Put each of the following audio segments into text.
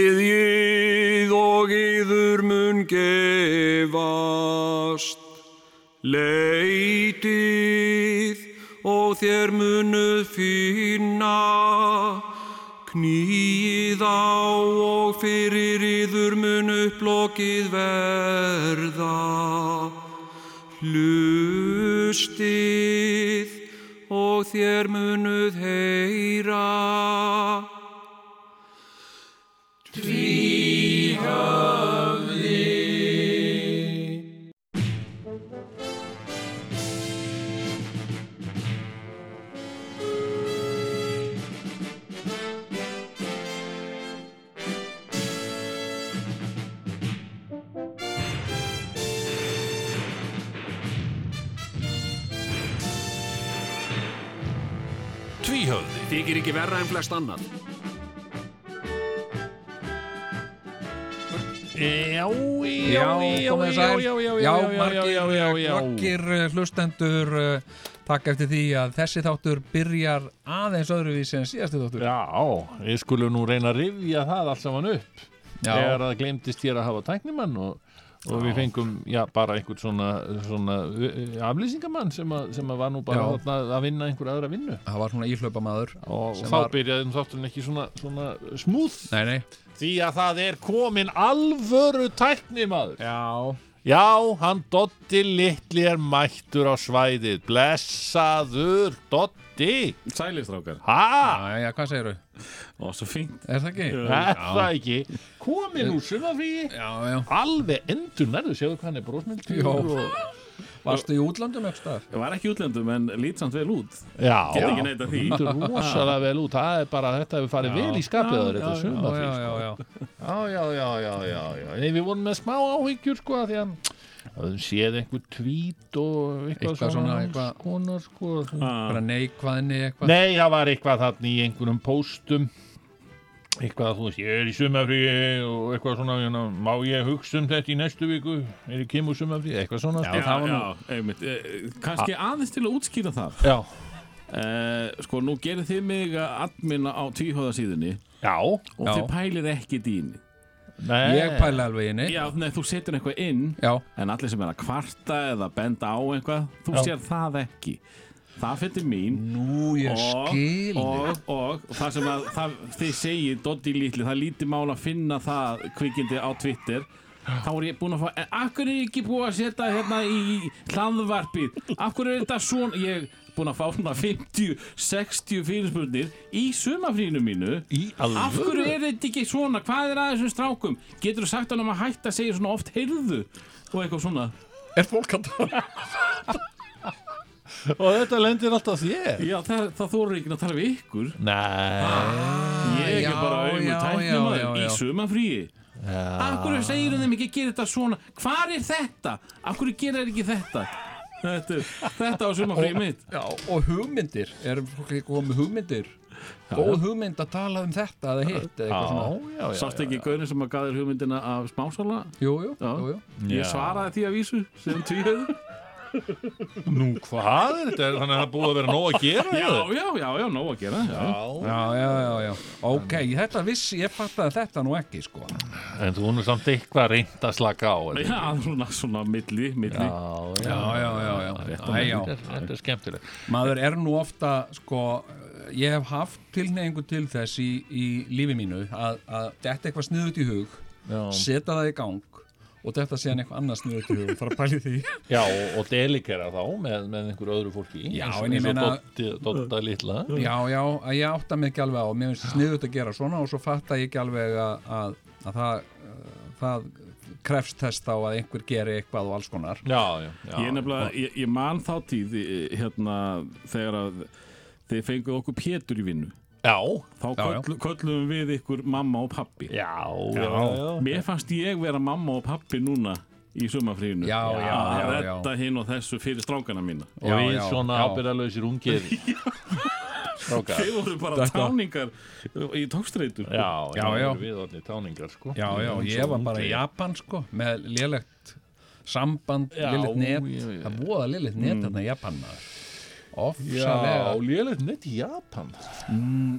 Býðið og yður mun gefast, leitið og þér munuð finna, knýið á og fyrir yður mun upplokið verða, hlustið og þér munuð heyra. Tvíhöfði Þykir ekki verra en flest annan. Já, Já, já, já, komið já, sæl. já, já, já, já, já, já, já, margir, já. margir eh, hlustendur eh, takk eftir því að þessi þáttur byrjar aðeins öðruvísi en síðasti þáttur. Já, ég skulum nú reyna að rifja það allt saman upp Já. þegar það glemdist ég að hafa tæknimann og, og við fengum, já, bara einhvern svona, svona uh, aflýsingamann sem, að, sem að var nú bara Já. þarna að vinna einhver aðra vinnu Það var svona íhlaupa maður. og Sem þá var- byrjaði nú þátturinn ekki svona, svona smúð Nei, nei. því að það er komin alvöru tæknimaður Já. Já, hann Dotti litli er mættur á svæðið blessaður Dotti Sælistrákar Hæ? Æja, hvað segirðu? Ó, svo fínt Er það ekki? Er það ekki? Komin úr sumafríi Já, já. Alveg endur nærðu, séu hvað hann er brósmildur Jó. og... Varstu í útlandum ekki staðar? Ég var ekki í útlöndum en lít samt vel út Já, Get ekki neitað því. lítur rosalega vel út Það er bara, þetta hefur farið vel í skapiðar Þetta Já, já, sumafrí já, já. Já, já, já, já, já, já Nei, Við vorum með smá áhyggjur sko af Því að Það séð einhver tvít og eitthvað, Eitthvað svona, eitthvað- konar, sko. Bara neikvæðinni eitthvað. Nei, það var eitthvað þarna í einhverjum póstum eitthvað að þú veist, ég er í sumafríi og eitthvað svona, hérna, má ég hugsa um þetta í næstu viku, er ég kemur sumafríi eitthvað svona, Já, sko. já, einmitt Eh, Kannski aðeins til að útskýra það Já. Eh, Sko, nú gerir þið mig að adminna á tvíhóðasíðunni Já. og Já. þið pælir ekki dýni Nei. Ég pæla alveg inni. Já, nei, þú setur eitthvað inn Já. en allir sem er að kvarta eða benda á eitthvað þú Já. sér það ekki Það fyrir mín Nú, ég og, skil. og, og, og það sem að það, þið segir Doddi Lítli, það er lítið mál að finna það kvikindi á Twitter þá er ég búin að fá, en af hverju er ekki búið að setja hérna í hlaðvarpið af hverju er þetta svona ég er búin að fá svona 50, 60 fyrirspurnir í sumafrínu mínu Í alvöru? af hverju er þetta ekki svona hvað er að þessum strákum, getur þú sagt hann um að hætta að segja svona oft heyrðu og eitthvað svona Er fólk að tala? Og þetta lendir alltaf þér. já, það, það þóru ekki að tala við ykkur Nei. Ég Já, er já, bara auðvitað já, já, tæknumæður í já. sumafríi Akkur er segir þeim ekki að gera þetta svona Hvar er þetta? Akkur gera þeir ekki þetta? Þetta, er- þetta á sumafríi mitt Já, og hugmyndir. Er fólk ekki komið með hugmyndir? Góð hugmynd að tala um þetta eða hitt Já, eða eitthvað svona. já, já. Sást ekki gaurin sem að gaður hugmyndina af smásala? Jú, jú, Já. jú, jú. Já. Ég svaraði því að vísu sem tvíhauð Nú, hvað er þetta? Þannig að það er búið að vera nóg að gera Já, þetta? já, já, já, nóg að gera já. Já. Já, já, já, já. Ok, þetta vissi, ég fattaði þetta nú ekki, sko. En þú nú samt eitthvað reynd að slaka á. Já, svona, svona milli, milli Já, Já, já, já, já. Æ, já. Þetta er- þetta er skemmtilegt. Maður er nú ofta, sko, ég hef haft tilneyingu til þess í, í lífi mínu að, að þetta eitthvað sniðut í hug, Já. setja það í gang og þetta séðan eitthvað annað sniðut í hug, fara að pæli því. Já, og, og delikera þá með, með einhverju öðru fólki Já, eins og- en ég eins og meina- Doddi- Dodda litla Já, já, að ég átta mig ekki alveg á, mér finnst sniðut að gera svona og svo fatta ég ekki alveg að, að, að það, uh, það krefst þess þá að einhver geri eitthvað og alls konar. Já, já, já Ég er nefnilega, ég, ég man þá tíð eh, hérna, þegar að þið fenguð okkur Pétur í vinnu Já, þá Já, já. köll, köllum við ykkur mamma og pappi já, Já, já, já. Mér fannst ég vera mamma og pappi núna í sumafríinu Já, já, já, að já. redda hinn og þessu fyrir strákana mína Og Já, við já, svona já. ábyrðalausir ungir Strákar Þeir voru bara Þetta- táningar í tókstreitur Já, Já, já. Við orðni táningar, sko Já, já, Eins ég og var bara í ungir. Japan sko með lélegt samband, Já, lélegt net já, já. það voða lélegt net þarna í Japan maður ofsalega Mm. Já, lélegt neitt í Japan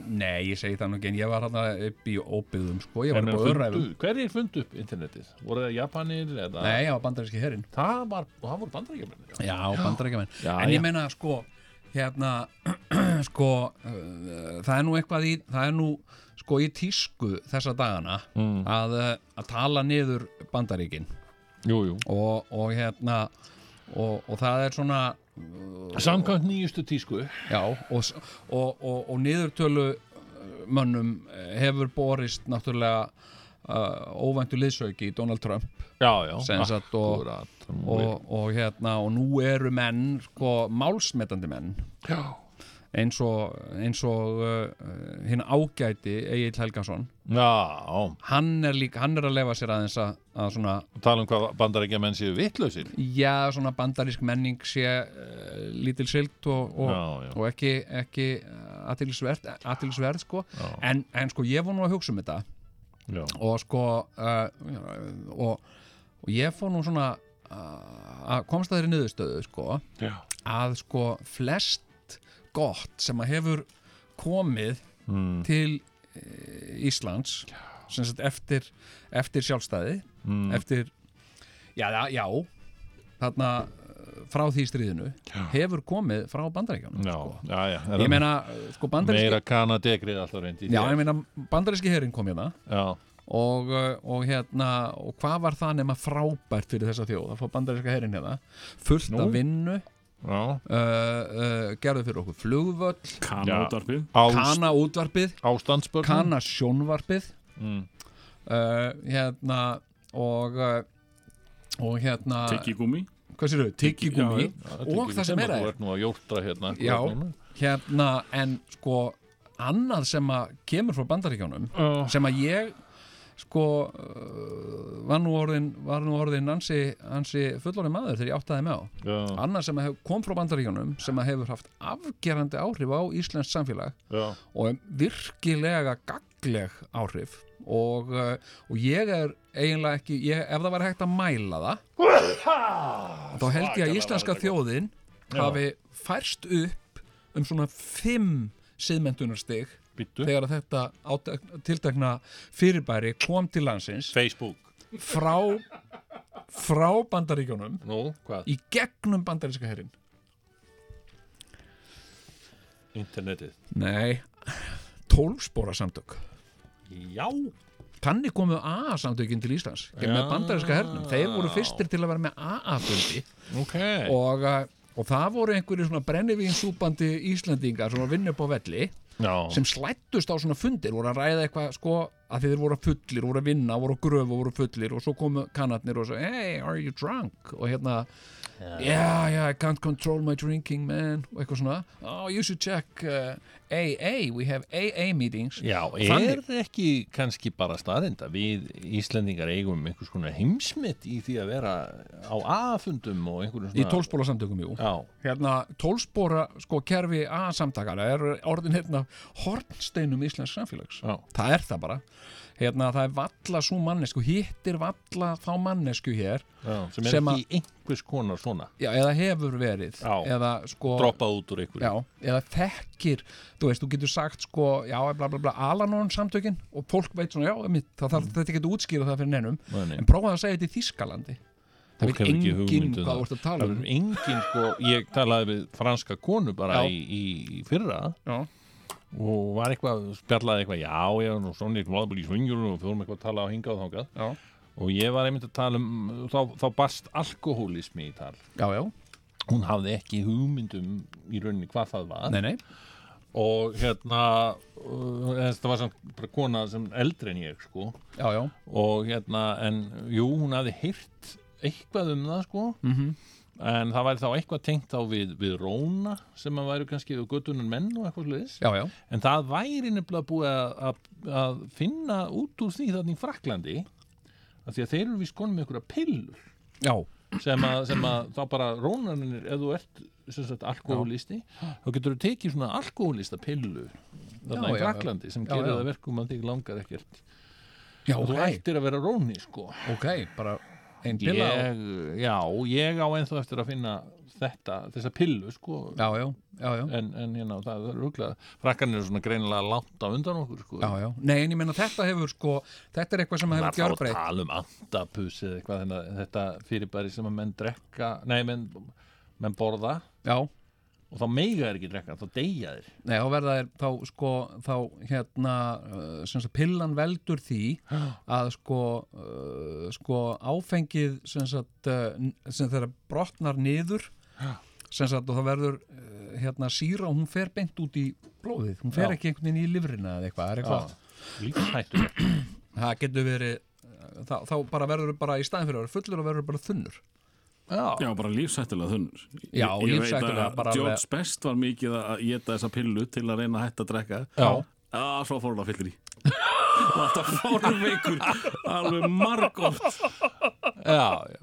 Nei, ég segi það nú ekki en ég var hann upp í óbyggðum sko, ég En var upp á fundu- öðræfum Hverjir fundu upp internetið? Voru það Japanir eða Nei, ég var bandaríski herrin Það, var, það voru bandarækjumenn Já, bandaríkjamenn Já, En já. ég meina sko hérna sko uh, það er nú eitthvað í það er nú sko í tísku þessa dagana Mm. að, uh, að tala niður bandaríkin Jú, jú og, og hérna og, og það er svona Samkvæmt nýjustu tísku já, og, s- og, og, og niðurtölu uh, mönnum eh, hefur borist náttúrulega uh, óvæntu liðsauki í Donald Trump Já, já Sem sagt og- Akkurat og, og hérna og nú eru menn sko málsmetandi menn Já eins og, eins og uh, hinn ágæti Egil Helgason Já, hann er líka, hann er að lefa sér aðeins að, að svona, tala um hvað bandarækjumenn séu vittlausir já, svona bandarísk menning sé uh, lítil silt og, og, Já, já. og ekki, ekki aðtilsverð, aðtilsverð sko. en, en sko ég var nú að hugsa um þetta Já, og sko uh, og, og ég fór nú svona uh, að komst að þeirri niðurstöðu sko já. að sko flest gott sem að hefur komið Mm. til e, Íslands sem sagt eftir, eftir sjálfstæði Mm. eftir, já, já, já þarna eh, frá því stríðinu hefur komið frá bandaríkjánum Já, já, já ég meina, eh, sko bandaríski Mm. Meira kanadegrið alltaf reyndi já, ég meina bandaríski herinn kom hérna já, og, eh, og hérna og hvað var það nema frábært fyrir þessa þjóð að fá bandaríska herinn hérna fullt Nú. af vinnu já. uh, uh, gerðu fyrir okkur flugvöll Kana útvarpið Ást, Kana útvarpið, ástandsbörn Kana sjónvarpið mm. uh, hérna og uh, og hérna Tiki gumi hvað sér þau, tyggigúmi Já, Já, þetta er og ekki það sem er Þú að ert nú að jórtra hérna Já. akkurat núna. hérna en sko annað sem að kemur frá bandaríkjánum Já. sem að ég sko uh, var nú orðin, var nú orðin ansi, ansi fullorinn maður þegar ég áttaði með á Já, annað sem að hef, kom frá bandaríkjánum sem að hefur haft afgerandi áhrif á Íslands samfélag já, og virkilega gagleg áhrif og, uh, og ég er eiginlega ekki, ég, ef það var hægt að mæla það þá held ég að íslenska þjóðin hafi færst upp um svona fimm siðmendunarstig býttu þegar að þetta átek- tiltekna fyrirbæri kom til landsins Facebook frá, frá bandaríkjunum Nú, hvað? í gegnum bandaríska herrin Internetið Nei, tólfspóra samtök Já Þannig komu AA-samtökin til Íslands með bandarinska hernum. Þeir voru fyrstir til að vera með AA-fundi Ok og, uh, og það voru einhverjir svona brennivínsúpandi Íslandingar svona vinnu upp á velli Já sem slættust á svona fundir voru að ræða eitthvað sko að þeir voru fullir, voru að vinna, voru að gröfu, voru fullir og svo komu kannatnir og svo hey, are you drunk? og hérna yeah, yeah, I can't control my drinking man og eitthvað svona oh, you should check uh, AA, we have AA meetings Já, er Þannig. ekki kannski bara staðrind að við Íslendingar eigum einhvers konar heimsmynd í því að vera á aðfundum og einhverjum í svona tólspóla samtökum, jú Já, hérna tólspóra sko kerfi að samtakana er orðin hérna hornsteinum íslensk samfélags já, það er það bara hérna það er valla svo mannesku hittir valla þá mannesku hér já Sem er Sem ekki einhvers konar svona já, eða hefur verið Já. eða sko Droppað út úr einhverju já, eða þekkir þú veist, þú getur sagt sko já, bla bla bla, Alanon samtökin og fólk veit svona, já, mitt, það, það, þetta getur útskýra það fyrir nennum, Mm. Nei, nei. en prófaðu að segja þetta í Þískalandi Fólk það veit hefur ekki enginn hugmynd um það. hvað þú ert að tala Það um er engin sko, ég talaði við franska konu bara Já. í, í, í fyrra já, og var eitthvað, spjallaði eitthvað já, já, og svona eitthvað blablabla í svingjur og fórum eitthvað að tala á hingað og þangað já, og ég var einmitt að tala um, þá, þá barst alkohólismi í tal já, já, hún hafði ekki hugmyndum í rauninni hvað það var nei, nei og hérna uh, þetta var samt bara kona sem eldri en ég sko já, já, og hérna, en jú, hún hafði heyrt eitthvað um það sko Mhm. en það væri þá eitthvað tengt á við, við Róna sem að væri kannski við göttunum menn og eitthvað sliðis já, já En það væri nefnilega búið að, að, að finna út úr því þannig í Fraklandi að því að þeir eru víst konum með einhverja pillur Já, sem að, sem að þá bara rónarnir ef þú ert sem sagt alkohólisti þá getur þú tekið svona alkohólista pillu þarna í Já, já, já. Fraklandi sem Já, gerir já. það verkum að þig langar ekkert já, og þú ok, ættir að vera róni sko ok, bara ein pilla og- ég, já, ég á ennþá eftir að finna þetta, þessa pillu sko já, já, já, já, en, en hérna, það er rúglega frakkan eru svona greinilega langt á undan okkur sko já, já nei, en ég meina þetta hefur sko þetta er eitthvað sem Það hefur er þá að gjörbreytt tala um andapus eða eitthvað þennan, þetta fyrirbæri sem að menn drekka, nei, menn, menn borða já, og þá meiga þeir ekki drekka, þá deyja þeir nei, þá verða þér þá sko, þá hérna uh, sem sagt, pillan veldur því að sko uh, sko áfengið sem sagt, uh, n- sem þeirra brotnar niður sem sagt, og það verður uh, hérna síra og hún fer beint út í blóðið, hún fer Já. ekki einhvern veginn í lifrina eða eitthvað, það er eitthvað lífshættu það getur verið eh, þá, þá bara verður bara í staðin fyrir að vera fullur og verður bara þunnur Já, Já, bara lífsættulega þunnur. Já, Ég- ég veit að lífshættulega, bara George alveg- Best var mikið að geta þessa pillu til að reyna að hætta að drekka. Já. Já, svo fór hún að fyllir í. Og alltaf fórveikur, alveg margótt. já, já.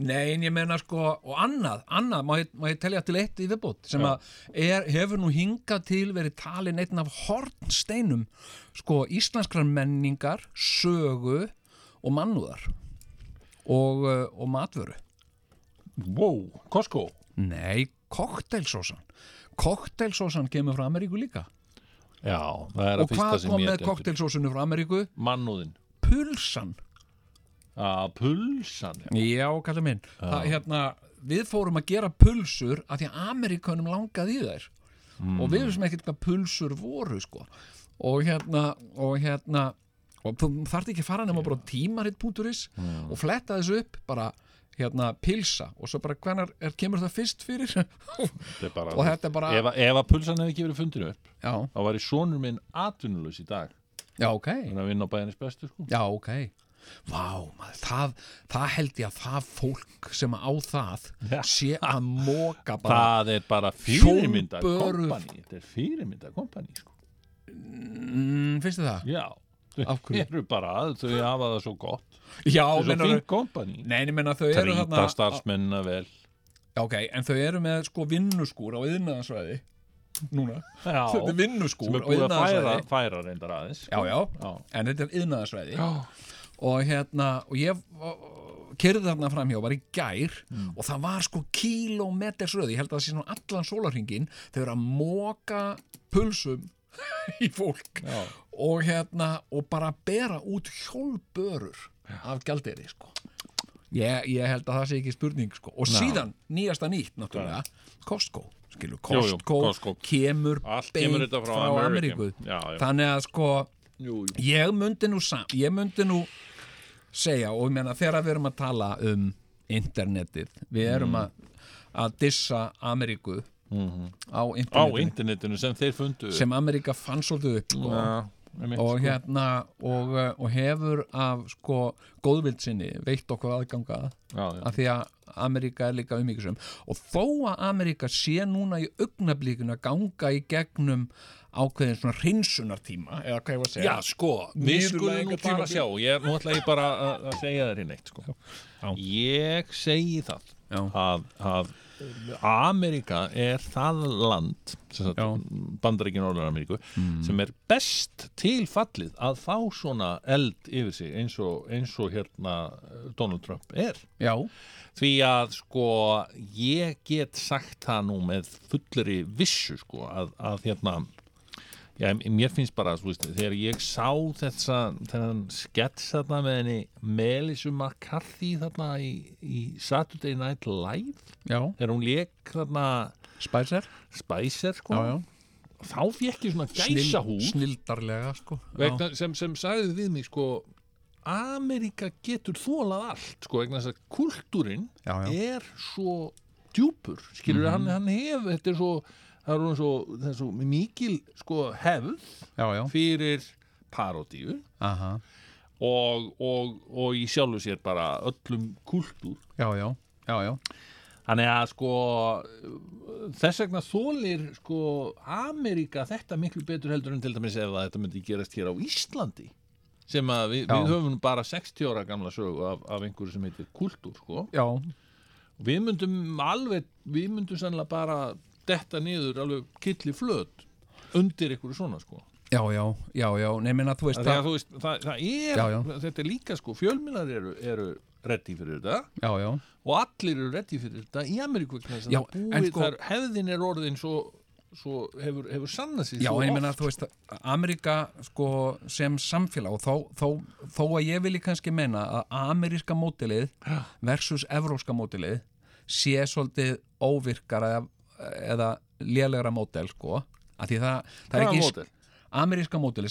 Nei, en ég meina sko, og annað, annað má ég, má ég telja til eitt í viðbútt sem að er, hefur nú hingað til verið talin einn af hornsteinum sko, íslenskrar menningar sögu og mannúðar og, uh, og matvöru Wow, Costco Nei, koktelsósan koktelsósan kemur frá Ameríku líka Já, það er og hvað kom með koktelsósunu frá Ameríku? Mannúðin Pulsan Já, pulsan já. Já, kallið minn það, hérna, Við fórum að gera pulsur af því að Amerikanum langaði í þær og við vissum ekkert hvað pulsur voru sko. og hérna og hérna og þú þarft ekki að fara nema bara á tímarit.is og fletta þessu upp bara hérna pilsa og svo bara hvenar er, kemur það fyrst fyrir Þetta er bara, Og þetta er bara- Ef, að- ef að pulsan hefði ekki verið fundinu upp Já, þá var í sonur minn atvinnulegs í dag já ok þannig að vinna á bæðinni bestu sko Já, ok. Vá, maður, það, það held ég að það fólk sem á það Já. sé að móka bara Það er bara fyrirmynda Hjólbörur. kompani Þetta er fyrirmynda kompani sko mm, Finnst þið það? Já, Af þau hverju? eru bara að þau hafa það svo gott Þau Já, eru svo meinarðu- fín kompani Nei, ég menna þau eru Trýta þarna starfsmennina vel Já, ok, en þau eru með sko vinnuskúr á yðnaðansvæði Núna Já, Þau eru sem vinnuskúr er á búið að færa, yðnaðansvæði færa reyndar aðeins sko. Já, já, Já. en þetta er yðnaðarsvæði Já. og hérna, og ég kerði þarna framhjá, var í gær Mm. og það var sko kílómetrsröð ég held að það sé svona allan sólarhingin þau eru að móka pulsum í fólk Já. og hérna, og bara bera út hjólbörur af gjalderi sko ég, ég held að það sé ekki spurning sko. og síðan, nýjasta nýtt náttúrulega Costco, skilur, Jú, jú, Costco, Costco. kemur Allt beint kemur þetta frá Ameríku. Já, já. þannig að sko Jú, jú. ég myndi nú sam, ég myndi nú segja og ég meina þegar við erum að tala um internetið, við Mm. erum að að dissa Ameríku á Mhm. Á internetinu internetinu sem þeir fundu sem Ameríka fann svolítið upp sko, Já, einmitt, og sko. hérna og, uh, og hefur af sko góðvild sinni veitt okkur aðgangað Já, já. af því að Ameríka er líka umhyggjusum og þó að Ameríka sé núna í augnablíkun að ganga í gegnum ákveðin svona hreinsunartíma eða hvað ég var að segja Já, sko, við skulum nú bara Niðurlægingartímabil. sjá ég, Nú ætla ég bara að- að segja þér einn eitt sko. Ég segi það Já. að, að Amerika er það land Já. Bandaríkinn Norður Ameríku sem er best tilfallið að fá svona eld yfir sig eins og, eins og hérna Donald Trump er Já, Því að sko ég get sagt það nú með fullri vissu sko að, að hérna já, mér finnst bara þú veist, þegar ég sá þessa þennan skets þarna með henni Melissa McCarthy þarna í, í Saturday Night Live já, þegar hún lék þarna Spicer Spicer sko já, já. þá fékk ég svona gæsa Snildarlega sko já. vegna, sem, sem sagði við mig sko Amerika getur þólað allt sko, vegna þess að kultúrin Já, já. Mhm. er svo djúpur skilur mm hann, hann hef þetta er svo, það er orðin svo, það er svo mikil sko, hefð já, já, fyrir parodíu aha og, og, og í sjálfu sér bara öllum kultúr Já, já, já, já Þannig að sko þess vegna þólir sko Ameríka þetta miklu betur heldur en til dæmis ef að þetta myndi gerast hér á Íslandi sem að við, Já. við höfum bara 60 ára gamla sögu af, af einhverju sem heitir kultúr sko. Já, Við myndum alveg, við myndum sannlega bara detta niður alveg killi flöt undir einhverju svona sko. já, já, já, já, nefnir að þú veist Þegar það þú veist, það, það er, Já, já. þetta er líka sko, fjölmiðlar eru, eru reddi fyrir þetta Já, já, og allir eru reddi fyrir þetta í Ameríku vegna þess að Já, það en búið sko- þar, hefðin er orðin svo, svo hefur, hefur sannað sér já, svo en ég oft. meina að þú veist Amerika sko sem samfélag og þó, þó, þó að ég vilji kannski meina að ameríska mótilið versus evróska mótilið sé svolítið óvirkara eða, eða lélegra mótel sko, að því það, það er Hvaða ekki módel? ameríska mótilið,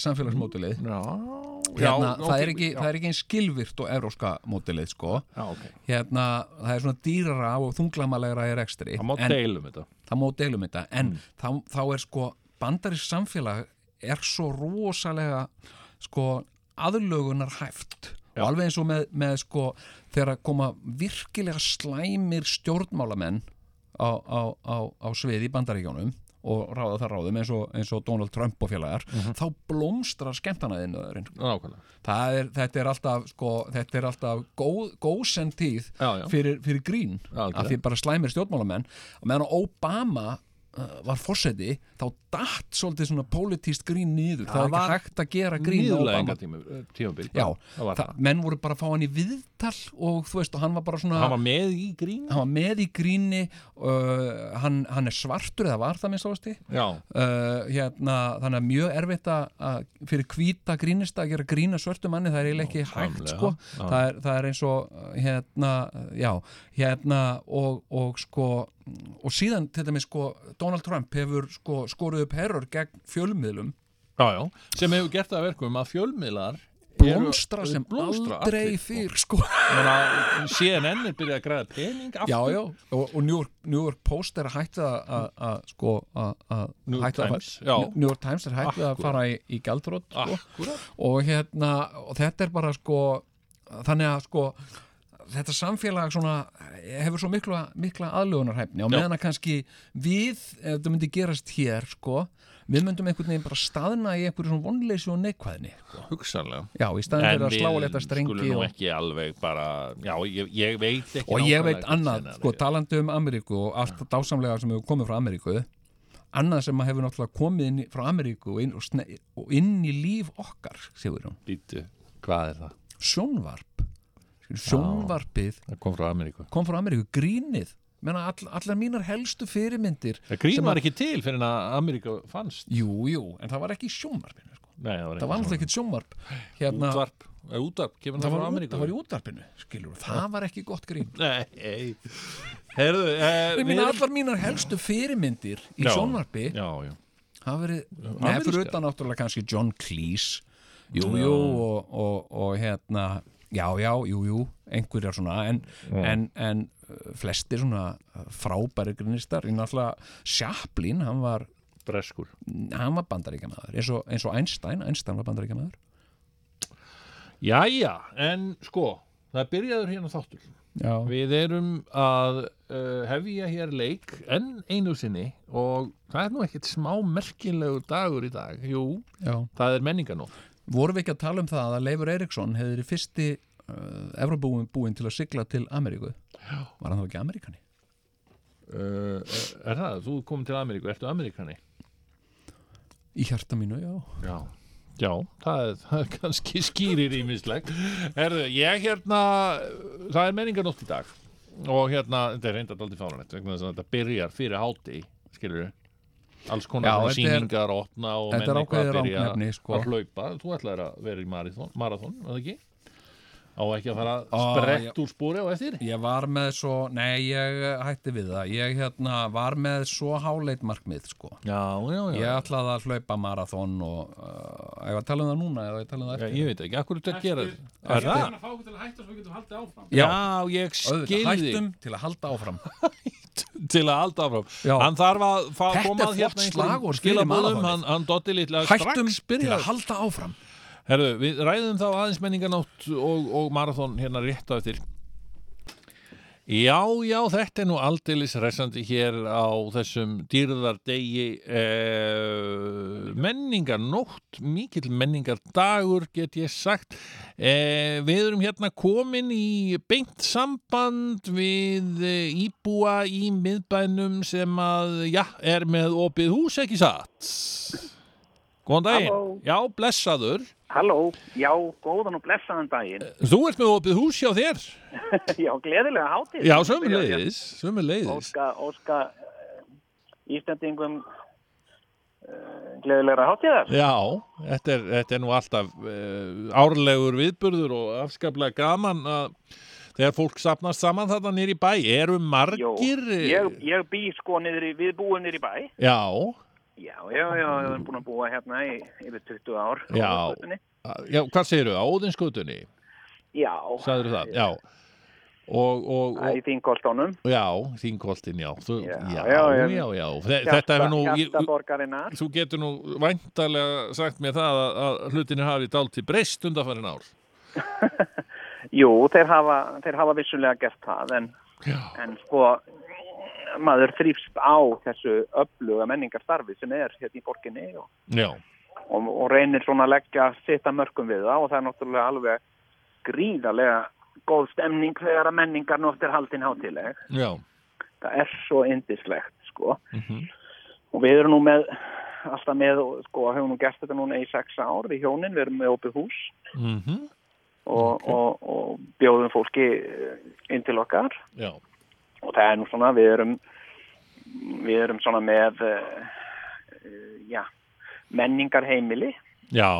Já, samfélagsmótilið hérna, já, það, ok, er ekki, já. það er ekki eins skilvirt og evróska mótilið sko Já, ok. hérna, það er svona dýrara og þunglamalega í rekstri Það má en deilum þetta. það má deilum þetta en þá, þá er sko bandarist samfélag er svo rosalega sko aðlögunar hæft og alveg eins og með, með sko þegar að koma virkilega slæmir stjórnmálamenn á, á, á, á svið í bandaríkjónum og ráða það ráðum eins og, eins og Donald Trump og félagar þá blómstrar skemmtanaðinöðurinn Nákvæmlega. Það er, þetta er alltaf, sko, þetta er alltaf góð, góðsend tíð Já, já. Fyrir, fyrir grín Algjörlega. af því bara slæmir stjórnmálamenn og meðan Obama uh, var fórseti þá datt svolítið svona pólitíst grín niður það Það er var ekki hægt að gera grín á Nýðlega Obama tímabil. Já, það var það, menn voru bara að fá hann í viðtal og þú veist og hann var bara svona Hann var með í grín. hann var með í gríni uh, hann, hann er svartur eða var það minnst ástu Já, uh, hérna, þannig að mjög erfitt að- að fyrir hvíta grínista að gera grína svörtu manni, það er eiginlega ekki hægt Nákvæmlega, sko. já. það, er, það er eins og uh, hérna, uh, já, hérna og, og sko og síðan til dæmis sko Donald Trump hefur sko skorið upp herrur gegn fjölmiðlum já, já. Sem hefur gert það að verkum að fjölmiðlar eru- blómstra sem blómstra aldrei allir, fyrr sko. Ég meina, CNN er byrjað að græða pening aftur. já, já, og, og New, York, New York Post er að hætta að að, sko að að New York hætta að- Times, já. New York Times er hætta að Akkúrat. fara í, í gældrótt sko. Akkúrat. og hérna og þetta er bara sko þannig að sko þetta samfélag svona hefur svo mikla, mikla aðlögunarhæfni og Já. meðan að kannski við, ef þetta myndi gerast hér sko, við myndum einhvern veginn bara staðna í einhverju svona vonleysi og neikvæðni sko. Hugsanlega. já, í staðin fyrir að slá að leta skulum strengi nú og, ekki alveg bara, já, ég, ég veit ekki og ég nákvæmlega veit hvað annað, CNN sko, er. talandi um Ameríku og allt dásamlega sem hefur komið frá Ameríku annað sem að hefur náttúrulega komið inn í, frá Ameríku og inn, og, sne, og inn í líf okkar, Sigurjón, Bíddu, hvað er það? sjónvarp sjónvarpið Það kom frá Ameríku. kom frá Ameríku, grínið menna all, allar mínar helstu fyrirmyndir Það grín sem var ekki til fyrir en að Ameríku fannst. jú, jú, en það var ekki í sjónvarpinu sko. Nei, það var, það var svona. náttúrulega ekki sjónvarp hérna, Útvarp, eh, útvarp, kemur það, það frá var, út- Ameríku? það var í útvarpinu skilur, það var ekki gott grín Nei, ei. Herðu, eh, Ég meina, allar mínar helstu fyrirmyndir í Já, sjónvarpi Já, já. hafa verið, nefnir amerískar. utan náttúrulega kannski John Cleese jú, jú, og, og, og hérna já, já, jú, jú, einhverjar svona en, en, en uh, flestir svona uh, frábæri grinistar í náttúrulega Chaplin, hann var Breskur. hann var bandaríkjamaður eins og, eins og Einstein, Einstein var bandaríkjamaður Jæja, en sko, það byrjaður hérna þáttur. já, Við erum að uh, hefja hér leik enn einu sinni og það er nú ekkert smá merkilegur dagur í dag. Jú, já. það er menninganótt. vorum við ekki að tala um það að Leifur Eriksson hefði verið fyrsti uh, Evrópúin búinn til að sigla til Ameríku já. var hann þá ekki Ameríkani? Uh, er það? Þú kom til Ameríku, ertu Ameríkani? í hjarta mínu, já Já. Já, það er, það er kannski skýrir ímislegt. Herðu, ég hérna, það er menninganótt í dag og hérna, þetta er reyndað aldrei fáranett vegna þess að þetta byrjar fyrir háti, skilur við? Alls Já, konar svona þetta er- sýningar að opna og þetta menn er eitthvað ákveðið að byrja rangnefni sko. að hlaupa, þú ætlaðir að vera í marathon, marathon var það ekki? Á ekki að fara Ó, sprett úr spúri á eftir? ég var með svo, nei ég eh, hætti við það ég hérna var með svo háleit markmið sko Já, já, já. Ég ætlaði að hlaupa marathon og uh, ég var að tala um það núna eða ég tala um það Já, eftir ég veit ekki, akkur er þetta að gera Eftir- þetta? Er það? að fá okkur til að hætta svo við getum haldið áfram Já, ég Auðvitað, skilði hættum til að halda áfram til að halda áfram Já. Hann þarf að fá, Þetta koma er að flott hérna einhverjum slagorð fyrir skilaboðum, maraþonið. hann, hann dotti litla Hættum strax til að byrjað halda áfram Herðu, við ræðum þá aðeins menninganótt og, og marathon hérna rétt á eftir Já, já, þetta er nú aldeilis resandi hér á þessum dýrðardegi eh, menninganótt, mikill menningardagur get ég sagt. Eh, við erum hérna komin í beint samband við eh, íbúa í miðbænum sem að, já, er með opið hús ekki satt. Góðan daginn. Halló. Já, blessaður. Halló, já, góðan og blessaðan daginn. Þú ert með opið hús hjá þér. Já, gleðilega hátíð. Já, sömuleiðis, sömuleiðis. Óska, óska eh, Íslandingum uh, gleðilega hátíðar. Já, þetta er, þetta er nú alltaf uh, árlegur viðburður og afskaplega gaman að þegar fólk sapnast saman þarna nýri bæ, eru margir... eh, Jó, ég, ég bý sko niður í, við búum niður í bæ. Já, Já, já, já, ég er búin að búa hérna í yfir 20 ár. á Já. Austurgötunni. já, hvað segirðu, á Óðinskutunni, Já. sagðirðu það, já. Og, og, Æ, og, í þingoltónum. já, þínkoltin, já, þú, já, Já, já, já, já, já, ég- Þe- þetta hefur nú, ég, Hjartaborgarinnar. þú getur nú væntalega sagt mér það að, að hlutinni hafi dálti breyst undanfærin ár. Jú, þeir hafa, þeir hafa vissulega gert það, en, Já. en sko maður þrýfst á þessu öfluga menningarstarfi sem er hérna í borginni og, Já, og, og reynir svona að leggja sitt að mörgum við það og það er náttúrulega alveg gríðarlega góð stemning þegar að menningar nótt er haldin hátileg. já, Það er svo indislegt, sko. Mhm. Og við erum nú með, alltaf með, sko, hefum nú gert þetta núna í sex ár við hjónin, við erum með opið hús mhm, og, og, og bjóðum fólki eh, inn til okkar já, og það er nú svona við erum við erum svona með uh, já menningarheimili já,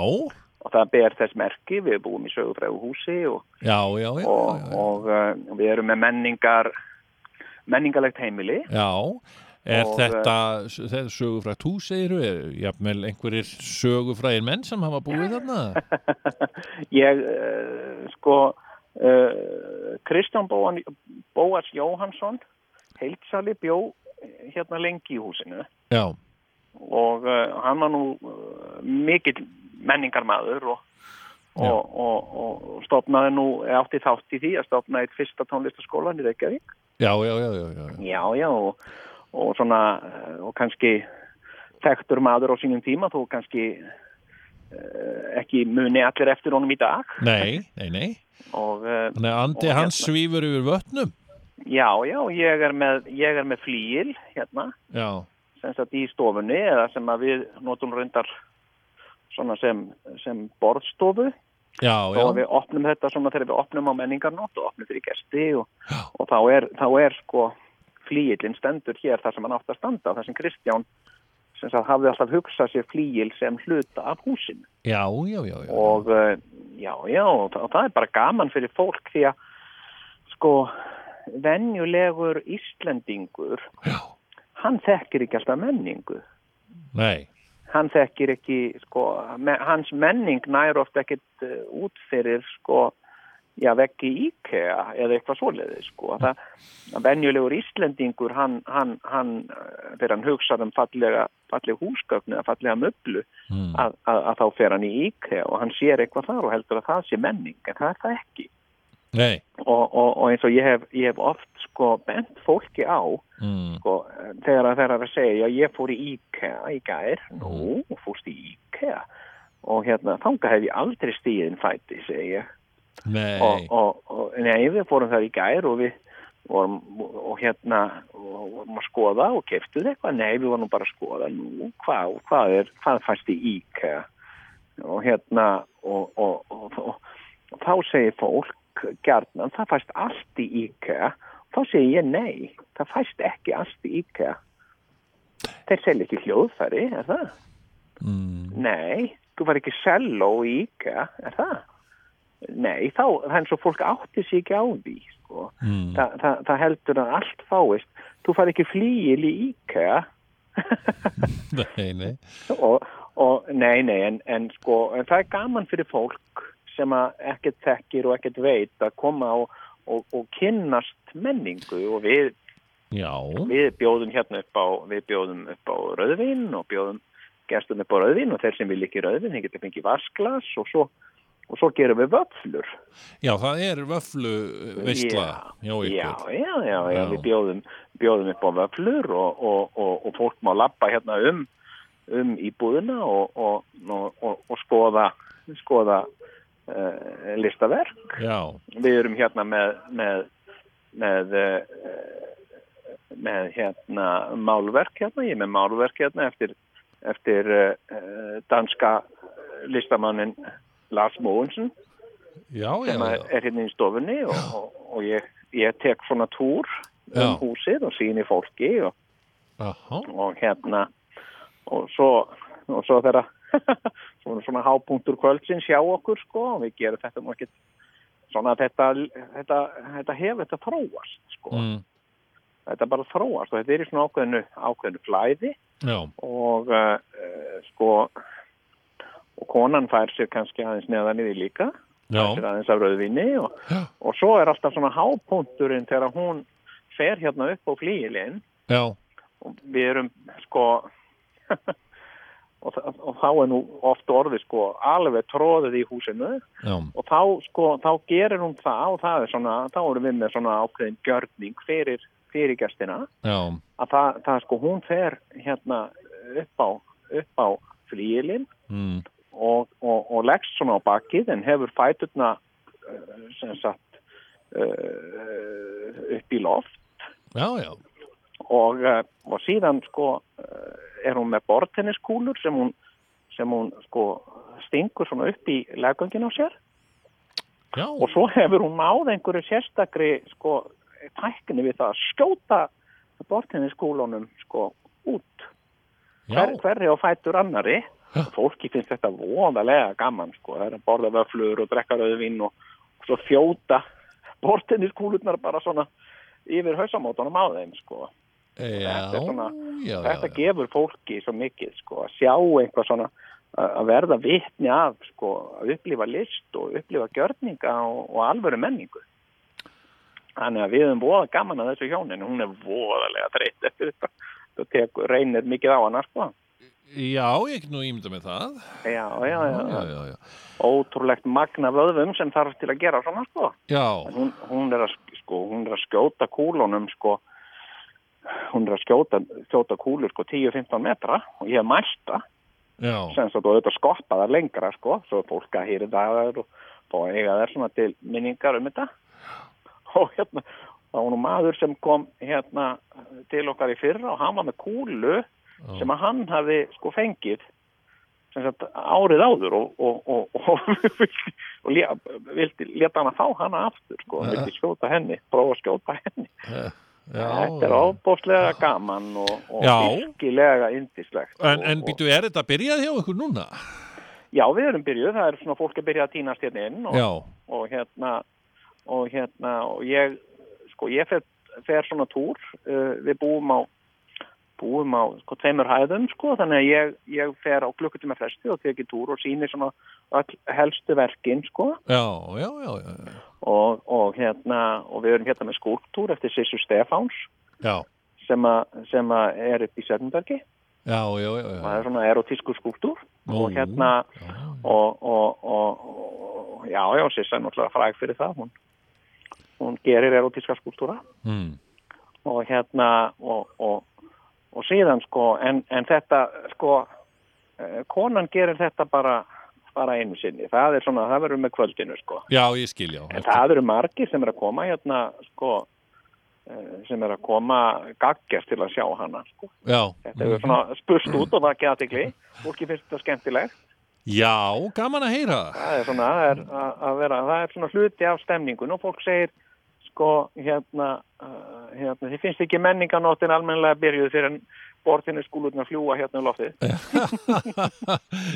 og það ber þess merki við búum í sögufræðu húsi og, já, já, já, og, já, já. og uh, við erum með menningar menningarlegt heimili Já, er Og, eh, þetta, þetta er sögufrætt hús, segir þú, er jafnvel einhverjir sögufræðir menn sem hafa búið þarna? ég uh, sko uh, Kristján Bóan, Bóas Jóhansson heilsali bjó eh, hérna lengi í húsinu Já, og uh, hann var nú uh, mikill menningarmaður og, Já. og, og, og, og stopnaði nú, eða átti þátt í því að stopnaði eitt fyrsta tónlistaskólan í Reykjavík. já, já, já, já, já, já. Já, já, og, og svona, uh, og kannski þekktur maður á sínum tíma, þú kannski uh, ekki muni allir eftir honum í dag Nei, nei, nei, og uh, þannig að andi Og hans hérna. svífur yfir vötnum? já, já, ég er með, ég er með flýil hérna Já, sem sagt í stofunni eða sem að við notum reyndar svona sem, sem borðstofu já, þó að já, við opnum þetta svona þegar við opnum á menningarnótt og opnum fyrir gesti og, og þá, er, þá er sko flíilinn stendur hér þar sem hann átt að standa þar sem Kristján sem sagt hafði alltaf hugsað sér flíil sem hluta af húsinu já, já, já, já, og eh, já, já, og það, og það er bara gaman fyrir fólk því að sko venjulegur Íslendingur já, hann þekkir ekki alltaf menningu nei, hann þekkir ekki, sko, me, hans menning nær oft ekkit uh, út fyrir, sko, já, veggi IKEA eða eitthvað svoleiði, sko. Það, að venjulegur Íslendingur, hann, hann, hann, eh, þegar hann hugsar um fallega, fallega húsgögnu eða fallega möblu, Mm. að, að, að þá fer hann í IKEA og hann sér eitthvað þar og heldur að það sé menning, en það er það ekki. nei, Og, og, og eins og ég hef, ég hef oft, sko, bent fólki á, mm. sko, þegar það er að segja já, ég fór í IKEA í gær nú, fórst í IKEA og hérna, þanga hef ég aldrei stíðin fæti, segi ég og, nei, og, og nei, við fórum það í gær og við vorum og hérna, og vorum að skoða og keftuð eitthvað, nei, við vorum bara að skoða nú, hvað, hvað er, hvað fæst í IKEA og hérna og, og, og, og, og þá segir fólk gjarnan, það fæst allt í IKEA þá segir ég nei, það fæst ekki allt í IKEA þeir selja ekki hljóðfæri, er það? mm. Nei, þú var ekki selló í IKEA, er það? Nei, þá, það er eins og fólk átti sig ekki á því, sko. Mm. Þa, það, það heldur að allt fáist. Þú far ekki flýil í IKEA nei, nei, og, og nei, nei, en, en sko, en það er gaman fyrir fólk sem að ekkert þekkir og ekkert veit að koma og, og, og kynnast menningu og við, já, við bjóðum hérna upp á, við bjóðum upp á rauðvin og bjóðum gestum upp á rauðvin og þeir sem vil ekki rauðvin, þeir geta fengið vasklas og svo, og svo gerum við vöflur. já, það er vöflu veistla, já, Já, ykkur, já, já, já, Já. við bjóðum, bjóðum upp á vöflur og, og, og, og fólk má lappa hérna um, um íbúðina og, og, og, og, og skoða, skoða uh, listaverk já, við erum hérna með með, með eh, með hérna málverk hérna, ég er með málverk hérna eftir eftir uh, uh, danska listamannin Lars Mogensen já, já, sem að já, er hérna í stofunni og, og, og ég, ég tek svona túr Já. um húsið og síni fólki og, Aha, og hérna og svo, og svo þeirra svona, svona hápunktur kvöldsins hjá okkur sko og við gerum þetta nú ekkert svona að þetta, þetta, þetta hefur þetta þróast sko mm, þetta bara þróast og þetta er í svona ákveðinu, ákveðinu flæði já, og uh, uh, sko og konan fær sér kannski aðeins neðan í því líka sér já, aðeins af rauðvinni og, Já. og svo er alltaf svona hápunkturinn þegar hún fer hérna upp á flíilinn já, og við erum sko og, þa- og þá er nú oft orðið sko alveg tróðið í húsinu já, og þá sko, þá gerir hún það og það er svona, þá erum við með svona ákveðin gjörning fyrir, fyrir gestina já, að það, það sko hún fer hérna upp á, upp á flíilinn mm, og, og, og leggst svona á bakið en hefur fæturna eh, sem sagt eh, upp í loft já, já, og, eh, og síðan sko eh, er hún með bortenniskúlur sem hún, sem hún sko stingur svona upp í leggöngin á sér já, og svo hefur hún náð einhverju sérstakri sko tækni við það að skjóta bortenniskúlunum sko út já, hver, hverri á fætur annari fólki finnst þetta voðalega gaman sko, það er að borða vöflur og drekka rauðvinn og, og svo fjóta bortinniskúlurnar bara svona yfir hausamótunum á þeim sko. já, þetta er svona- já, já, þetta já, gefur fólki svo mikið sko, að sjá eitthvað svona að að verða vitni af sko, að upplifa list og upplifa gjörninga og, og alvöru menningu þannig að við erum voða gaman að þessu hjónin, hún er voðalega þreytt eftir þetta, þetta tekur, reynir mikið á hana sko. já, ég get nú ímynda með það, já, já, já, já, já. já, já, ótrúlegt magna vöðvum sem þarf til að gera svona sko. já, En Hún, hún, er að, sk- sko, hún er að skjóta kúlunum sko, hún er að skjóta, skjóta kúlur sko 10-15 metra og ég hef mælt það já, sem sagt og auðvitað skoppa þar lengra sko svo er fólk að hýri dagar og búið eiga þær svona til minningar um þetta og hérna þá var nú maður sem kom hérna til okkar í fyrra og hann var með kúlu sem að hann hafi sko fengið sem sagt árið áður og, og, og, og, vildi- og lé, vildi leta hann að fá hana aftur sko, hann vildi skjóta henni, prófa að skjóta henni þetta er já. ábóðslega gaman og, og Já. virkilega indislegt En, og- en og- býtu, er þetta byrjað hjá ykkur núna? Já, við erum byrjuð, það er svona fólk að byrja að týnast hérna inn og, Já, og hérna og hérna og ég sko ég fer, fer svona túr uh, við búum á búum á sko tveimur hæðum sko þannig að ég, ég fer á klukkutíma fresti og tekið túr og sýnir svona öll helstu verkin sko já, já, já, já, og, og hérna og við erum hérna með skúltúr eftir Sissu Stefáns já, sem að sem að er upp í Sörnbergi já, já, já, og já. það er svona erotísku skúltúr Nú, og hérna já. og, og, og, og já, já, Sissa er náttúrulega fræg fyrir það hún, hún gerir erotíska skúltúra Mm. og hérna og, og, og síðan sko en, en þetta sko eh, konan gerir þetta bara bara einu sinni, það er svona, það verður með kvöldinu sko, já, ég skil, já, en það eru margir sem er að koma hérna sko eh, sem er að koma gaggjast til að sjá hana sko. já, þetta hefur svona spurst út og vakið aðtikli fólki finnst þetta skemmtilegt já, gaman að heyra það. það er svona það er að að vera, það er svona hluti af stemningun og fólk segir sko hérna, uh, hérna þið finnst ekki menninganóttin almennilega byrjuð fyrir en bortinu skúlutna fljúa hérna um loftið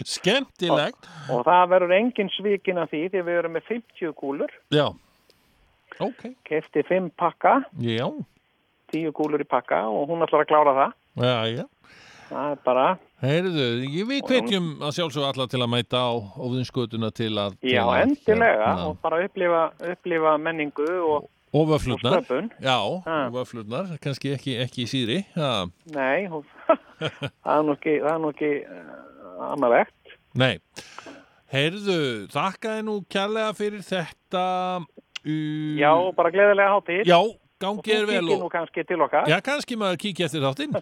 Skemmtilegt, og það verður engin svikin af því því við erum með 50 kúlur já, ok, kefti 5 pakka, já, 10 kúlur í pakka og hún ætlar að klára það já, já. það er bara, Heyrðu, ég- við hvetjum að sjálfsögðu alla til að mæta á óðinskotuna til að... til já að, endilega hérna, og bara upplifa, upplifa menningu og Og vöflurnar. og sköpun. Já, Ha. og vöflurnar, kannski ekki, ekki síðri. Já, nei og, það er nú ekki, það er nú ekki uh, annarlegt Nei. Heyrðu, þakkaði nú kærlega fyrir þetta. Uh, já, bara gleðilega hátíð Já, gangi er vel Þú kíkir nú og... kannski til okkar. Já, kannski maður kíkja eftir þáttinn.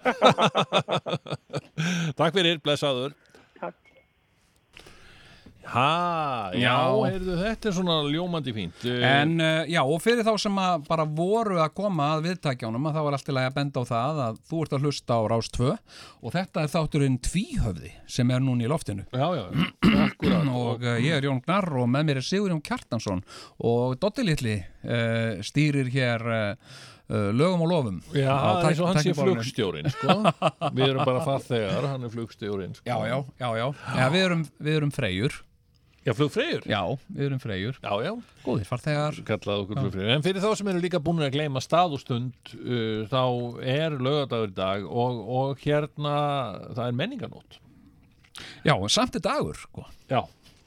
Takk fyrir, blessaður. Ha, já, Já. heyrðu, þetta er svona ljómandi fínt Eh, En uh, já, og fyrir þá sem að bara voru að koma að viðtækjánum að þá er alltaf að benda á það að þú ert að hlusta á Rás 2 og þetta er þátturinn Tvíhöfði sem er núna í loftinu. Já, já, akkurat Og uh, ég er Jón Gnarr og með mér er Sigur Jón Kjartansson og Dotti Lilli uh, stýrir hér uh, uh, lögum og lofum. Já, það er Á tæk- eins og hans sé tækniborðinu. flugstjórin, sko Við erum bara farþegar, hann er flugstjórin sko. Já, já, já, já. já við, erum, við erum freyjur. Já, flugfreyjur Já, við erum freyjur. Já, já, Góðir farþegar. kallaði okkur flugfreyjur En fyrir þá sem eru líka búin að gleyma stað og stund uh, Þá er lögadagur í dag og, og hérna, það er menninganót Já, samt er dagur, sko. Já,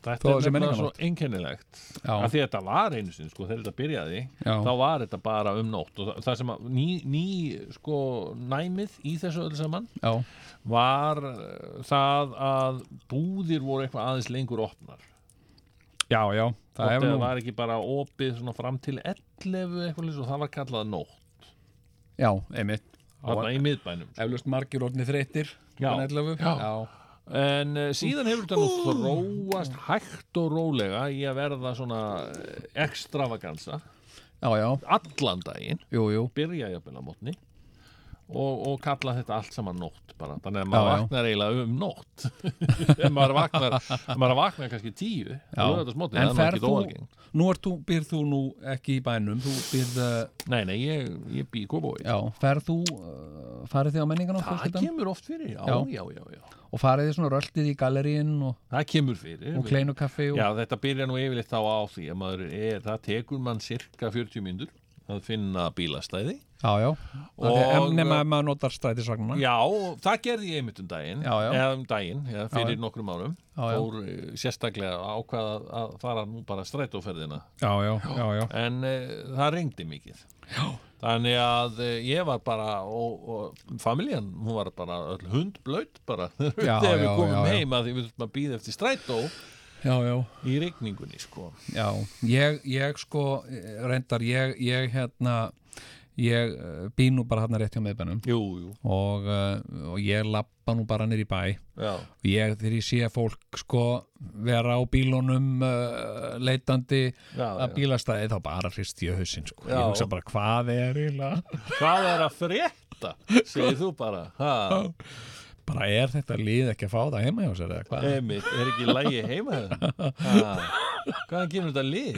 þetta Þó er að sé nefnilega svo menningarnótt. einkennilegt Já. að því þetta var einu sinni, sko, þegar þetta byrjaði Já. þá var þetta bara um nótt og það, það sem að ný, ný, sko, næmið í þessu öll saman Já, var eh, það að búðir voru eitthvað aðeins lengur opnar já, já. það Það er nú. var ekki bara opið svona fram til 11 eitthvað lýs og það var kallað nótt Já, einmitt. þarna í miðbænum eflust margir orðni þreytir Já. klukkan 11. Já. Já. en uh, síðan hefur þetta nú þróast hægt og rólega í að verða svona ekstravagansa já, já, allan daginn jú, jú byrja jafnvel að mótni og, og kalla þetta allt saman nótt bara, þannig að maður Já, já. vaknar eiginlega um nótt ef maður vaknar ef maður vaknar kannski tíu mótni, það En er ferð ekki þú, óalgengt nú ert þú, býrð þú nú ekki í bænum, þú býrð, uh, Nei, nei, ég, ég bý í kópói já, ferð þú, uh, farið þið á menningan og Það kemur oft fyrir, já, Já. já, já, já og farið þið svona röltið í gallerín og, Það kemur fyrir og kleinu kaffi og, Já, þetta byrja nú yfirleitt þá á því að maður er, það tekur mann cirka 40 myndur að finna bílastæði já, já, og, Og- en nema ef maður notar strætisvagnana, Já, og það gerði ég einmitt um daginn Já, já. eða um daginn, eða fyrir Já, já. nokkrum árum Já, já. fór eh, sérstaklega ákvað að- að fara nú bara strætóferðina já, já, já, já, en uh, það reyndi mikið já. þannig að uh, ég var bara og, og familjan, hún var bara öll hundblöyt bara Já, þegar við já, komum já, já. heim að því við þurfum að býða eftir strætó já, já. í rigningunni sko Já, ég, ég sko eh, reyndar, ég, ég hérna ég eh, bý nú bara hérna rétt hjá miðbænum Jú, jú, og, eh, og ég lappa nú bara nýr í bæ já, og ég þegar ég sé að fólk sko vera á bílunum uh, leitandi já, að já. bílastæði þá bara hrist ég hausinn sko. ég Já. hugsa bara hvað er eiginlega Hvað er að frétta? segir þú bara, ha, bara er þetta lið ekki að fá það heima hjá sér eða hvað Einmitt, er ekki lægi heima það? Hvaðan kemur þetta lið?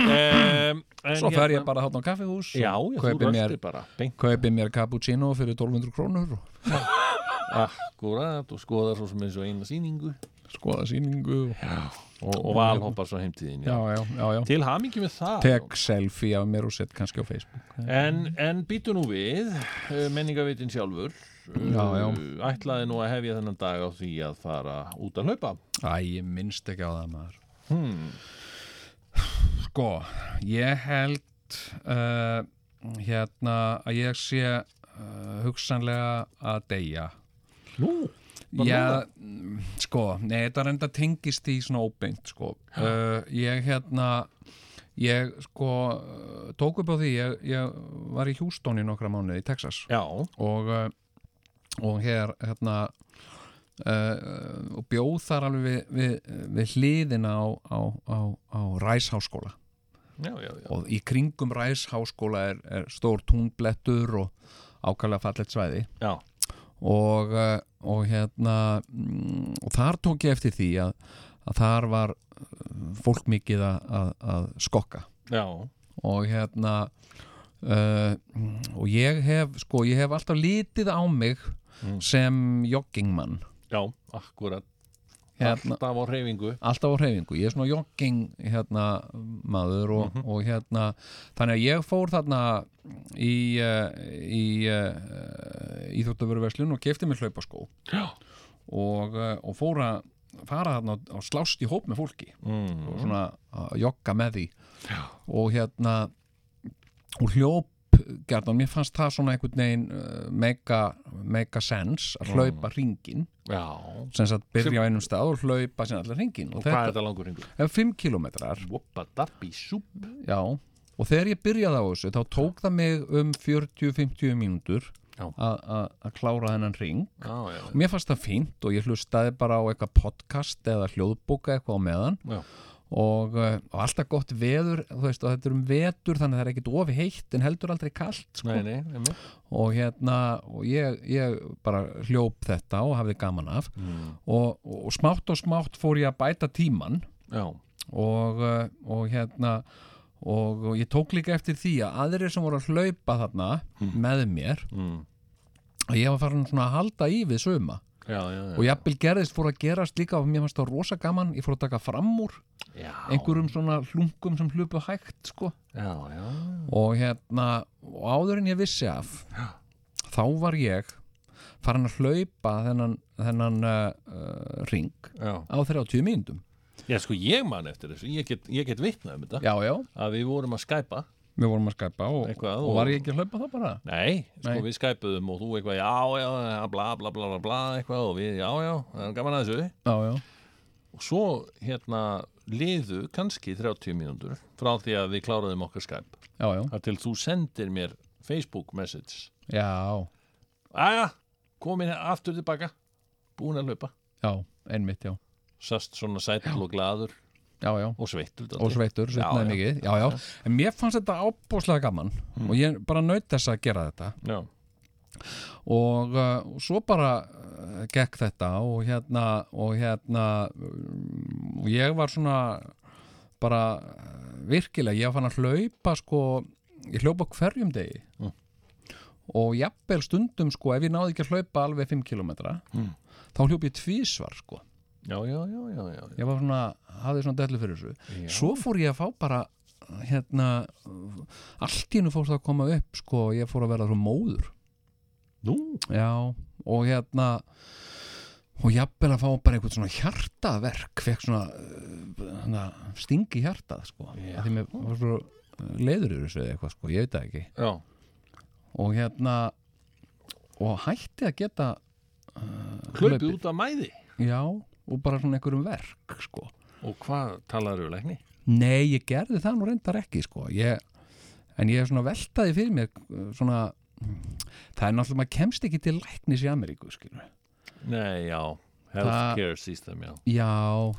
Um, svo fer ég bara hátta á kaffihús Já, og já þú kaupi mér, röltir bara Beint kaupi mér cappuccino fyrir 1200 krónur og akkurat og skoðar svo sem eins og eina sýningu skoða sýningu og, og, og valhoppar svo heimtíðin já, já, já, já. Til hamingi með það tek selfie af mér og sett kannski á Facebook En, en býtu nú við, eh, menningavitin sjálfur Já, já. Eh, Ætlaði nú að hefja þennan dag á því að fara út að hlaupa Æ, ég minnst ekki á það maður Sko, ég held uh, hérna að ég sé uh, hugsanlega að deyja Nú, Bara Já, mm, sko, nei, þetta reynda tengist í svona óbeint, sko uh, Ég hérna ég sko uh, tók upp á því ég, ég var í Hjústón í nokkra mánuði í Texas já, og, uh, og hér hérna uh, og bjóð þar alveg við, við, við hliðina á, á, á, á Ræsháskóla já, já, já. og í kringum Ræsháskóla er, er stór túnblettur og ákvæmlega fallegt svæði já. og, uh, og hérna mm, og þar tók ég eftir því að, að þar var uh, fólk mikið að, að, að skokka Já, og hérna uh, og ég hef sko, ég hef alltaf litið á mig sem joggingmann já, akkurat hérna, Alltaf á reyfingu alltaf á hreyfingu, ég er svona jogging hérna maður og, og hérna þannig að ég fór þarna í, uh, í uh, íþjóttavöruverslun og kefti mér hlaupaskó Já. og, uh, og fór að fara þarna og- og slást í hóp með fólki mm. og svona að jogga með því og hérna og hljóp gerðan, mér fannst það svona einhvern veginn uh, mega, mega sens Mm. að hlaupa ringin Já, sem sagt byrja á einum stað og hlaupa sem allar ringin og, og hvað er þetta langur hringur? er 5 kilometrar Woppa dabbi súb já, og þegar ég byrjaði á þessu þá tók það mig um 40-50 mínútur Já. að- að að klára þennan ring já, já, mér fannst það fínt og ég hlustaði bara á eitthvað podcast eða hljóðbóka eitthvað á meðan Já. og, eh, og alltaf gott veður þú veist, og þetta er um vetur þannig að það er ekkit ofi heitt en heldur aldrei kalt sko. Nei, nei, einmitt. og hérna og ég, ég bara hljóp þetta og hafði gaman af Mm. og, og, og smátt og smátt fór ég að bæta tíman já, og, eh, og hérna og, og ég tók líka eftir því að aðrir sem voru að hlaupa þarna með mér Mm. að ég var farin svona að halda í við suma já, já, já. og jafnvel gerðist fór að gerast líka og mér fannst það rosa gaman, ég fór að taka fram úr já, einhverjum svona hlungum sem hlupu hægt sko já, já, og hérna og áður en ég vissi af þá var ég farin að hlaupa þennan, þennan uh, uh, ring já. á 30 mínútum Já, sko, ég man eftir þessu, ég get, ég get vitnað um þetta já, já, að við vorum að skæpa við vorum að skæpa og, Eitthvað, og og- var ég ekki að hlaupa þá bara Nei, sko Nei. við skæpuðum og þú eitthvað já, já, já, bla, bla, bla, bla, bla eitthvað og við, já, já, það er gaman að þessu já, já, og svo, hérna, liðu kannski 30 mínútur frá því að við kláraðum okkar skæp já, já, þar til þú sendir mér Facebook message já, Æja, komin aftur tilbaka búin að laupa já einmitt, já sast svona sætl og gladur já, já, og sveittur dálítið. og sveittur, Já, Mm. já. sveitnaði mikið já, já, en mér fannst þetta ábúslega gaman og ég bara naut þess að gera þetta Já, og, uh, og svo bara uh, gekk þetta og hérna og hérna um, og ég var svona bara uh, virkilega, ég fann að hlaupa sko, ég hljópa hverjum degi og jafnvel stundum sko, ef ég náði ekki að hlaupa alveg 5 km þá hljóp ég tvísvar sko já, já, já, já, já. ég var svona, hafði svona dellu fyrir þessu svo fór ég að fá bara hérna, allt í hennu fórst að koma upp sko, ég fór að verða svo móður Nú, Já, og hérna og jafnvel að fá bara einhvern svona hjartaverk fekk svona uh, hana, stingi hjartað sko að því mér var svo uh, leiður yfir þessu eða eitthvað sko, ég veit það ekki já, og hérna og hætti að geta hlaupið Hlaupið. út af mæði já, og bara svona einhverjum verk sko og hvað talaður við lækni? Nei, ég gerði það nú reyndar ekki sko. ég, en ég er svona veltaði fyrir mér uh, svona það er náttúrulega, maður kemst ekki til læknis í Ameríku skilur Nei, já, healthcare system, já Já,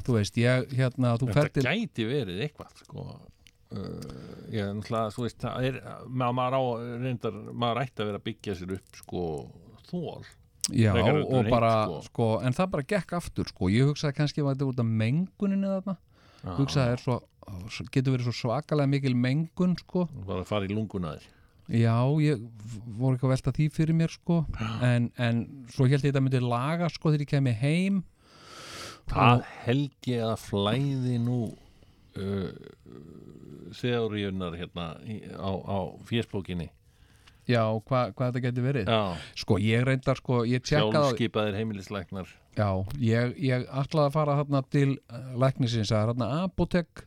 þú veist, ég, hérna, þú Þetta ferð til gæti verið eitthvað sko. uh, ég er náttúrulega þú veist, það er, maður, maður á reyndar, maður ætti að vera að byggja sér upp sko, þól Já, frekar heldur en og hitt, bara, sko. sko. en það bara gekk aftur, sko, ég hugsaði kannski að þetta út af menguninni þarna Ah. hugsaði er svo, getur verið svo svakalega mikil mengun, sko bara að fara í lunguna þér Já, ég voru ekki að velta því fyrir mér, sko Ah. en, en svo held ég þetta myndi laga, sko, þegar ég kemi heim það held ég að flæði nú uh, þeoríunar hérna í- á, á fésbókinni Já, hva, hvað þetta getur verið já, Sko, ég reyndar, sko, ég tjekkaði á- sjálfskipaðir heimilislæknar Já, ég, ég ætlaði að fara þarna til eh, læknisins að þarna apotek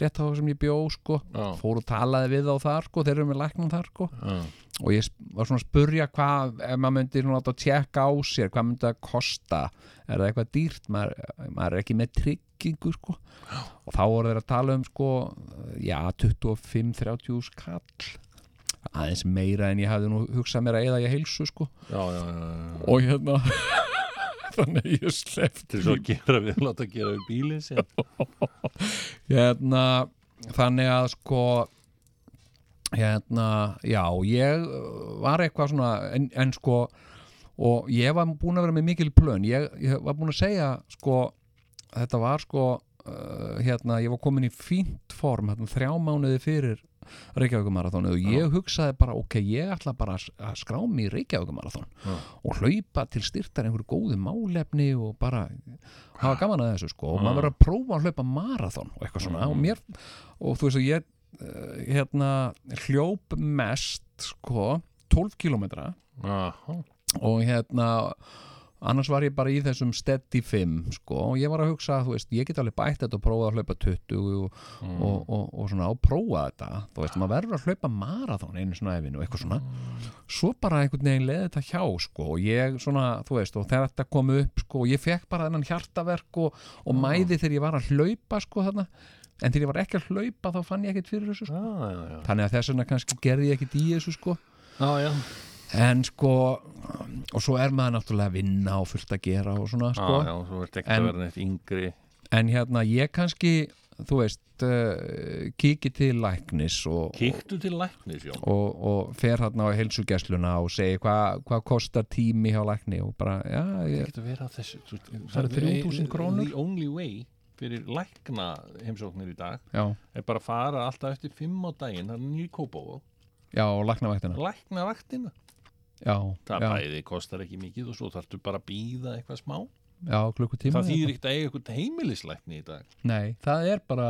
rétt á sem ég bjó sko Já. fór og talaði við á þar sko þeir eru með læknum þar sko Já. og ég sp- var svona að spurja hvað ef maður myndi svona láta að tjekka á sér hvað myndi það kosta, er það eitthvað dýrt maður, maður er ekki með tryggingu sko og þá voru þeir að tala um sko já 25-30 skall aðeins meira en ég hafði nú hugsað mér að eða ég heilsu sko já, já, já, já, já. og hérna þannig að ég sleppti til svo að gera við láta gera við bílinn sinn hérna, þannig að sko hérna, já, ég uh, var eitthvað svona, en, en sko og ég var búin að vera með mikil plön ég, ég var búin að segja sko, þetta var sko uh, hérna, ég var komin í fínt form hérna, þrjá mánuði fyrir Reykjavíkumarathónu og ég hugsaði bara ok, ég ætla bara að s- að skrá mig í Reykjavíkumarathón Já. og hlaupa til styrtar einhverju góðu málefni og bara hafa gaman að þessu sko og maður verður að prófa að hlaupa marathón og eitthvað svona og mér, og þú veist að ég uh, hérna, hljóp mest sko, 12 kilometra Aha. og hérna annars var ég bara í þessum steady 5 sko, og ég var að hugsa þú veist, ég get alveg bætt þetta og prófað að hlaupa 20 og, og, og, og svona og prófa þetta, þú veist, maður verður að hlaupa marathon einu svona efinu og eitthvað svona svo bara einhvern veginn leði þetta hjá sko, og ég svona, þú veist, og þegar þetta kom upp sko, og ég fekk bara þennan hjartaverk og, og mæði þegar ég var að hlaupa sko þarna, en þegar ég var ekki að hlaupa þá fann ég ekkert fyrir þessu sko. já, já, já þannig að þess vegna kannski gerði ég ekkert í þessu sko Já, já, en sko og svo er maður náttúrulega að vinna og fullt að gera og svona sko já, þú verður ekki En- að vera neitt yngri en hérna ég kannski þú veist uh, kíki til læknis og, Kíktu til læknis, Jón og, og fer hérna á heilsugjæsluna og segi hvað hva kostar tími hjá lækni og bara já, ég, Getur verið að þessu þú veist, Það eru 3.000 krónur. The only way fyrir lækna heimsóknir í dag já, er bara að fara alltaf eftir 5 á daginn það er nýkópó og já og læknavættina lækna vaktina já, það já, bæði kostar ekki mikið og svo þarftu bara að býða eitthvað smá já klukkutíma það þýðir ekkert að eiga eitthvað heimilislækni í dag Nei, það er bara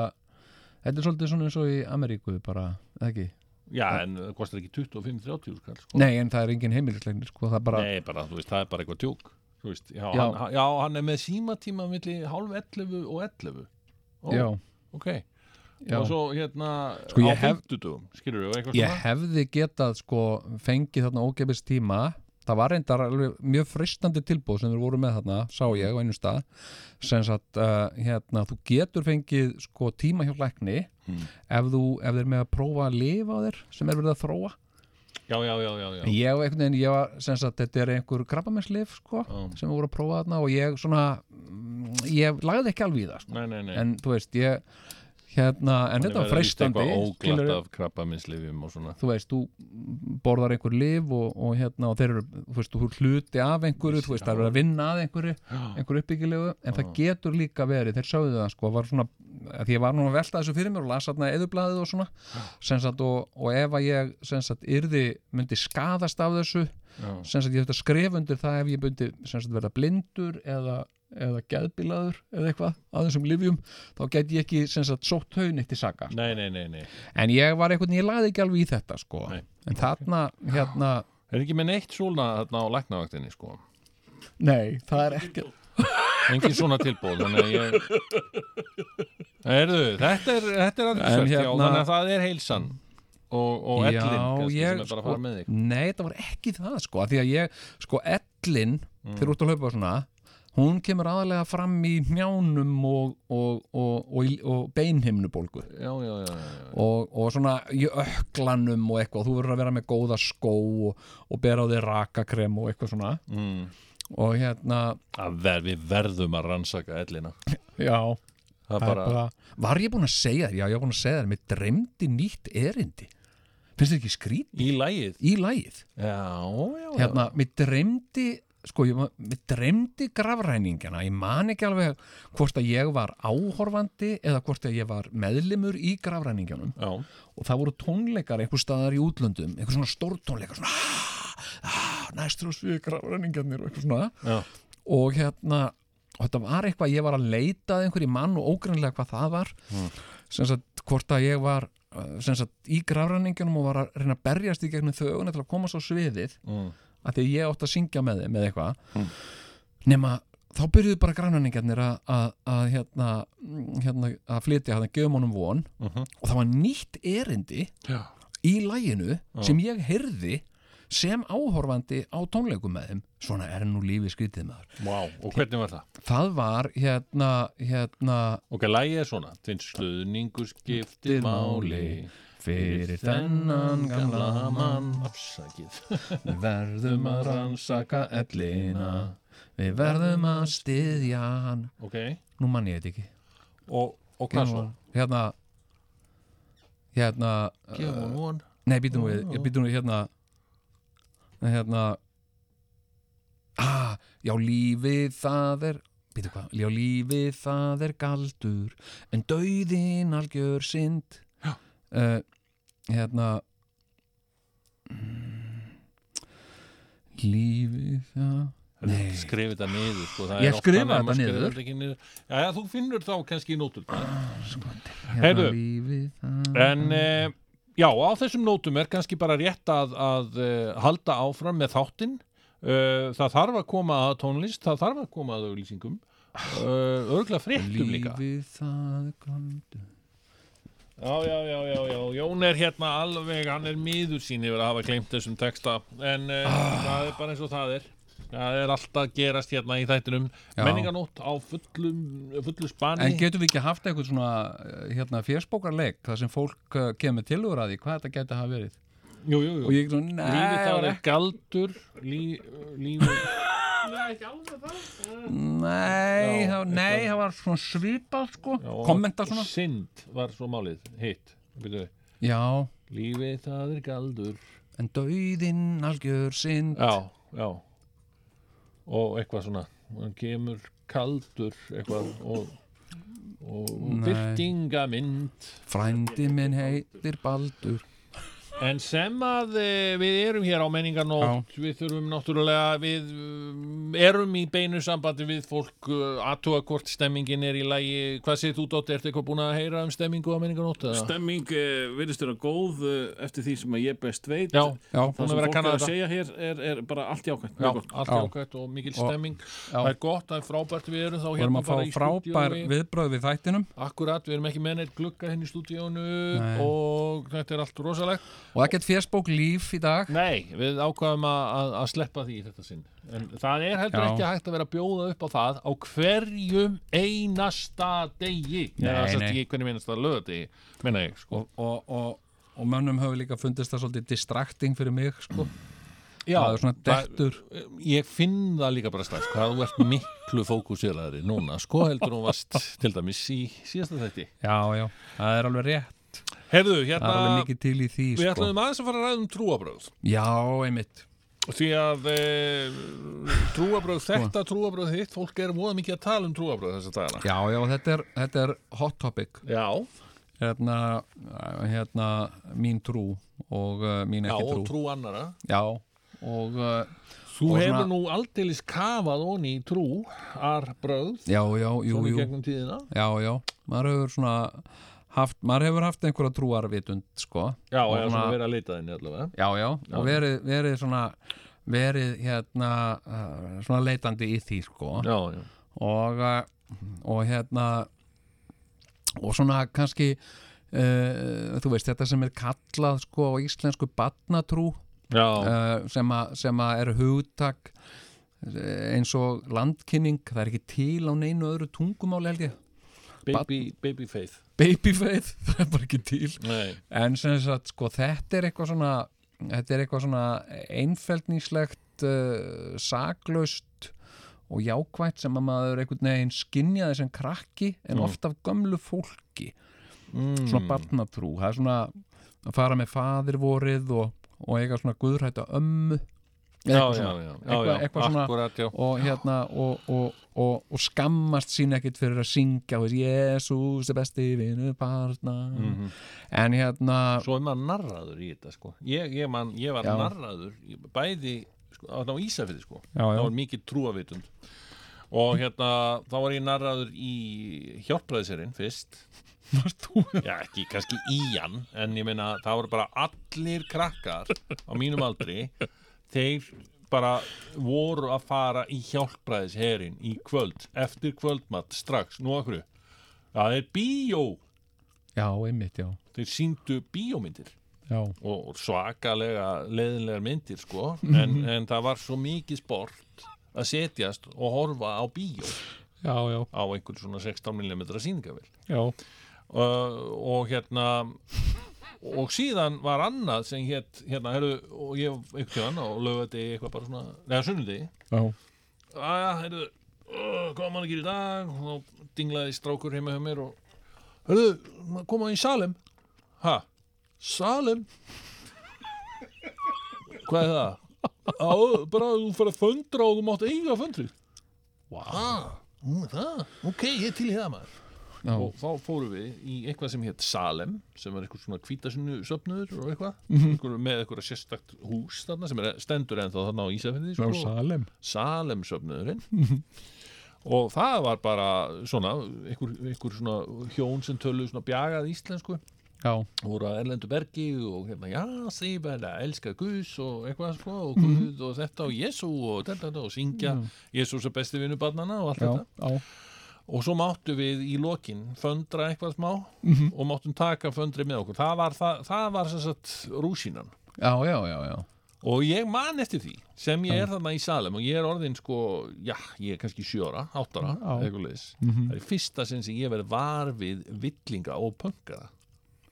Þetta er svolítið svona eins og í Ameríku bara, eða ekki? já, en það kostar ekki 25-30 skall sko. Nei, en það er engin heimilislegnir, sko, það er bara Nei, bara, þú veist, það er bara eitthvað tjók Þú veist, já, Já. Hann, já, hann er með símatíma milli hálf 11 og 11 Ó, Já, ok já Og svo hérna Sko, á ég hef- fimmtudum, skilur við eitthvað Ég hefði getað, sko, fengið þarna ógefis tíma Það var reyndar alveg mjög fristandi tilbúð sem þeir voru með þarna, sá Mhm. ég á einu stað sem sagt, uh, hérna, þú getur fengið, sko, tíma hjá lækni Mm. ef þú, ef þeir með að prófa að lifa á þér sem er verið að þróa Já, já, já, já, já. En ég, einhvern veginn, ég var, sem sagt, þetta er einhver krabbamennsleif, sko, Já. sem við vorum að prófa þarna og ég svona, mm, ég lagði ekki alveg í það, sko, Nei, nei, nei en þú veist, ég, hérna, en þetta var freistandi, Eitthvað óglatt skilurðu. af krabba og svona þú veist, þú borðar einhver lif og, og hérna, og þeir eru, þú veist, þú ert hluti af einhverju, þú veist, það eru að vinna að einhverju, einhverju uppbyggilegu, en það getur líka verið, þeir sögðu það, sko, var svona, að því ég var nú að velta þessu fyrir mér og lasa þarna eðublaðið og svona, sem sagt, og, og ef að ég, sem sagt, yrði, myndi skadast af þessu, Já. sem sagt ég þetta skref undir það ef ég bundi sem sagt verða blindur eða, eða geðbilaður eða eitthvað að þessum livjum þá get ég ekki sem sagt sótt haun eitt í saga Nei, nei, nei, nei en ég var einhvern, ég laði ekki alveg í þetta sko Nei. en þarna, hérna Er ekki með neitt svona þarna á læknavaktinni, sko nei, það er ekki Engin svona tilbúð, þannig að ég Erðu, þetta er, þetta er aðeinsvært, já, hérna- þannig að það er heilsan og, og ellin, kannski, sem er bara að fara með þig sko- nei, þetta var ekki það sko að því að ég, sko ellin Mm. þegar út að hlaupa svona hún kemur aðalega fram í njánum og, og, og, og, og, og beinhimnubólgu já, já, já, já, já. og, og svona í öklanum og eitthvað, þú verður að vera með góða skó og, og bera á þig rakakrem og eitthvað svona Mm. og hérna, Að ver, við verðum að rannsaka ellina já það er það er bara, bara, var ég búin að segja þér, já ég var búin að segja þér mér dreymdi nýtt erindi finnst þér ekki skrít í lægið í lagið, já, já, já, hérna, mér dreymdi sko, ég, man- mér dreymdi grafræningana, ég man ekki alveg hvort að ég var áhorfandi eða hvort að ég var meðlimur í grafræningunum já. og það voru tónleikar einhver staðar í útlöndum, einhver svona stór tónleikar svona "Ah, ah, næstur og svikar af renningarnir og eitthvað svona Já. og hérna og þetta var eitthvað, ég var að leita að einhverju mann og ógrunlega hvað það var Hmm. sem sagt, hvort að ég var uh, sem sagt, í grafræningunum og var að reyna að berjast í gegnum þöguna til að komast á sviðið Mm. að því að ég átt að syngja með þeim með eitthvað Hmm. nema þá byrjuðu bara grannanningarnir að, að, að, hérna, hérna, að flytja hérna, gefum honum von Mhm. og það var nýtt erindi Já. í læginu sem ég heyrði sem áhorfandi á tónleikum með þeim svona er nú lífið skrítið maður Vá, og hvernig var það? það var hérna, hérna ok, lægið er svona þinn stuðningur skiptir máli fyrir þennan gamla mann afsakið Um við verðum að rannsaka ellina við verðum að styðja hann ok, nú mann ég þetta ekki og, og hvað svo? hérna hérna gefum hún von Nei, býtum við, Ah. ég býtum við hérna Nei, hérna Ah, já, lífið það er Býtum hvað, já, lífið það er galdur En dauðin algjör synd Já. uh, Hérna mm, Lífið það Nei. skrifa þetta niður sko, það Ég er oft skrifa þannig að maður skrifar þetta niður. þetta ekki niður já, já, þú finnur þá kannski í nótur hérna, Heyrðu, Lífið það En eh, já, á þessum nótum er kannski bara rétt að, að eh, halda áfram með þáttinn. Eh, það þarf að koma að tónlist, það þarf að koma að auglýsingum. Uh, örgla fréttum líka Lífið það er galdur já, já, já, já, já, Jón er hérna alveg, hann er miður sín yfir að hafa gleymt þessum texta en uh, Ah. það er bara eins og það er það er alltaf gerast hérna í þættinum Já. menninganótt á fullum, fullu spani En getum við ekki haft eitthvað svona eh, hérna, fjersbókarleik þar sem fólk eh, kemur tilhugur að því hvað þetta geti hafa verið? jú, jú, og jú. ég er svona, nei, Lífið þá var er galdur lí, Lífið Nei, Já, það, nei, það var svona svipað sko, Já, og- kommenta og svona Synd var svo málið, hitt Byrju, Já, Lífið það er galdur en dauðinn algjör sinn Já, já Og eitthvað svona Hann kemur kaldur eitthvað og, og Nei. byrtingamynd Frændi minn heitir Baldur En sem að eh, við erum hér á menningarnótt, við þurfum náttúrulega, við um, erum í beinu sambandi við fólk, aðtúa hvort stemmingin er í lagi, hvað séð þú, Dótti, ertu eitthvað búin að heyra um stemmingu á menningarnótt? eða? Stemming uh, virðist vera góð uh, eftir því sem að ég best veit Já, Já, Það Búin að vera sem að fólk er kanna að þetta. segja hér er, er bara allt jákvæmt já, mjög gott. allt Já. ákvæmt og mikil stemming, það er gott, það er frábært, við erum þá við erum hérna að fá bara í frábær stúdíói. viðbröð við þættinum Akkurat, við erum ekki með neitt glugga henni í stúdíónu Nei. og þetta er allt rosalegt. og ekkert fjersbók líf í dag Nei, við ákvaðum að, að, að sleppa því í þetta sinn. En það er heldur Já. ekki hægt að vera að bjóða upp á það á hverjum einasta degi. Nei, Eða sem sagt nei. Ekki hverjum einasta lögadegi, menna ég, sko. og, og, og, og mönnum hefur líka fundist það svolítið distracting fyrir mig sko. Já, það er svona dettur ég finn það líka bara strax hvað þú ert miklu fókuseraðri núna, sko heldur hún vast til dæmis í síðasta þætti. já, já, það er alveg rétt Herðu, það er alveg hérna, mikið til í því við sko. ætlum aðeins að fara að ræða um trúabröð. já, einmitt Því að e, trúabröð Sko. þetta, trúabröð hitt, fólk er móða mikið að tala um trúabröð þess að dagana. já, já, þetta er, þetta er hot topic Já, hérna, hérna mín trú og uh, mín já ekki og trú. trú annara. já, og uh, Þú Og hefur svona- nú aldeilis kafað onni í trú, arbröð, já, já, jú, svona í jú gegnum tíðina. já, já, maður hefur svona haft, maður hefur haft einhverja trúarvitund sko. Já, Og eða svona- svona verið að leita þinni allavega. já, já, og verið, verið svona verið hérna uh, svona leitandi í því sko Já, já. og, uh, og hérna og svona kannski uh, þú veist þetta sem er kallað sko á íslensku batnatrú Já, uh, sem, að, sem að er hugtak eh, eins og landkynning það er ekki til á neinu öðru tungumáli held ég baby, baby faith. babyfaith, það er bara ekki til Nei. En sem sagt, sko, þetta er eitthvað svona þetta er eitthvað svona einfeldningslegt uh, saklaust og jákvætt sem að maður einhvern veginn skinjaði sem krakki en oft af gömlu fólki Mm. svona barnatrú, það er svona að fara með faðirvorið og, og eitthvað svona guðræta ömmu Já, já, já, eitthvað já, svona. já, Eitthvað- eitthvað svona- akkurat, já. og hérna og, og, og, og skammast sín ekkit fyrir að syngja og Jésús er besti vinur barna Mhm. en hérna Svo er maður narraður í þetta, sko. Ég, ég, man, ég var Já. narraður, ég- bæði sko, á, á Ísafið, sko. já, það var mikið trúavitund og hérna, þá var ég narraður í hjálpræðiserinn fyrst Varst þú? já, ekki kannski í hann en ég meina, það voru bara allir krakkar á mínum aldri þeir bara voru að fara í hjálpræðisherinn í kvöld, eftir kvöldmatt strax, nú að hverju það er bíó, Já, einmitt, já. þeir síndu bíómyndir Já, og svakalega leiðinlegar myndir sko en, en það var svo mikið sport að setjast og horfa á bíó já, já. á einhvern svona 16mm sýningavél já. uh, og hérna og síðan var annað sem hétt hérna, heru, og ég einhvern tíðan og lögði eitthvað bara svona, neða sunnudegi aðja, heyrðu, uh, hvað á maður að gera í dag og þá dinglaði strákur heima hjá mér og heyrðu, maður koma í Salem ha, Salem hvað er það? Á, bara að þú fyrir að föndra og þú mátt eiga föndri wow. ah, nú er það, ok, ég er til í það maður Já. og þá fórum við í eitthvað sem hétt Salem sem var eitthvað svona hvítasunnu söpnuður og eitthvað, mm -hmm. með eitthvað sérstakt hús þarna sem er stendur ennþá þarna á sko. Ísafindi Frá Salem. Salemsöfnuðurinn og það var bara svona, einhver, einhver svona hjón sem töluðu svona bjagað íslensku Já, voru að Erlendu Bergi og hérna, já, þið verða að elska Guðs og eitthvað sko, og Guð og þetta og Jésu og þetta og syngja Jésús er besti vinnu barnana og allt já, þetta já. og svo máttu við í lokin föndra eitthvað smá og máttum taka föndri með okkur, það var, það, það var sem sagt rúsínan Já, já, já, já. Og ég man eftir því sem ég er þarna í Salem og ég er orðin sko, já, ég er kannski sjóra, áttara, eitthvað leðis. Það er fyrsta sinn sem ég verið var við villinga og pöngara.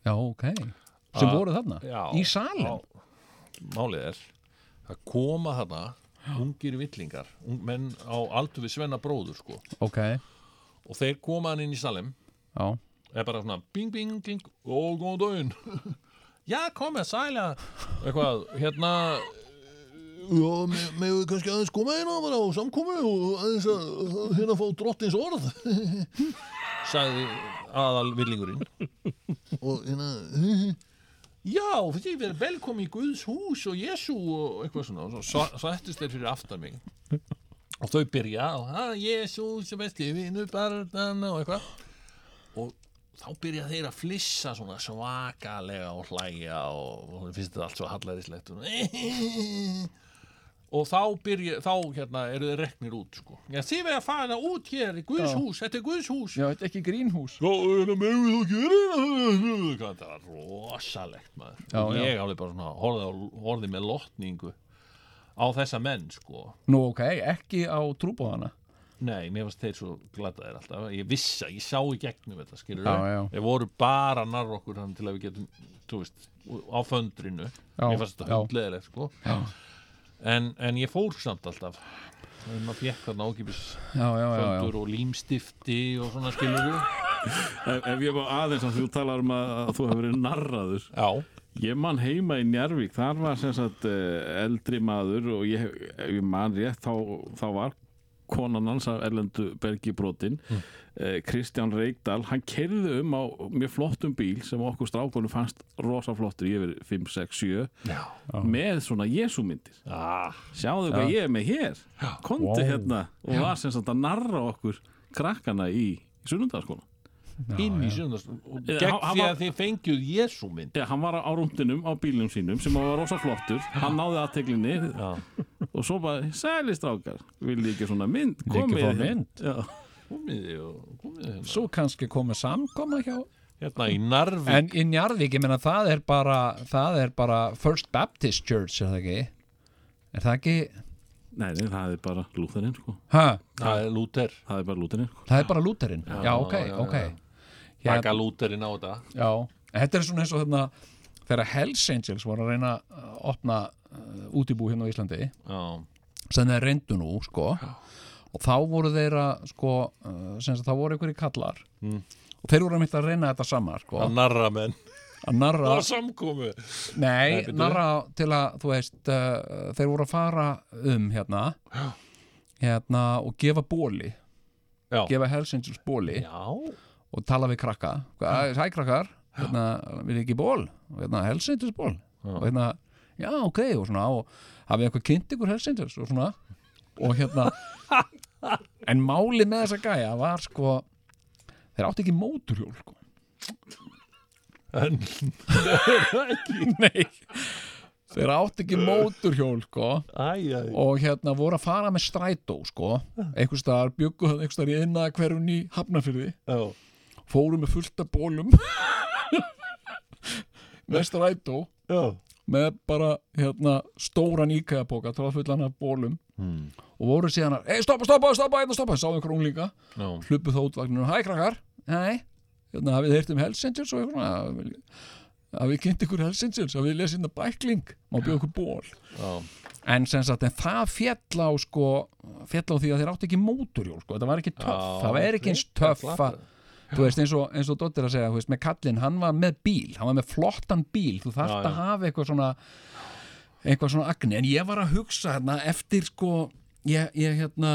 Já, ok. Sem Ah, voru þarna? já. Í salin? Á- málið er að koma þarna ungir villingar, ung menn á aldur við Svenna bróður sko ok, já, og þeir koma hann inn í salem er bara svona bing bing bing og góðan daginn já komið sæla eitthvað hérna já me- megum við kannski aðeins koma hérna bara á samkomi og aðeins að, að hérna fá drottins orð sagði aðal villingurinn og hérna já þið verið velkomi í Guðs hús og Jésu og eitthvað svona og svo sættist þeir fyrir aftan mig og þau byrja og að Jésu sem besti vinnu barnana og eitthvað og þá byrja þeir að flissa svona svakalega og hlæja og hún finnst þetta allt svo hallaríslegt og þá byrja, þá hérna eru þeir reknir út sko. Já, þið verða að fara út hér í Guðs Já. hús, þetta er Guðs hús Já, þetta er ekki grínhús hérna megum við þá gera þetta Þetta var rosalegt maður Já, og já. ég alveg bara svona horfði, á- horfði með lotningu á þessa menn sko nú ok, ekki á trúbóðana Nei, mér varst þeir svo glataðir alltaf Ég vissi, ég sá í gegnum þetta, skilur Já, já. Þeir voru bara að narra okkur hann til að við getum, þú veist, á föndrinu Já, Mér fannst já. þetta hundleðilegt, sko já. En, en ég fór samt alltaf Þegar maður fekk þarna ákipis já, já, já, já, föndur og límstifti og svona skilur ef, ef ég má aðeins að þú talar um að, að þú hefur verið narraður Já, Ég man heima í Njarvík, þar var sem sagt eh, eldri maður og ég, ef ég man rétt, þá, þá var konan hans af Erlendu Bergi brotin, eh, Kristján Reykdal, hann kerði um á mjög flottum bíl sem okkur strákunum fannst rosa flottur, ég verið 5, 6, 7, já, með svona jesúmyndir. ah, Sjáðu hvað ég er með hér, komdu Vá. hérna og var sem sagt að narra okkur krakkana í, í sunnundaskóla. inn í sjöndast Eða, Gegn hann- hann því var- að þið fengjuð Jésu mynd Já, hann var á rúndinum á bílum sínum sem var rosa flottur, hann náði aðteglinni Já. og svo bara, sæli strákar vil ég ekki svona mynd, ekki komið fá hérna." mynd? Já. Komiði og komiði hérna svo kannski komið samkoma hjá Hérna í Narvi en í Njarðvík, ég meina það er bara það er bara First Baptist Church er það ekki er það ekki, Nei, nei, það er bara lúðarinn sko. ha, Það er Lúter, það er bara lúðarinn sko. það er bara Lúterinn já, ok, já, ok Hérna- taka Lúterinn á þetta Já, þetta er svona eins og þarna þegar Hells Angels voru að reyna að opna uh, útibú hérna á Íslandi Já, sem þeir reyndu nú, sko og þá voru þeir að, sko uh, sem sagt, þá voru einhverjir kallar og þeir voru að mynda Mm. að reyna þetta saman, sko að narra menn að narra, á samkomu nei, bíddu. narra til að, þú veist, uh, þeir voru að fara um hérna hérna og gefa bóli Já. gefa Hells Angels bóli Já, og tala við krakka Hvað, hæ krakkar, hérna, vil ég ekki ból og hérna helsendis ból og hérna, já ok og svona og hafið eitthvað kynnt ykkur helsendis og svona og hérna en máli með þessa gæja var sko þeir átti ekki móturhjól sko. en nei þeir átti ekki móturhjól sko. æj, æj og hérna voru að fara með strætó sko. einhvers staðar bjuggu það einhvers staðar í einna hverjum í hafnafyrði Já, fórum með fullt af bólum með strætó já með bara hérna, stóran íkæðapóka þá fullan af bólum Hmm. og voru síðan að, ei stoppa, stoppa, stoppa, hérna stoppa sáðu einhver unglinga, Já, hlupu þá útvagninu hæ krakkar, nei, hérna hafið heyrt um Hells Angels og eitthvað hafið- hafið kynnt ykkur Hells Angels, hafið lesið hérna bækling, má bjóða ykkur ból já, en sem sagt, en það fjall á sko, fjall á því að þeir átti ekki móturjól sko, það var ekki töff, Já, það var ekki eins frekar töff glatað. að, þú veist, eins og, eins og Dóttir að segja, þú veist, með kallinn, hann var með bíl hann var með flottan bíl, þú Já, þarft já. að hafa eitthvað svona eitthvað svona agni, en ég var að hugsa hérna eftir sko, ég, ég hérna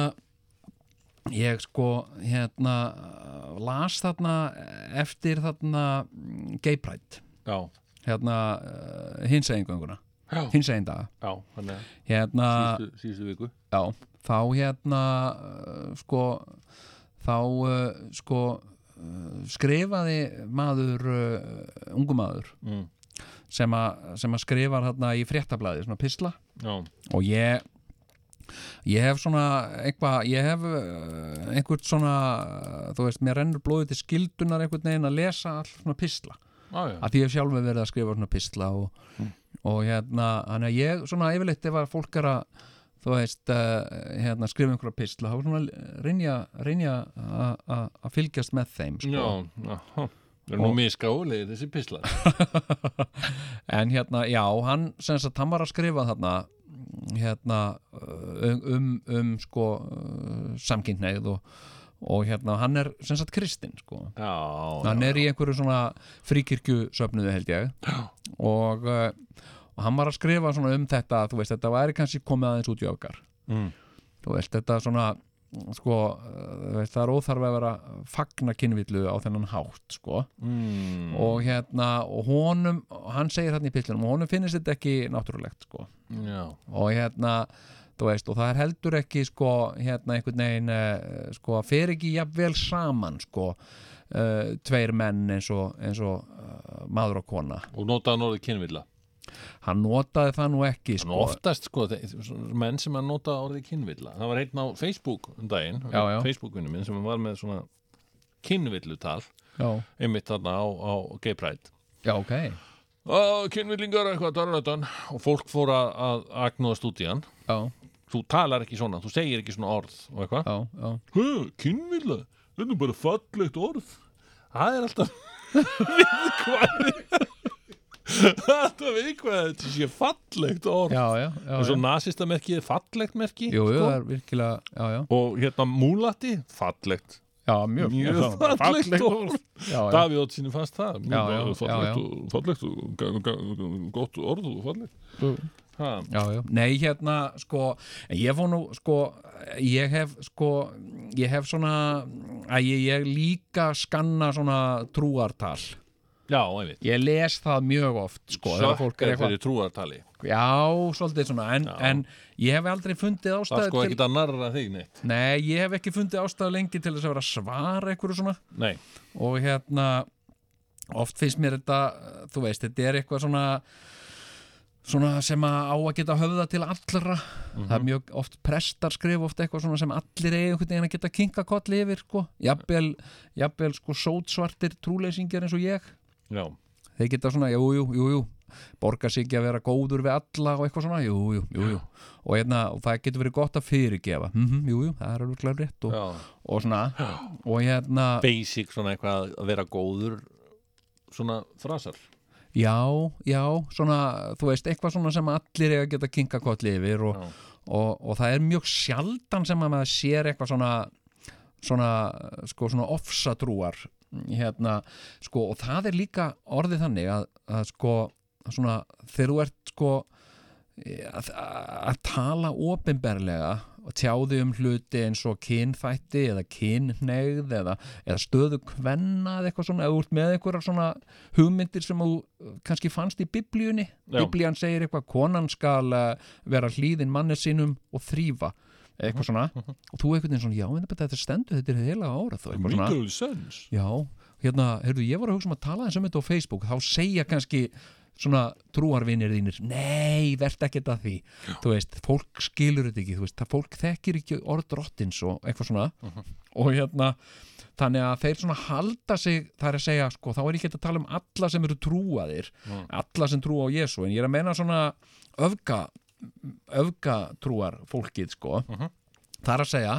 ég sko hérna las þarna eftir þarna mm, Gay Pride, já, hérna uh, hins eingönguna, hins eindaga já Þannig að hérna síðustu- síðustu viku já, þá hérna uh, sko þá uh, sko uh, skrifaði maður uh, ungu maður Mm. sem, að, sem að skrifar hérna í fréttablaði svona pisla Já, og ég ég hef svona eitthvað ég hef uh, einhvern svona uh, þú veist, mér rennur blóðið til skildunar einhvern veginn að lesa all svona pisla já, já að því ég hef sjálfur verið að skrifa svona pistla og, og hérna, þannig að ég svona yfirleitt ef að fólk er að þú veist, uh, hérna, skrifa einhverja pistla þá svona reynja, reynja að- að að fylgjast með þeim sko. Já, já, Við erum nú misgáðulegir þessi pislar. En hérna, já, hann sem sagt, hann var að skrifa þarna hérna um, um, um sko samkynneið og, og hérna, hann er sem sagt kristinn sko. Já, hann er í einhverju svona fríkirkju söfnuðu held ég og, uh, og hann var að skrifa svona um þetta þú veist þetta væri kannski komið aðeins út í öfgar Mm. þú veist þetta svona sko, uh, þú veist, það er óþarf að vera að fagna kynvillu á þennan hátt sko Mm. og hérna og honum, hann segir hérna í pillunum og honum finnist þetta ekki náttúrulegt sko Já. og hérna þú veist, og það er heldur ekki sko, hérna einhvern veginn eh, sko, fer ekki jafnvel saman sko, uh, tveir menn eins og, eins og uh, maður og kona Og notaði hann orðið kynvilla. hann notaði það nú ekki En sko. oftast, sko, þe- svona menn sem að nota orðið kynvilla. Það var einn á Facebook um daginn, Já, já. Facebookvinni minn, sem var með svona kynvillutal, já, einmitt þarna á, á Gay Pride. já, ok Ó, kynvillingar eitthvað, darlöðan. Og fólk fór að, að agnúðast út í hann. já, Þú talar ekki svona, þú segir ekki svona orð og eitthvað. já, já, Hæ, kynvilla, þetta er bara fallegt orð. Það er alltaf viðkvæði. Það er alltaf viðkvæði, þetta sé fallegt orð. já, já, já, og svo já. nasista merkið er fallegt merki. sko. Jú, jú, það er virkilega, já, já, Og hérna múlati, fallegt. já, mjög, Mjög já, fallegt orð. já, já, Davíð Oddsini fannst það. Mjög Já, já, já, já. fallegt, og, fallegt og ga- ga- gott orð og fallegt. Ha, já, já, nei, hérna, sko, en ég fór nú, sko, ég hef, sko, ég hef svona, að ég, ég líka skanna svona trúartal, já, einmitt. Ég les það mjög oft sko, þegar fólk er Sökkar eitthvað fyrir trúartali. Já, svolítið svona en, en ég hef aldrei fundið Það ástæðu sko til ekkert að narra þig neitt. Nei, ég hef ekki fundið ástæðu lengi til þess að vera að svara einhverju svona Nei. og hérna oft finnst mér þetta, þú veist, þetta er eitthvað svona svona sem að á að geta höfða til allra það er mjög oft prestar skrif oft eitthvað svona sem allir eiga einhvern veginn að geta kinka kolli yfir, sko, jafnvel jafnvel sko sótsvartir trúleysingjar eins og ég Já. þeir geta svona, jú, jú, jú, jú borgar sig ekki að vera góður við alla og eitthvað svona, jú, jú, jú, jú. Og, hérna, og það getur verið gott að fyrirgefa mm jú, jú, það er alveg klart rétt og, Já. og svona, og hérna basic svona eitthvað að vera góður svona frasar já, já, svona þú veist, eitthvað svona sem allir eiga að geta kinka kolli yfir og, Já. og, og það er mjög sjaldan sem að maður sér eitthvað svona svona, sko, svona ofsatrúar hérna, sko, og það er líka orðið þannig að, að sko, svona, þegar þú ert sko, að, að tala opinberlega og tjáði um hluti eins og kynfætti eða kynneigð eða, eða stöðu kvenna eða eitthvað svona, eða úr með einhverja svona hugmyndir sem þú uh, kannski fannst í biblíunni, Já. biblían segir eitthvað konan skal uh, vera hlýðin manni sínum og þrýfa eitthvað svona, og þú einhvern veginn svona já, en þetta stendur, þetta er heila ára þú eitthvað svona, sense já, hérna heyrðu, ég var að hugsa um að tala eins um þetta á Facebook þá segja kannski svona trúarvinir þínir, nei, verð ekkert að því þú veist, fólk skilur þetta ekki þú veist, það fólk þekkir ekki orð drottins og eitthvað svona og hérna, þannig að þeir svona halda sig, það er að segja, sko, þá er ég ekki að tala um alla sem eru trúaðir alla sem trúa á Jésu, en ég er að meina svona öfga öfgatrúar fólkið, sko það er að segja,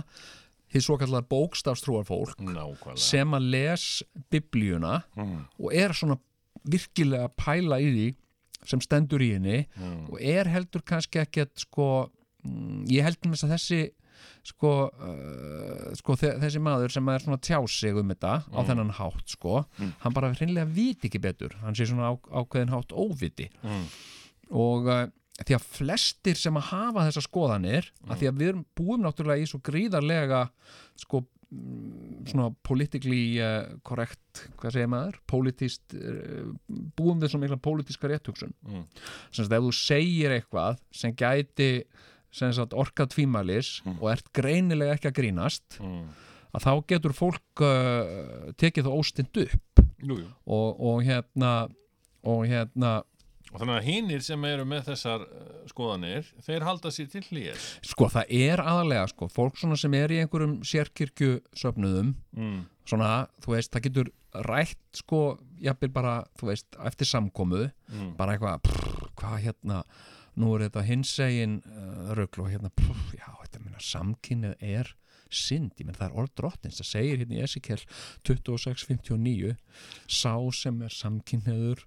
þið svo kallar bókstafstrúar fólk Nákvæmlega sem að les biblíuna og er svona virkilega að pæla í því sem stendur í henni og er heldur kannski ekkert sko, mm, ég heldur með þess að þessi sko, uh, sko þe- þessi maður sem er svona að tjá sig um þetta á þennan hátt sko, hann bara hreinlega viti ekki betur, hann sé svona á, ákveðin hátt óviti og uh, því að flestir sem að hafa þessar skoðanir, að því að við erum búum náttúrulega í svo gríðarlega sko svona politically uh, correct, hvað segir maður politist, uh, búum við svo mikla politíska réttugsun Mm. sem sagt ef þú segir eitthvað sem gæti sem sagt orkað tvímælis og ert greinilega ekki að grínast Mm. að þá getur fólk uh, tekið það óstind upp jú, jú. og, og hérna og hérna Og þannig að hinnir sem eru með þessar uh, skoðanir, þeir halda sér til hlýjir sko það er aðalega sko fólk svona sem er í einhverjum sérkirkju söfnuðum mm. svona, þú veist, það getur rætt sko, jafnvel bara, þú veist eftir samkomu, bara eitthvað prr, hvað hérna, nú er þetta hinsegin uh, rögl og hérna, prr, já, þetta minna samkynnið er synd, ég menn það er orð drottins það segir hérna í Esikell 26.59 sá sem er samkynneður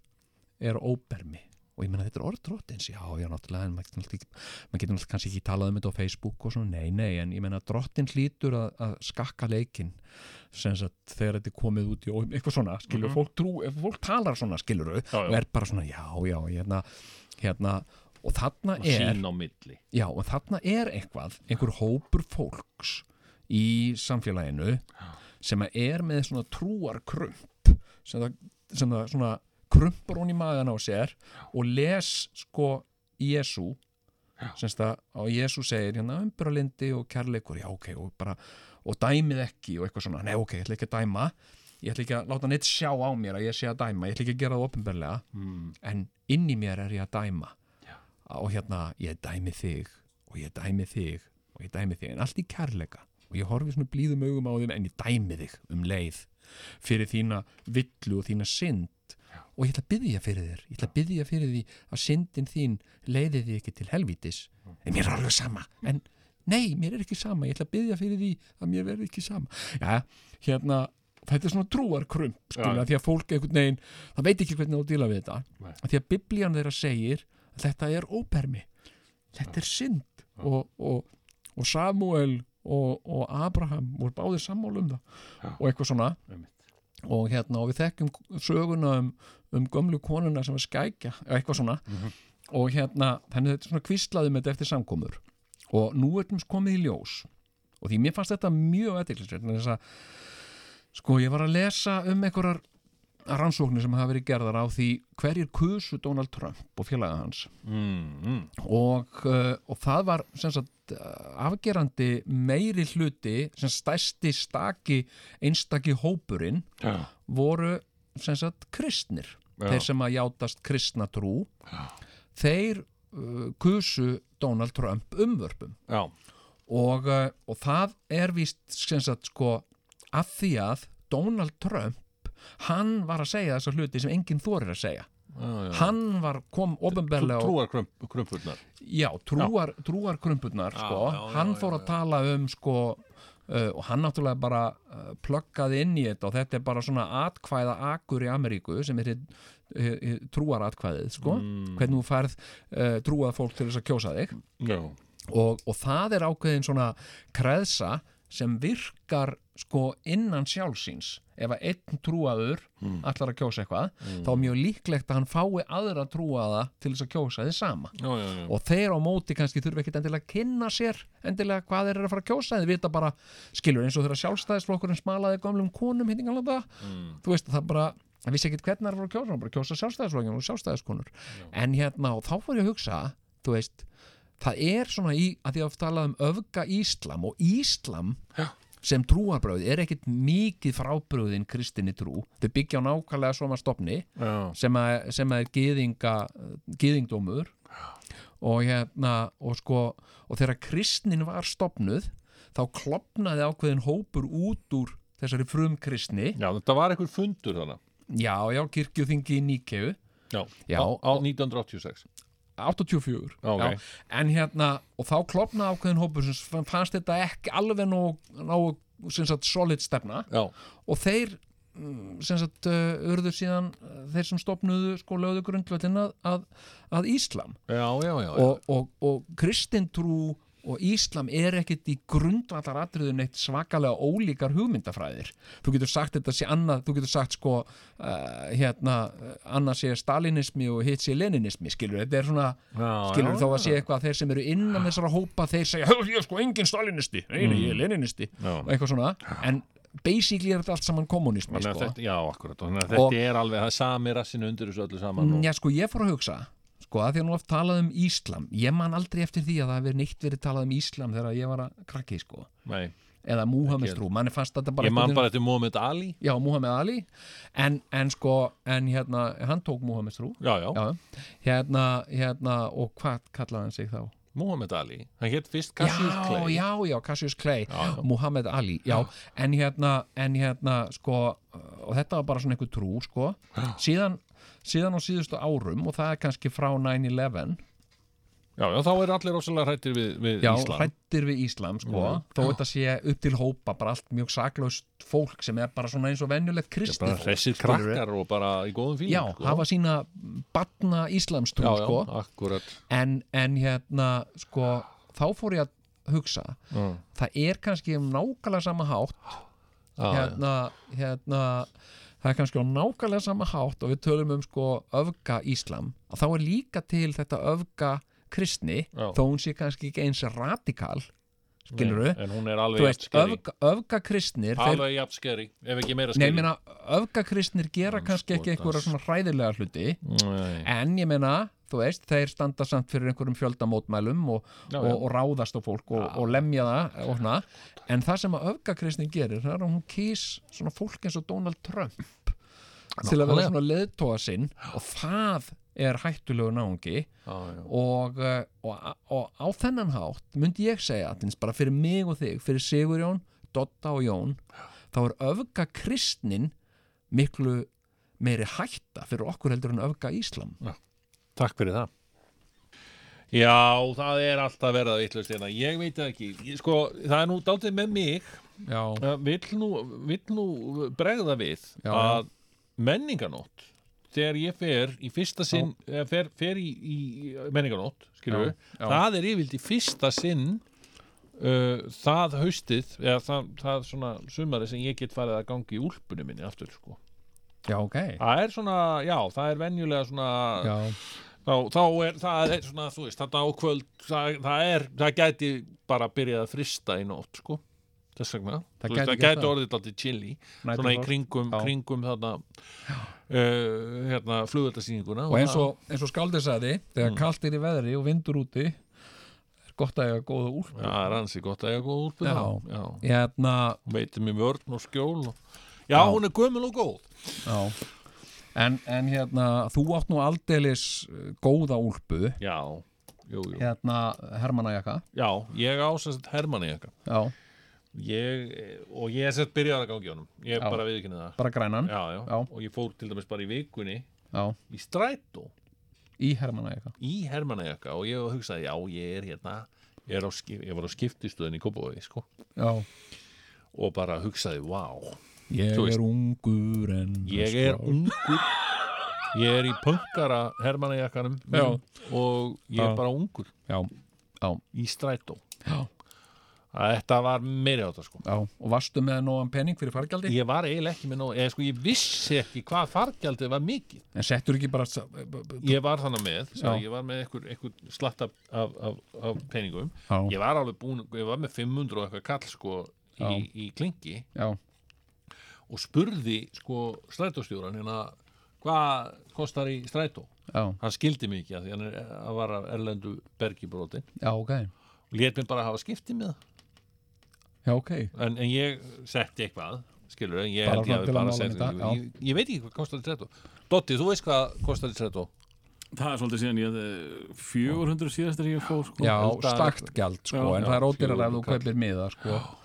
er óbermi og ég menna þetta er orð drottins, já, já, náttúrulega en maður getur náttúrulega ekki- maður getur náttúrulega kannski ekki talað um þetta á Facebook og svona, nei, nei, en ég menna drottin hlýtur að, að skakka leikinn sem sagt þegar þetta er komið út í óheim, eitthvað svona, skilur, fólk trú ef fólk talar svona, skilur, Mhm. Já, já. og er bara svona, já, já, hérna, hérna og þarna og er sín á milli Já, og þarna er eitthvað, einhver hópur fólks í samfélaginu sem að er með svona trúar krump sem það, sem það svona krumpar hún í maðan á sér og les sko Jésu sem það á Jésu segir hérna umbyralindi og kærleikur já ok og bara og dæmið ekki og eitthvað svona nei ok ég ætla ekki að dæma ég ætla ekki að láta neitt sjá á mér að ég sé að dæma ég ætla ekki að gera það opinberlega mm. en inn í mér er ég að dæma og hérna ég dæmi þig og ég dæmi þig og ég dæmi þig en allt í kærleika og ég horfi svona blíðum augum á þeim en ég dæmi þig um leið fyrir þína villu og þína synd og ég ætla að byggja fyrir þér ég ætla að byggja fyrir því að syndin þín leiði því ekki til helvítis en mér er alveg sama en nei, mér er ekki sama, ég ætla að byggja fyrir því að mér verði ekki sama já, hérna, þetta er svona trúarkrump skilja, því að fólk einhvern veginn það veit ekki hvernig þú díla við þetta að því að biblían þeirra segir að þetta er ópermi þetta er synd og, og, og Samuel og, og Abraham voru báðir sammála um það og eitthvað svona og, hérna, og við þekkjum söguna um, um gömlu konuna sem er skækja eða eitthvað svona og hérna, þannig þetta er svona kvíslaði með þetta eftir samkomur og nú er þeim komið í ljós og því mér fannst þetta mjög etiklisveit sko ég var að lesa um einhverjar rannsóknir sem hafa verið gerðar á því hverjir kusu Donald Trump og félaga hans Mm, og, uh, og það var sem sagt uh, afgerandi meiri hluti sem stæsti staki einstaki hópurinn Já. voru sem sagt kristnir Já. þeir sem að játast kristna trú þeir uh, kusu Donald Trump umvörpum já, og, uh, og það er víst sem sagt sko að því að Donald Trump hann var að segja þessar hluti sem enginn þorir að segja já, já. hann var kom ofinberlega og trúar krumpurnar já, trúar, trúar krumpurnar sko. já, já, hann já, fór að tala um sko uh, og hann náttúrulega bara uh, pluggaði inn í þetta og þetta er bara svona atkvæða akur í Ameríku sem er hitt trúaratkvæðið sko Mm. hvernig þú færð uh, trúað fólk til þess að kjósa þig já, og, og það er ákveðin svona kreðsa sem virkar sko innan sjálfsins ef að einn trúaður allar að kjósa eitthvað, þá er mjög líklegt að hann fái aðra trúaða til þess að kjósa þið sama já, já, já. og þeir á móti kannski þurfi ekkit endilega að kynna sér endilega hvað þeir eru að fara að kjósa þeir vita bara, skilur eins og þeirra sjálfstæðisflokkurinn smalaði gömlum konum hittingalanda mm. þú veist það bara, það vissi ekkit hvernig þeir voru að kjósa, þeir bara kjósa sjálfstæðisflokkurinn og sjálfstæðiskonur en hérna og þá fór ég að hugsa þú veist, það er svona í að því að talað um öfga íslam og íslam Já sem trúarbröð er ekkit mikið frábröðin kristinni trú, þau byggja á nákvæmlega svona stopni Já. sem, að, sem að er gyðinga, gyðingdómur og hérna og sko og þegar kristnin var stopnuð þá klopnaði ákveðin hópur út úr þessari frumkristni já, þetta var einhver fundur þarna já, já, kirkjuþingi í Níkeu já, Já. á, á 1986 84 Ok. já, en hérna, og þá klopnaði ákveðin hópur sem fannst þetta ekki alveg nóg, nóg sem sagt solid stefna já, og þeir mm, sem sagt uh, urðu síðan uh, þeir sem stopnuðu sko lögðu grundvöldin að, að, að Íslam já, já, já, já. og, og, og kristintrú og Íslam er ekkit í grundvallar atriðun eitt svakalega ólíkar hugmyndafræðir. Þú getur sagt þetta sé annað, þú getur sagt sko uh, hérna, uh, annað sé stalinismi og hitt sé leninismi, skilur þetta er svona, Já, skilur já, þá að sé eitthvað að þeir sem eru innan þessara hópa, þeir segja, "Hö, ég er sko engin stalinisti, einu, ég er leninisti Mm. Já. og eitthvað svona, en basically er þetta allt saman kommunismi, Þannig að sko. Þetta, já, akkurat, þannig að Og- þetta er alveg það er sami rassin undir þessu öllu saman og, Já, sko, ég fór að hugsa sko, að því að nú oft talað um Íslam ég man aldrei eftir því að það hefur neitt verið talað um Íslam þegar ég var að krakki, sko nei, eða Múhameð strú, manni fannst þetta bara ég man einhvern bara eftir Mohamed Ali veginn- Já, Múhameð Ali en, en sko, en hérna, hann tók Múhameð strú já, já, Já, hérna, hérna og hvað kallaði hann sig þá? Mohamed Ali hann hétt fyrst Cassius já, Clay já, já, Cassius Clay, Muhammad Ali já, en hérna, en hérna sko, og þetta var bara svona einhver trú sko, síðan, síðan á síðustu árum og það er kannski frá 9-11 já, já, þá er allir rosalega hrættir við, við Já, Ísland hrættir við Íslam sko, Já. þó þetta sé upp til hópa bara allt mjög saklaust fólk sem er bara svona eins og venjulegt Ég kristið bara hressir krakkar og bara í góðum fíling Já, sko. hafa sína batna íslamstrú já, já, sko. akkurat en, en hérna sko, þá fór ég að hugsa Já. það er kannski um nákvæmlega sama hátt Já, já. hérna, hérna það er kannski á nákvæmlega sama hátt og við tölum um sko öfga íslam að þá er líka til þetta öfga kristni, Já. þó hún sé kannski ekki eins radikal skilurðu, en hún er þú alveg veist, jafnskeri öfga, öfga kristnir alveg jafnskeri, ef ekki meira Nei, skeri ég meina, öfgakristnir gera kannski ekki einhverja svona hræðilega hluti Nei. en ég meina, þú veist, þeir standa samt fyrir einhverjum fjöldamótmælum og, Já, já. og, og ráðast á fólk og, og lemja það og svona, en það sem að öfgakristnin gerir, það er að hún kýs svona fólk eins og Donald Trump til að vera Nákvæmlega. svona leðtóa sinn og það er hættulegu náungi Já, já. og, eh, og, og á þennan hátt myndi ég segja allins bara fyrir mig og þig fyrir Sigurjón, Dotta og Jón þá er öfga kristnin miklu meiri hætta fyrir okkur heldur en öfga Íslam Takk fyrir það Já, það er alltaf verið að vitlaust hérna Ég veit það ekki, ég, sko, það er nú daldið með mig Já, uh, vill nú, vill nú bregða við Já, að menninganótt þegar ég fer í fyrsta sinn eh, fer, fer í, í menninganótt skilur við, Já, já. það er yfirlt í fyrsta sinn uh, það haustið eða það, það svona sumari sem ég get farið að gangi í úlpunni minni aftur sko. já ok það er svona, já, það er venjulega svona Já, þá, þá er það er svona, þú veist, þetta ákvöld það, það er, það gæti bara byrjað að frista í nótt, sko þess vegna, Það Þú veist, gæti það gert gæti það. orðið alltaf chili, svona í Næturfrost. kringum Já. kringum þarna uh, hérna, flugvöldasýninguna og eins og, eins og skaldið sagði þegar kalt er í veðri og vindur úti er gott að ég að góða úlp Já, það er ansi gott að ég góð út Já. þá. Já, Hérna, veitir mér vörn og skjól og... Já, hún er gömul og góð já En, en hérna, þú átt nú aldeilis eh, góða úlpu Já, jú, jú hérna Hermannajakka Já, ég á sem sagt Hermanni eitthvað Já, ég, og ég er sett byrjaðar að gangi honum ég Já. bara viðkynni það bara grænan já, já. Já. og ég fór til dæmis bara í vikunni Já, í strætó í Hermannajöka í Hermannajöka og ég hugsaði já ég er hérna ég, er á, skip- ég var á skiptistöðin í Kópavogi sko, Já, og bara hugsaði vá ég Þú veist- er ungur en ég er sko." ungur ég er í punkara Hermannajökanum Já. og ég er Já. bara ungur Já, já, í strætó já, þetta var meiri á þetta sko já Og varstu með nógan pening fyrir fargjaldi? ég var eiginlega ekki með nóg eða sko ég vissi ekki hvað fargjaldið var mikið En settur ekki bara sa- ég var þannig með svo, Já. ég var með einhver, einhver slatt af, af, af, af peningum Já. ég var alveg búin, ég var með 500 og eitthvað kall sko í, Já. í klingi Já, og spurði sko strætóstjóran hérna hvað kostar í strætó já, hann skildi mig ekki að því hann er, að var af erlendu bergi brotin já, ok og lét mig bara hafa skipti með það. Já, ok en, en ég setti eitthvað skilur en ég Bara held ég að svona til að bara mála setti þetta, já. ég, ég, ég veit ekki hvað kostar í strætó Dotti, þú veist hvað kostar í strætó Það er svolítið síðan ég eh, 400 síðast er ég fór sko. Já, held að- stakt gjald, sko Já, En já, það er ódýrar ef þú fjögur kall. kaupir miða, sko uh,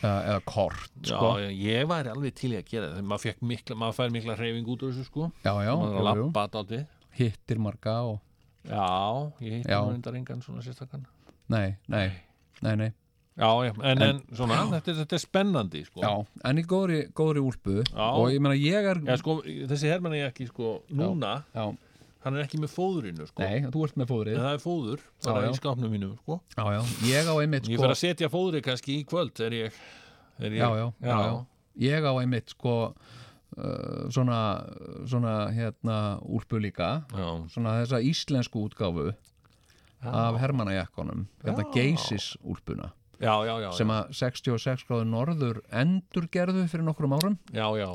Eða kort, sko já, ég- ég væri alveg til í að gera það maður, fékk mikla, maður fær mikla hreyfing út úr þessu sko Já, já, maður er að jú, jú. lappa dátti hittir marga og já, ég heitir Já. nú reyndar engan svona sérstakann Nei, nei, nei, nei Já, já, en, en svona, þetta, er- þetta er spennandi sko. Já, en í góðri, góðri úlpu Já. Og ég meina, ég er Já, sko, þessi hermann er ekki sko, núna, já. hann er ekki með fóðurinu sko. Nei, þú ert með en fóðrið það er fóður, bara Já, já. í skápnum mínu sko. Já, já, ég á einmitt, Ég sko fer að setja fóðri kannski í kvöld er ég, er ég já, já, já, já. Ég á einmitt sko uh, svona, svona hérna úlpu líka Já. svona þessa íslensku útgáfu af hermanajakkonum hérna geysis úlpuna Já, já, já, sem að 66 gráður norður endurgerðu fyrir nokkrum árum já, já,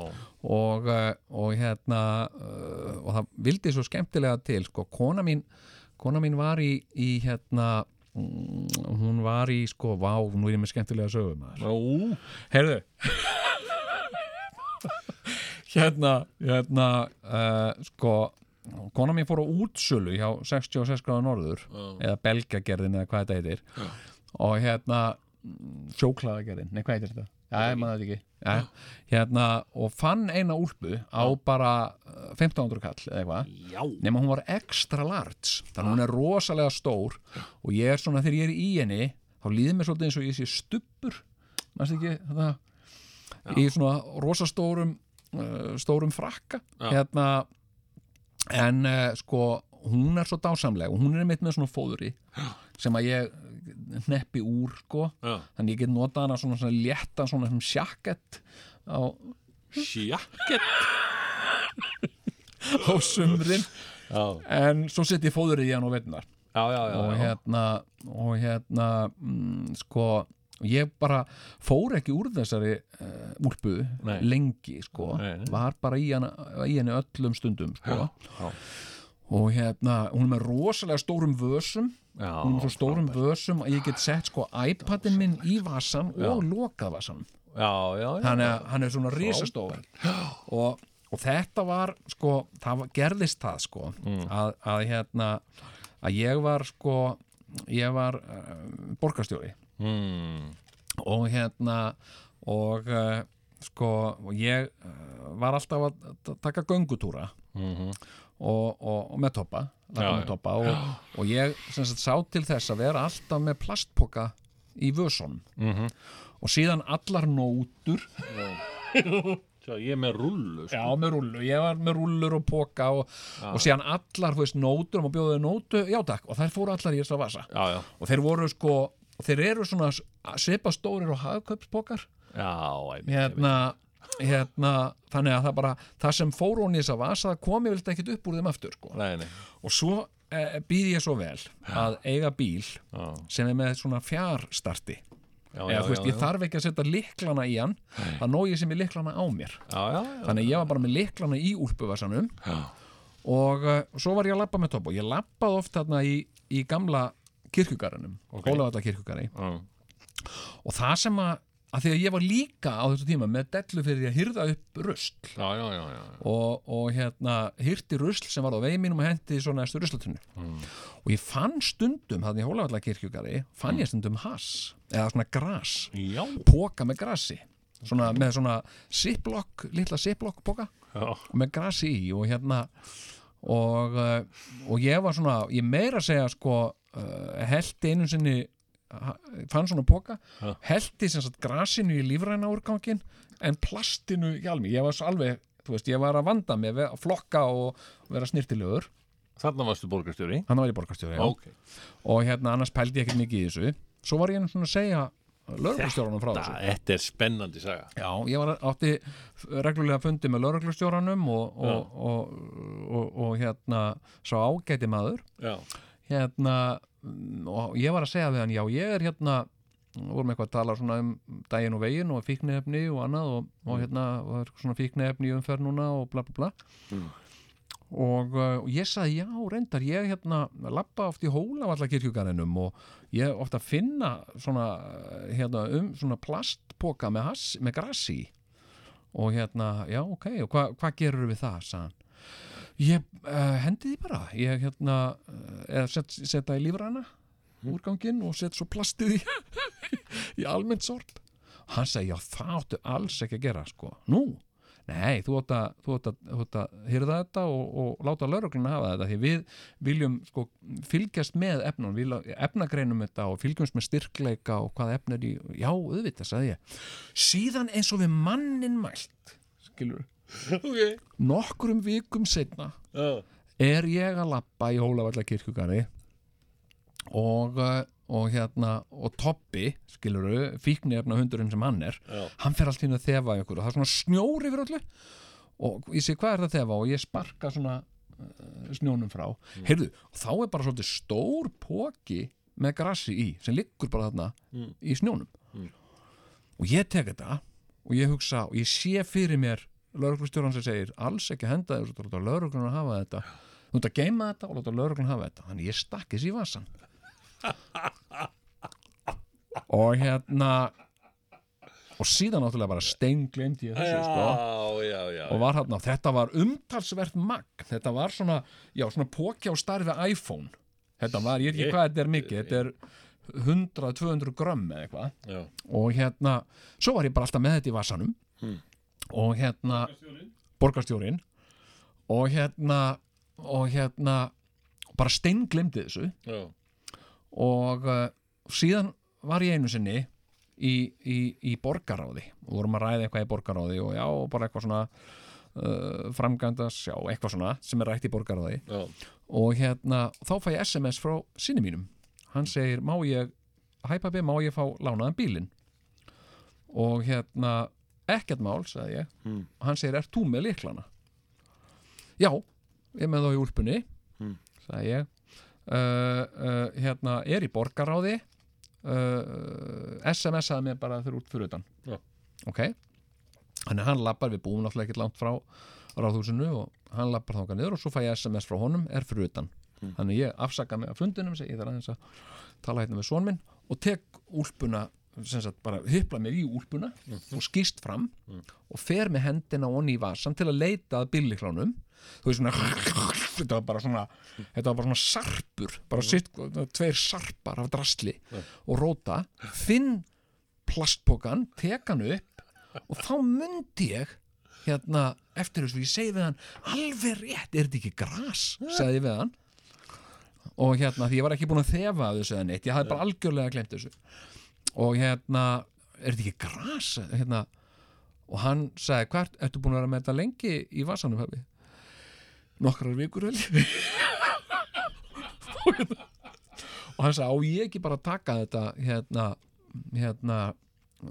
og, uh, og hérna uh, og það vildi svo skemmtilega til sko, kona mín kona mín var í, í hérna mm, hún var í sko, vá, nú er ég með skemmtilega sögum að Ú, Heyrðu Hérna, hérna uh, sko kona mín fór á útsölu hjá 66 gráða norður eða belgagerðin eða hvað þetta heitir og hérna sjóklaðagerðin, nei hvað heitir þetta? Já, ég maður þetta ekki. Já, hérna, og fann eina úlpu á bara uh, 1500 kall eða eitthvað. Já. Nefnum hún var extra large, þannig að hún er rosalega stór og ég er svona, þegar ég er í henni, þá líður mér svolítið eins og ég sé stubbur, mannst ekki, þetta, í svona rosastórum, uh, stórum frakka. Hérna, en uh, sko, hún er svo dásamleg og hún er mitt með svona fóðuri sem að ég hneppi úr, sko. Já. Þannig ég get notað hana svona, svona léttan svona sem sjakkett á, á Sjakket sumrin Já, en svo set ég fóður í hann og veitnar já, já, já, og já. hérna og hérna mm, sko ég bara fór ekki úr þessari uh, úlpu Nei. lengi sko, Nei, nei. var bara í, hana, í henni öllum stundum sko. og hérna hún er með rosalega stórum vösum Já, hún er með svo stórum vösum að ég get sett sko iPadin minn í vasan og lokað vasan já, já, já. hann er, hann er svona risastór og, og þetta var sko, það var, gerðist það sko Mm. að, að hérna að ég var sko ég var uh, borgarstjóri mm. og hérna og uh, sko og ég uh, var alltaf að t- taka göngutúra og, og, og með toppa, Já, lappa með Mhm. já. toppa og, og ég sem sagt sá til þess að vera alltaf með plastpoka í vösson Mhm. og síðan allar nótur Sjá, ég er með rullu sko. Já, með rullu, ég var með rullur og póka og, og síðan allar, þú veist, nótur og bjóðið nótu, já takk, og þær fóru allar í þess að vasa Já, já, og þeir voru sko, þeir eru svona svipastórir og hagköpspókar já, einmitt, einmitt. hérna, hérna, þannig að það bara það sem fóru hún í þess að vasa, það komi vilt ekkit upp úr þeim aftur, sko Nei, nei, og svo e, býð ég svo vel að eiga bíl já, sem er með svona fjarstarti já, já, eða þú veist, já, ég þarf ekki að setja liklana í hann það nóg ég sem er liklana á mér já, já, já, þannig að ég var bara með liklana í úlpuvasanum og uh, svo var ég að labba með topp og ég labbaði oft þarna í, í gamla kirkjugarunum, okay. Ólafata kirkjugari já. og það sem að, að því að ég var líka á þessu tíma með dellu fyrir því að hyrða upp rusl Já, já, já, já. og, og hérna hyrti rusl sem var á vegi mínum og hendi svo næstu ruslatunni og ég fann stundum þannig í Ólafata kirkjugari fann ég stundum hass eða svona gras Já, póka með grasi svona, með svona ziplock, litla ziplock póka já, með grasi í og hérna og, eh, og ég var svona ég meira að segja sko uh, heldi einu sinni ha- fann svona póka, heldi sem sagt grasinu í lífræna úrgangin en plastinu í almi, ég var svo alveg þú veist, ég var að vanda mig, að flokka og vera snirtilegur, þarna varstu borgarstjóri hann var ég borgarstjóri já. Ok, og hérna annars pældi ég ekkert mikið í þessu svo var ég einu svona að segja lögreglustjóranum frá Da, þessu þetta er spennandi saga Já, ég var átti reglulega fundi með lauruglustjóranum og, og, og, og, og hérna sá ágæti maður Já, hérna mm, og ég var að segja við hann, já ég er hérna vorum eitthvað að tala svona um daginn og veginn og fíknefni og annað og, og hérna og það er svona fíknefni í umferð núna og bla bla bla og, uh, og ég sagði já reyndar ég hérna lappa oft í hólavalla kirkjugarðinum og ég er oft að finna svona, uh, hérna, um, svona plastpoka með, has, með grassi og hérna, já ok og hva- hvað gerur við það, sagði hann ég uh, hendi því bara ég hérna, uh, eða set, setta í lífræna úrganginn og set svo plastið í, í almennt sorp hann segi, já það áttu alls ekki að gera sko, nú Nei, þú átt að, þú átt að, þú átt að hyrða þetta og, og láta laurugluna hafa þetta því við viljum sko fylgjast með efnum, við vilja- efnagreinum þetta og fylgjumst með styrkleika og hvað efn er í, já, auðvitað, sagði ég síðan eins og við mannin mælt skilur, ok nokkrum vikum setna Já, er ég að lappa í Hólavalla kirkjugari og, uh, og hérna og Tobbi, skiluru, fíknefna hundurinn sem hann er, Já. hann fer allt hérna að þefa í okkur og það er svona snjór yfir öllu og ég segi hvað er það að þefa og ég sparka svona uh, snjónum frá heyrðu, og þá er bara svolítið stór póki með grassi í sem liggur bara þarna í snjónum og ég tek þetta og ég hugsa og ég sé fyrir mér lauruglustjóran sem segir alls ekki henda þér þú ert að lauruglun að hafa þetta þú ert að geima þetta og láta lauruglun hafa þetta þannig ég stakk þessi í vasan og hérna og síðan náttúrulega bara steinglemd ég þessu sko já, já og var hérna, þetta var umtalsvert magn þetta var svona, já svona pókja og starfi iPhone þetta var, ég veit ekki hvað þetta er mikið þetta er 100-200 grömm eða eitthvað Já. og hérna, svo var ég bara alltaf með þetta í vasanum og hérna borgarstjórin og hérna og hérna bara steinglimdi þessu Já. og uh, síðan var ég einu sinni í, í, í borgaráði og vorum að ræða eitthvað í borgaráði og já, bara eitthvað svona uh, framgændas, já, eitthvað svona sem er rætt í borgaráði Já. og hérna, þá fæ ég SMS frá sinni mínum hann segir, má ég hæ pabbi, má ég fá lánaðan bílinn og hérna ekkert mál, sagði ég og hann segir, ert þú með líklana? já, ég er með þá í úlpunni sagði ég uh, uh, hérna, er í borgaráði uh, SMS-aði mér bara þurr út fyrir utan Já. ok þannig að hann lappar, við búum náttúrulega ekkert langt frá ráðhúsinu og hann lappar þangað niður og svo fæ ég SMS frá honum, er fyrir utan þannig ég afsaka mig af fundinum segi ég þarf aðeins að tala hérna með son minn og tek úlpuna sem sagt bara hypla mig í úlpuna og skýst fram og fer með hendina onni í vasan til að leita að billiklánum þú veist svona þetta var bara svona, þetta var bara svona sarpur bara sitt, tveir sarpar af drasli og róta finn plastpokan, tek hann upp og þá myndi ég hérna eftir þessu, ég segi við hann alveg rétt, er þetta ekki gras sagði ég við hann og hérna, því ég var ekki búin að þefa af þessu eða neitt, ég hafði bara algjörlega glemt þessu og hérna, er þetta ekki gras hérna, og hann sagði, hvert, ertu búin að vera með þetta lengi í vasanum hafi nokkrar vikur vel og, hérna, og hann sagði, á ég ekki bara að taka þetta hérna, hérna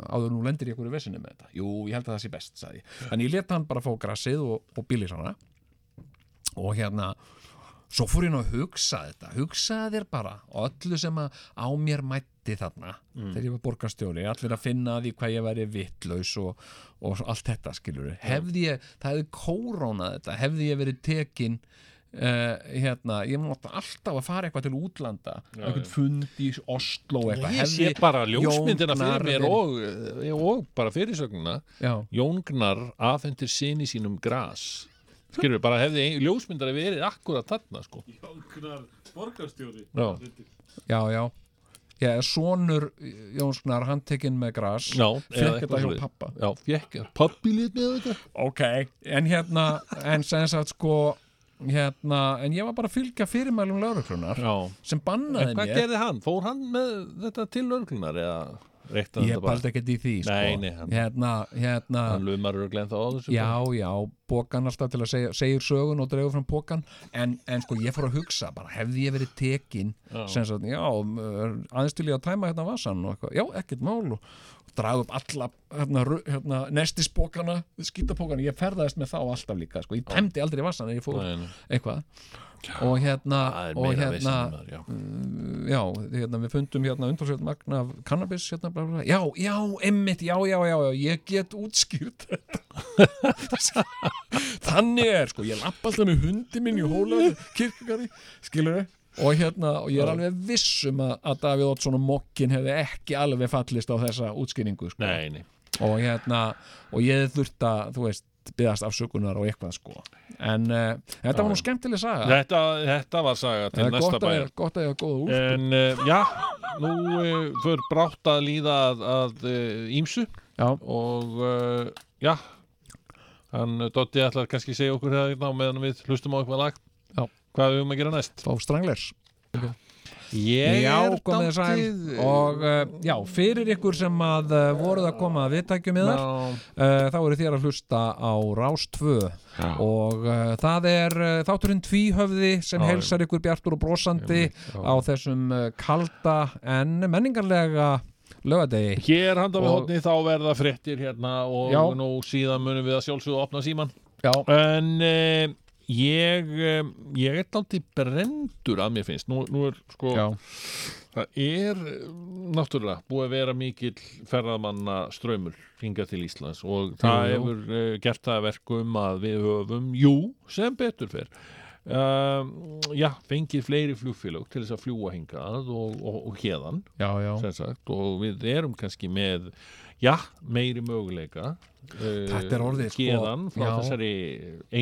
áður en nú lendir ég einhverju vesinu með þetta jú, ég held að það sé best, sagði ég þannig ég leta hann bara fá grassið og, og bílis hana og hérna svo fór ég nú að hugsa þetta hugsaði þér bara, öllu sem að á mér mætti þarna Mm. þegar ég var borgarstjóri, allir að finna að því hvað ég væri vittlaus og, og allt þetta skilur hefði ég, það hefði kórónað þetta, hefði ég verið tekin Uh, hérna, ég mátt alltaf að fara eitthvað til útlanda eitthvað fund í Oslo eitthvað Ég sé bara ljósmyndina Jón fyrir mér Gnarr- og, eh, og bara fyrirsögnuna já, Jóngnar afhendir sinni sínum gras skilur bara hefði ein, ljósmyndari verið akkurat þarna sko Jóknar borgarstjóri Já. já, já Já, sonur Jónssonar handtekinn með gras Já, eða Fekk eitthvað þetta hjá svoleiðis. pappa Já, fekk, pappi lít með þetta Ok En hérna, en sem sagt sko Hérna, en ég var bara að fylgja fyrirmælum lauruklunar Já, sem en bannaði hvað mér gerði hann? Fór hann með þetta til örglunar eða reykti hann Ég þetta bara? baldi ekkert í því sko. Nei, nei, hann- Hérna, hérna Hann lumar örglen þá á þessu Já, já, bókan alltaf til að segja, segir sögun og dregur fram bókan en, en sko ég fór að hugsa bara, hefði ég verið tekin sem sagt, já, er aðeins til ég að tæma hérna vasan og eitthvað, já, ekkert mál og draga upp alla hérna, ru- hérna, nestisbókana, skýtabókana ég ferðaðist með þá alltaf líka, sko ég tæmdi aldrei vasan en ég fór Nei, nei. eitthvað og hérna, Það er og meira hérna veisinn maður, já já, hérna, við fundum hérna umtalsveit magna af cannabis hérna, bla, bla, bla. já, já, emmitt, já, já, já, já ég get útskýrt þetta þannig er, sko, ég lapp alltaf með hundi minn í hóla kirkugari, skilur við og hérna, og ég er alveg vissum að, að Davíð Oddsson og Mokkin hefði ekki alveg fallist á þessa útskýringu sko. Nei, nei, og hérna, og ég þurft að, þú veist byggðast afsökunar og eitthvað sko en uh, þetta var nú skemmtileg saga þetta, þetta var saga til Það er næsta gott að bæjar eiga- gott að ég hafa góða úr En uh, já, nú uh, fyrir brátt að líða að, að uh, ímsu Já. og uh, já, hann Dotti ætlar kannski að segja okkur það hérna á meðan við hlustum á eitthvað lag Já. Hvað við um að gera næst? fá stranglers Ég já, komið þið sæl og uh, já, fyrir ykkur sem að uh, voruð að koma að viðtækjum yðar uh, þá eru þér að hlusta á Rás 2 og uh, það er uh, þátturinn Tvíhöfði sem heilsar ykkur bjartur og brosandi á þessum uh, kalda en menningarlega lögadegi Hér handa við Og- hóttni þá verða fréttir hérna og Já. nú síðan munum við að sjálfsögðu opna síman já, En uh, ég, um, ég er daldið brendur að mér finnst Nú, nú er sko já, Það er eh, náttúrulega búið að vera mikill ferðamanna ströymur hingað til Íslands og það jú. hefur uh, gert það að verkum að við höfum, jú, sem betur fer um, já, fengið fleiri flugfélög til þess að fljúa hingað og, og, og hérðan já, já. sem sagt og við erum kannski með, já, meiri möguleika uh, Þetta er orðið, sko, hérðan frá já. þessari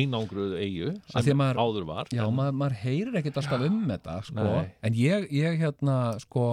einangruð eigu Af því sem maður- áður var Já, maður, maður heyrir ekkert alltaf um þetta sko. Nei. en ég, ég hérna sko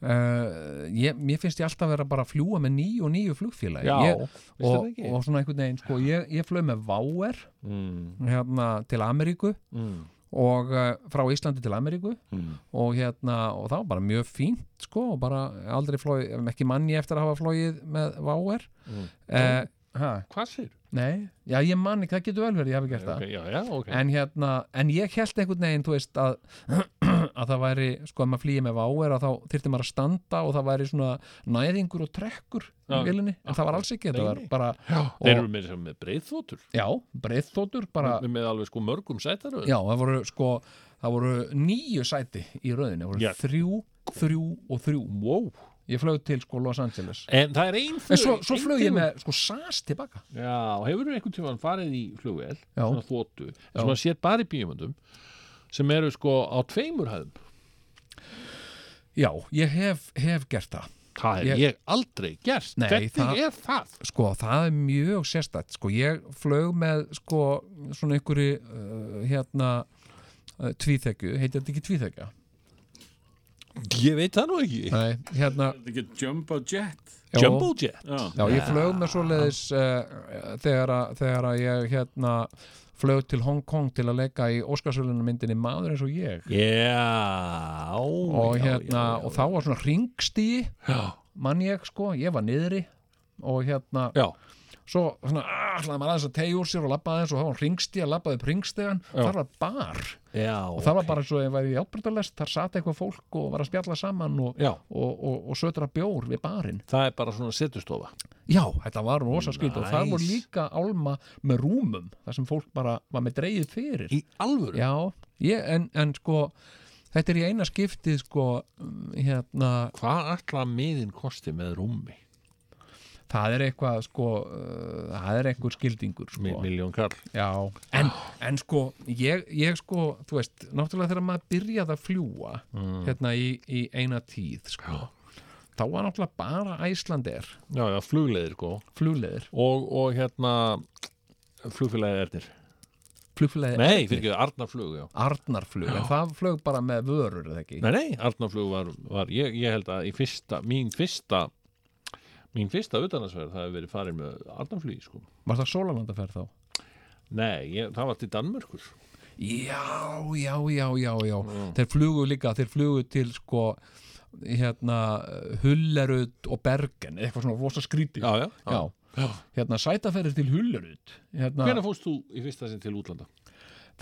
Uh, ég, mér finnst ég alltaf vera bara að fljúa með nýju og nýju flugfélagi Já, ég, finnst og, þér ekki? og svona einhvern veginn sko, ég, ég flög með Váer Mm, hérna, til Ameríku mm, og uh, frá Íslandi til Ameríku mm. og, hérna, og það var bara mjög fínt sko, og bara aldrei flóið ekki manni eftir að hafa flóið með Váer Mm. eh, ha, Hvað sér? nei, já ég manni það getur vel verið, ég hafi gert það Já, já, ok en hérna, en ég held einhvern veginn þú veist að, að það væri sko að maður flýja með váer að þá þyrfti maður að standa og það væri svona næðingur og trekkur í Já, vilinni en það var alls ekki, þetta Nei, var nei. bara Já, og- þeir eru með, sem með breiðþótur já, breiðþótur bara, með, með alveg sko mörgum sætaröð já, það voru sko það voru nýju sæti í rauðinni það voru Já. þrjú, þrjú og þrjú wow. ég flög til sko Los Angeles En það er ein en flug svo, svo ein flög ég tegund. með sko SAS tilbaka Já, og hefur þú einhvern tímann farið í flugvél Já. svona þóttu, sem maður sér bara í bíumundum sem eru sko á tveimur hæðum já, ég hef, hef gert það Það hef Ég- ég, aldrei gert Nei, Hvernig það- er það? sko það er mjög sérstætt sko ég flög með sko svona einhverju uh, hérna uh, tvíþekju, heitir þetta ekki tvíþekja Ég veit það nú ekki nei, hérna Þetta er ekki Jumbo Jet já, Jumbo Jet Já, já, ég flög með svoleiðis uh, þegar, að, þegar að ég hérna flög til Hong Kong til að leika í Óskarsvölinu myndinni Maður eins og ég Já og já, hérna, já, já, og þá var svona ringstíi Já, mann ég sko, ég var niðri og hérna, já, svo svona, ah, ætlaði maður aðeins að tegja úr sér og labbaði eins og það var ringstíi að labbaði upp ringstígan, þar var bar já og það var bara eins og ég væri í ábyrgdalest þar sat eitthvað fólk og var að spjalla saman og, Já, og, og, og sötra bjór við barinn það er bara svona setustofa já, þetta var rosa skrýt og það Nice. voru líka álma með rúmum þar sem fólk bara var með dreigið fyrir Í alvöru? já, ég, en, en sko þetta er í eina skiptið sko mm, hérna, Hvað ætla miðin kosti með rúmi? það er eitthvað sko, uh, það er eitthvað skildingur sko. Mi Miljón kall já, en, en sko ég, ég sko, þú veist, náttúrulega þegar maður byrjaði að fljúa hérna í, í eina tíð sko Mm. Já, þá var náttúrulega bara Æslander já, já flugleiðir sko flugleðir, og, og hérna flugfélagið Ernir flugleðir Nei, fyrir ekki, Arnarflug já. Arnarflug, en það flög bara með vörur eða ekki, Nei, nei, Arnarflug var, var ég, ég held að í fyrsta, mín fyrsta mín fyrsta utanansverð það hefur verið farin með Arnarflugi sko. var það Sólalandaferð þá? Nei, ég, það var til Danmörkur Já, já, já, já, já Mm. þeir flugu líka, þeir flugu til sko, hérna Hullerud og Bergen eitthvað svona rosa skrítið Já, já, já. já. hérna sætaferðir til Hullerud hérna, Hvenær fórst þú í fyrsta sinn til útlanda?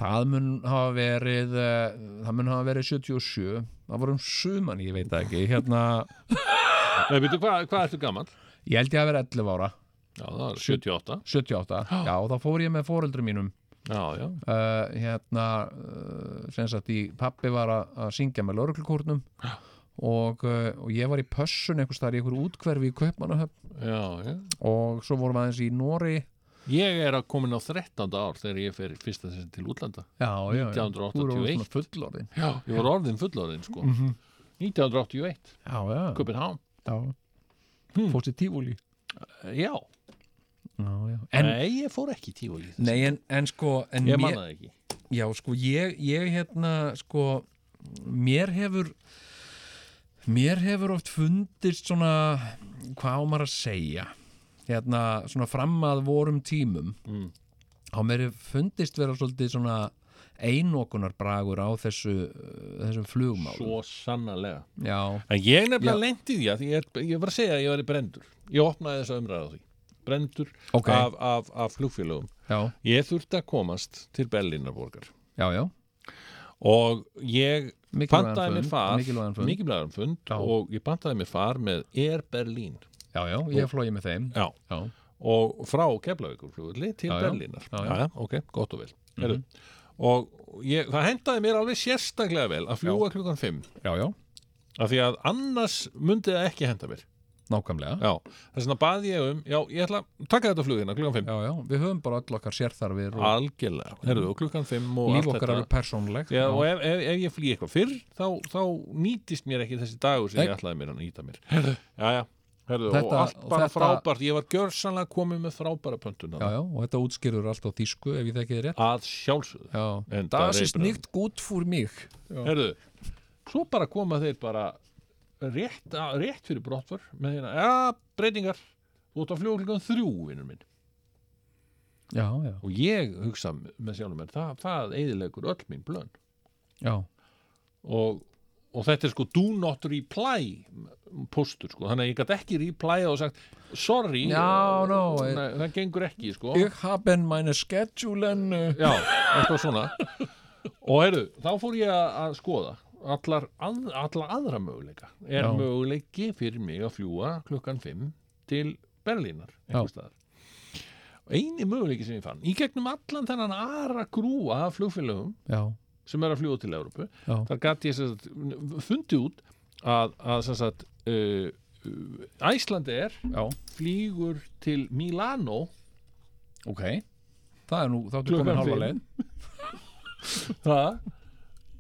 það mun hafa verið eh, það mun hafa verið 77 það voru um suman, ég veit það ekki hérna, Nei, veitu, hvað hva ertu gamall? ég held ég að vera 11 ára Já, það var 78 78, já, þá fór ég með fóreldri mínum Já, já, uh, hérna uh, sem sagt í pappi var að, að syngja með lauruglukórnum og, uh, og ég var í pössun einhvers þar í einhver útkverfi í Kaupmannahöfn já, já og svo vorum við aðeins í Nóri Ég er að komin á 13. ár þegar ég fer í fyrsta sinn til útlanda já, já, já, 1981. Þú voru svona fullorðin Já, ég var orðin fullorðin sko 1981, já, já, Köpenhám já. fórst í tífúli Já, Hmm. já, já. en, nei, ég fór ekki í tífólið nei, en, en sko en Ég mér- manna það ekki Já, sko, ég, ég hérna, sko, mér hefur, mér hefur oft fundist svona, hvað á maður að segja, hérna, svona fram að vorum tímum, Mm. á mér hefur fundist vera svolítið svona einokunarbragur á þessu, uh, þessum flugmálum. Svo sannarlega Já, En ég nefnilega Já. lendi því að því ég, er- ég var að segja að ég var í brendur Ég opnaði þessa umræða á því Brendur Ok. af, af, af flugfélögum já, Ég þurfti að komast til Berlínarborgar já, já, og ég Mikilvægan pantaði mér fund, far mikilvægan fund. mikilvægan fund Já. og ég pantaði mér far með Air Berlín já, já, ég flóið með þeim. Já. Já, og frá Keflavíkurflugulli til Já, já. Berlínar Já, Mhm. já. ok, gott og vel mm og ég, það hendaði mér alveg sérstaklega vel að fljúa klukkan 5 já, já, af því að annars myndi það ekki henda mér nákvæmlega. já, þess vegna baði ég um já, ég ætla að taka þetta flug hérna klukkan 5 Já, já, við höfum bara öll okkar sérþarfir og algjörlega, herruðu, klukkan 5 og líf allt okkar þetta alveg persónlegt. Já, og ef, ef, ef ég flý eitthvað fyrr þá, þá nýtist mér ekki þessi dagur sem Nei. ég ætlaði mér að nýta mér Herðu, já, já, herðu, og Þetta- allt og bara þetta- frábært ég var gjörsanlega komið með frábæra pöntun Já, já, og þetta útskýrur allt á þýsku ef ég þekki þið rétt. að sjálfsögðu Já, En das það er ist bara- nicht gut für mich. Herðu, svo bara koma þeir bara rétt, á- rétt fyrir brottför með hérna, já, breytingar þú ert að fljóða klukkan þrjú, vinnur minn já, já, og ég hugsa með sjálfum mér, það, það eðilegur öll mín blönn já, og, og þetta er sko do not reply postur sko, þannig að ég gæti ekki reply og sagt, sorry Já, eh, no, eh, nei, það gengur ekki sko ég haf en mæna skedjúlen já, eitthvað svona og heyrðu, þá fór ég að að skoða allar, að, allar aðra möguleika er Já. möguleiki fyrir mig að fljúa klukkan 5 til Berlínar einhvers staðar. og eini möguleiki sem ég fann í gegnum allan þennan aðra grúa af flugfélögum já, sem er að fljúa til Európu já, þar gæti ég sem sagt, fundi út að, að sem sagt, uh, Æslandi er já flýgur til Milano ok, það er nú, þá ertu Klukkan komin hálfa fimm. leið það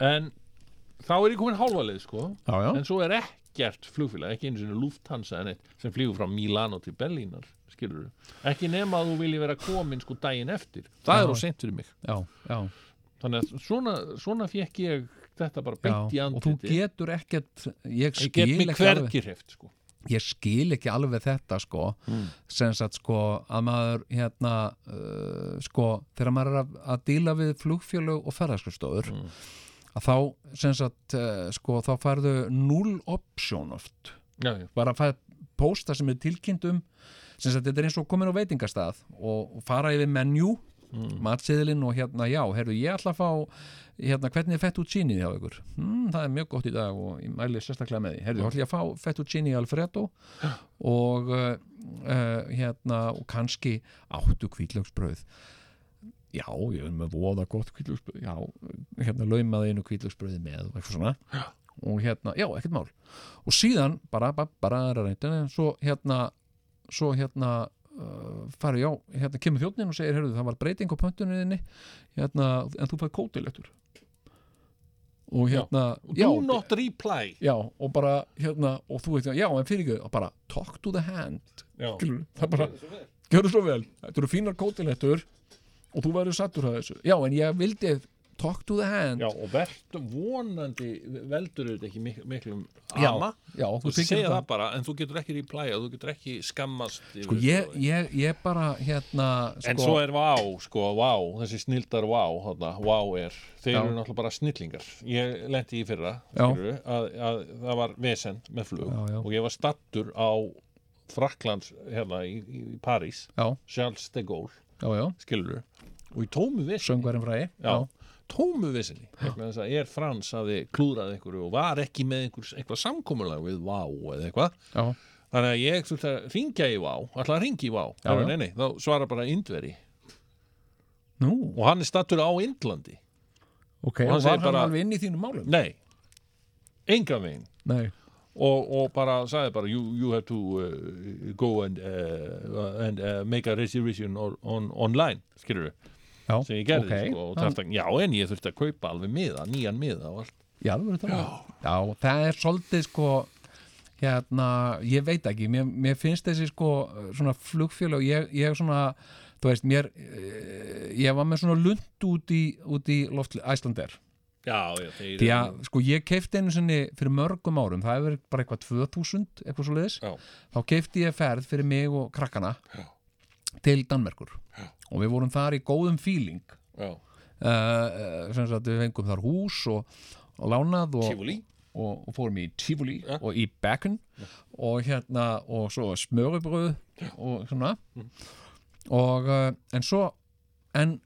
en þá er ég komin hálfa leið sko já, já, en svo er ekkert flugfélag ekki einu sinni Lufthansa en eitt sem flýgur frá Milano til Berlínar skilur ekki nema að þú vilji vera komin sko daginn eftir það Já. er á seint fyrir mig já, já, þannig að svona, svona fekk ég þetta bara já beint í og þú andliti getur ekkert ég ég get skil mig ekki alveg hvergi hreift sko ég skil ekki alveg þetta sko sem sagt sko að maður hérna uh, sko þegar maður er að, að díla við flugfjölög og ferðarskustofur að þá sem sagt uh, sko þá færðu null option oft já, já. bara að fæða pósta sem er tilkynnt um sem sagt þetta er eins og komin á veitingastað og, og fara yfir menjú mm. matsiðlinn og hérna já herru ég ætla að fá hérna hvernig er fettuccini hjá ykkur mm, það er mjög gott í dag og ég mæli sérstaklega með því herru ég ætla ég að fá fettuccini alfredo og uh, uh, hérna og kannski áttu kvítlöksbröð já ég er með voða gott kvítlöksbröð já hérna laumaði einu kvítlöksbröði með og eitthvað svona og hérna, já, ekkert mál og síðan, bara, bara, bara, bara, bara svo hérna svo hérna uh, farið, já, hérna kemur þjóttnin og segir, heyrðu, það var breyting á pöntuninni hérna, en þú fæði kótilegtur og hérna do not reply já, og bara, hérna, og þú veit, já, en fyrir ekki, og bara, talk to the hand já. skilur, það bara, gjörðu svo vel þetta eru fínar kótilegtur og þú verður sattur að þessu, já, en ég vildi talk to the hand Já, og verðt vonandi veldur þetta ekki mik miklum já, ama já, þú þú þykir segja það- það bara, en þú getur ekki replæja þú getur ekki skammast Sko ég, ég, ég bara hérna sko, en svo er vá, sko, vá þessi snildar vá, þarna, vá er þeir Já. eru náttúrulega bara snillingar ég lendi í fyrra, Já. skilurðu, að, að það var vesen með flug Já, já. og ég var stattur á Fraklands, hérna, í, í, í París Já, Charles de Gaulle, já, já, skilur og í tómu vesen söngvarinn fræði já, tómu vissinni vegna þess að er frans hafi klúðrað einhverju og var ekki með einhver, einhver samkomulag við Vá eða eitthvað já, þannig að ég þurfti að ringja í Vá alltaf að ringja í Vá Já, Heru, já. nei, nei, þá svarar bara Indveri nú, og hann er stattur á Indlandi ok, Og hann og segir var hann bara- alveg inn í þínum málum? nei, enga veginn Nei, og, og bara sagði bara you, you have to uh, go and, uh, and uh, make a reservation or, on, online skilur við, já, sem ég gerði ok. sko, og Hann- þarfti að, já en ég þurfti að kaupa alveg miða, nýjan miða og allt Já, það verður það Já, það er svolítið sko hérna, ég veit ekki mér, mér finnst þessi sko svona flugfélag, ég, ég svona þú veist, mér eh, ég var með svona lund út í, út í loftli, Æslander já, já, þeir því að sko ég keifti einu sinni fyrir mörgum árum, það hefur verið bara eitthvað 2000 eitthvað svo leiðis, Já. þá keifti ég ferð fyrir mig og krakkana til Danmerkur já. og við vorum þar í góðum feeling já, uh, sem sagt við fengum þar hús og, og lánað og, Tivoli og, og fórum í Tivoli og í Bekken og hérna og svo smörubröð og svona og uh, en svo en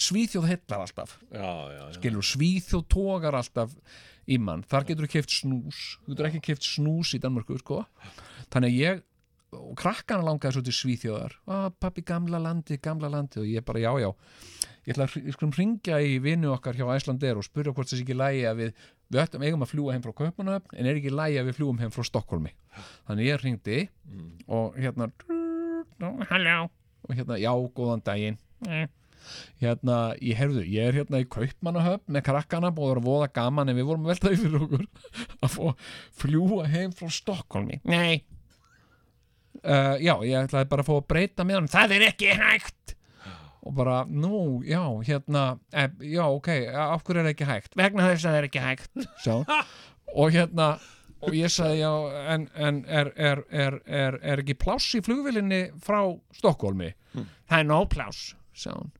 Svíþjóð heillar alltaf já, já, já. skilur, Svíþjóð tógar alltaf í mann, þar getur þú keft snús þú getur ekki keft snús í Danmörku sko. þannig að ég og krakkana langaði svo til Svíþjóðar ah, pappi, gamla landi, gamla landi og ég bara, já, já ég ætla að hri- við skulum ringja í vinnu okkar hjá Æslander og spurja hvort þessi ekki lægi að við við ættum eigum að fljúa heim frá Kaupmanöfn en er ekki lægi að við fljúum heim frá Stokkólmi þannig ég ringdi og hérna halló og hérna, já, góðan daginn hérna, ég heyrðu, ég er hérna í Kaupmannahöfn með krakkana búið að vera voða gaman en við vorum að velta yfir okkur að fó fljúa heim frá Stokkólmi Nei uh, Já, ég ætlaði bara að fá að breyta með hann Það er ekki hægt og bara, nú, já, hérna e, já, ok, af hverju er það ekki hægt? Vegna þess að það er ekki hægt Sjá. og hérna, og ég sagði já, en, en er, er, er, er, er ekki pláss í flugvilinni frá Stokkólmi? Það er nóg pláss, sagði hún.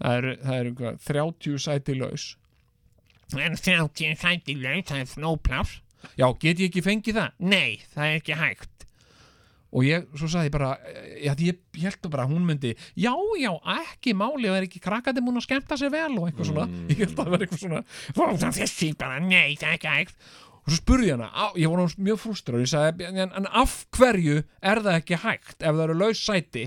Það eru, það eru hvað, 30 sæti laus. Það eru 30 sæti laus, það er nóg pláss. Já, get ég ekki fengið það? Nei, það er ekki hægt. Og ég, svo sagði ég bara, já, því ég, ég held bara að hún myndi, já, já, ekki máli, það er ekki krakkandi múin að skemmta sér vel og eitthvað svona, ég held að það var eitthvað svona, þá það þessi bara, nei, það er ekki hægt. Og svo spurði ég hana, á, ég var hann mjög frústrar, ég sagði, en, en af hverju er það ekki hægt ef það eru laus sæti?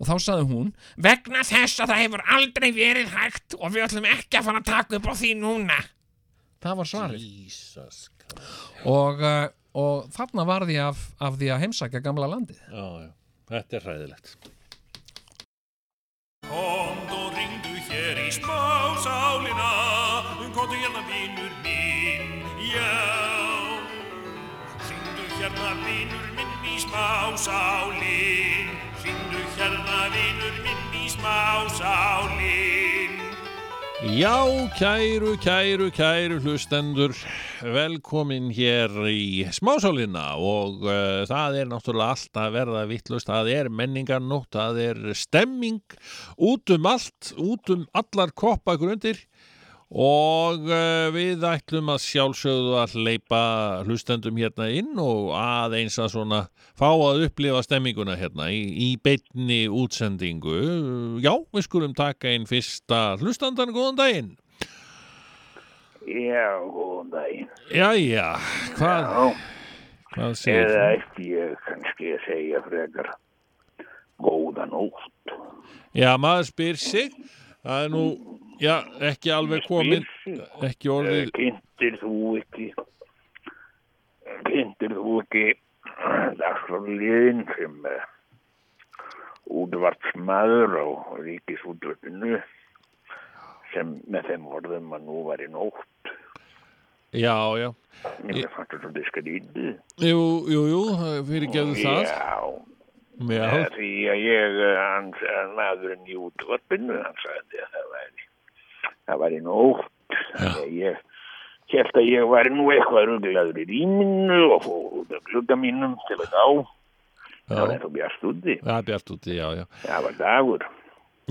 Og þá sagði hún, vegna þess að það hefur aldrei verið hægt og við ætlum ekki að fara að taka upp á því núna. Það var svarið Jesus og, uh, og þarna varði ég af, af því að heimsækja gamla landið já, já. Þetta er hræðilegt Komd og ringdu hér í spásálina Komdu hérna vinur minn, já Ringdu hérna vinur minn í spásálin Ringdu hérna vinur minn í spásálin Já, kæru, kæru, kæru hlustendur, velkomin hér í smásálina og uh, það er náttúrulega allt að verða vittlust, það er menningarnótt, það er stemming út um allt, út um allar koppagrundir og uh, við ætlum að sjálfsögðu að leipa hlustendum hérna inn og aðeins að svona fá að upplifa stemminguna hérna í, í beinni útsendingu. Já, við skulum taka inn fyrsta hlustandan, góðan daginn. Já, góðan daginn. Jæja, hvað, Já, hvað segir eða þú? ætti ég kannski að segja frekar góða nótt. Já, maður spyr sig, það er nú, já, ekki alveg komin, sig. ekki orðið, Eh, Kynntir þú ekki, kynntir þú ekki dagsfórliðin sem eh, útvarpsmaður á ríkisútvarpinu sem með þeim orðum að nú var í nótt. já, já, Mér fannst þetta svolítið skrítið. jú, jú, jú, fyrirgefðu það, Já, já, Því að ég, eh, hann, hann maðurinn í útvarpinu, hann sagði að það væri, það væri nótt. Þannig að Ég held að ég væri nú eitthvað ruglaður í rýminu og fór út af glugga mínum til að á. Það var já, eitthvað bjart úti, það er bjart úti, já, já. það var dagur.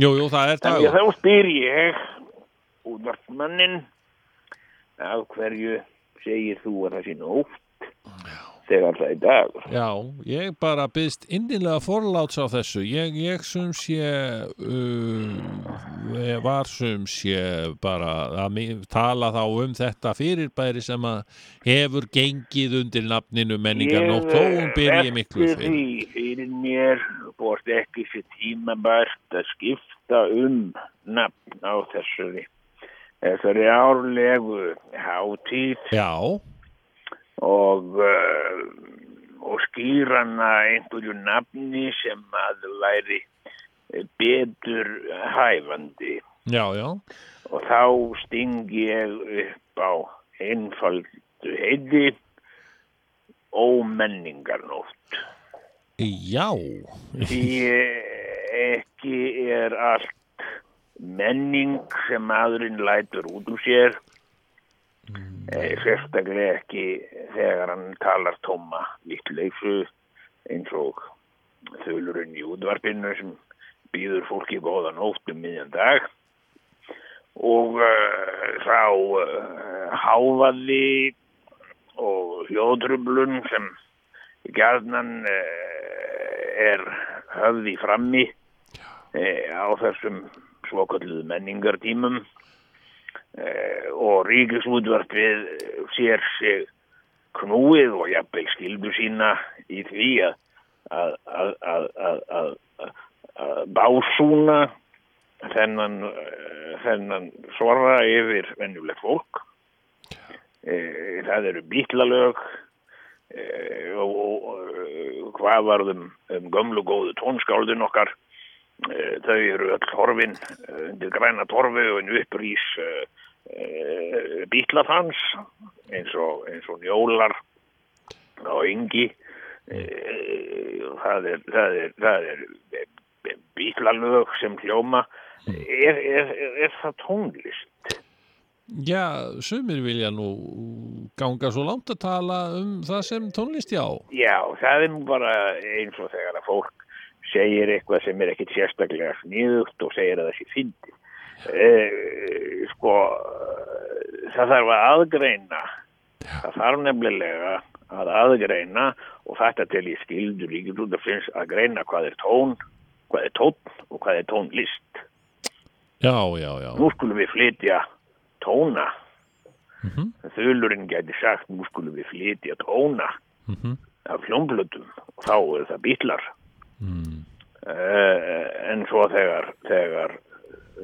Jú, jú, það er Þannig dagur. að þá spyr ég útvarpmannin af hverju segir þú að það sé nótt þegar það er dagur. Já, ég bara byggst innilega forláts á þessu. Ég, ég sum sé, uh, ég var sum sé bara að mi- tala þá um þetta fyrirbæri sem að hefur gengið undir nafninu menningarnótt þó hún byrji miklu fyrir. fyrir. Því fyrir mér bort ekki sér tímabært að skipta um nafn á þessari. Þessari árlegu hátíð Já, og, uh, og skýrana einhverju nafni sem að væri eh, betur hæfandi. já, já, Og þá sting ég upp á einfaldu heiti ómenningarnótt. já, Því eh, ekki er allt menning sem maðurinn lætur út úr sér eh, sérstaklega ekki þegar hann talar tóma vittleifu eins og þölurinn í útvarpinu sem býður fólki góða nótt um miðjan dag og uh, sá uh, hávaði og hljóðtrumlun sem gjarnan uh, er höfði frammi uh, á þessum svokölluðu menningartímum uh, og ríkisútvarpið sér sig knúið og jafnvel skildu sína í því að að, að, að, að, að, að básúna þennan, eh, þennan svara yfir venjulegt fólk. Eh, Það eru bítlalög, Eh, og, og, og hvað varðum um gömlu góðu tónskáldin okkar Eh, þau eru öll horfin eh, undir græna torfi og en upprís bítlafans eins og, eins og njólar á yngi Eh, og það er, það er, það er eh, bítlalög sem hljóma er, er, er, er það tónlist Já, sumir vilja nú ganga svo langt að tala um það sem tónlist já. Já, það er nú bara eins og þegar að fólk segir eitthvað sem er ekkit sérstaklega sniðugt og segir að það sé fyndi. E, sko, það þarf að aðgreina. Það þarf nefnilega að aðgreina og þetta til ég skildur líkið út af finnst að greina hvað er tón, hvað er tón og hvað er tónlist. Já, já, já. Nú skulum við flytja tóna. Þulurinn gæti sagt, nú skulum við flytja tóna af hljómblötum og þá eru það bílar. Mm. en svo þegar, þegar,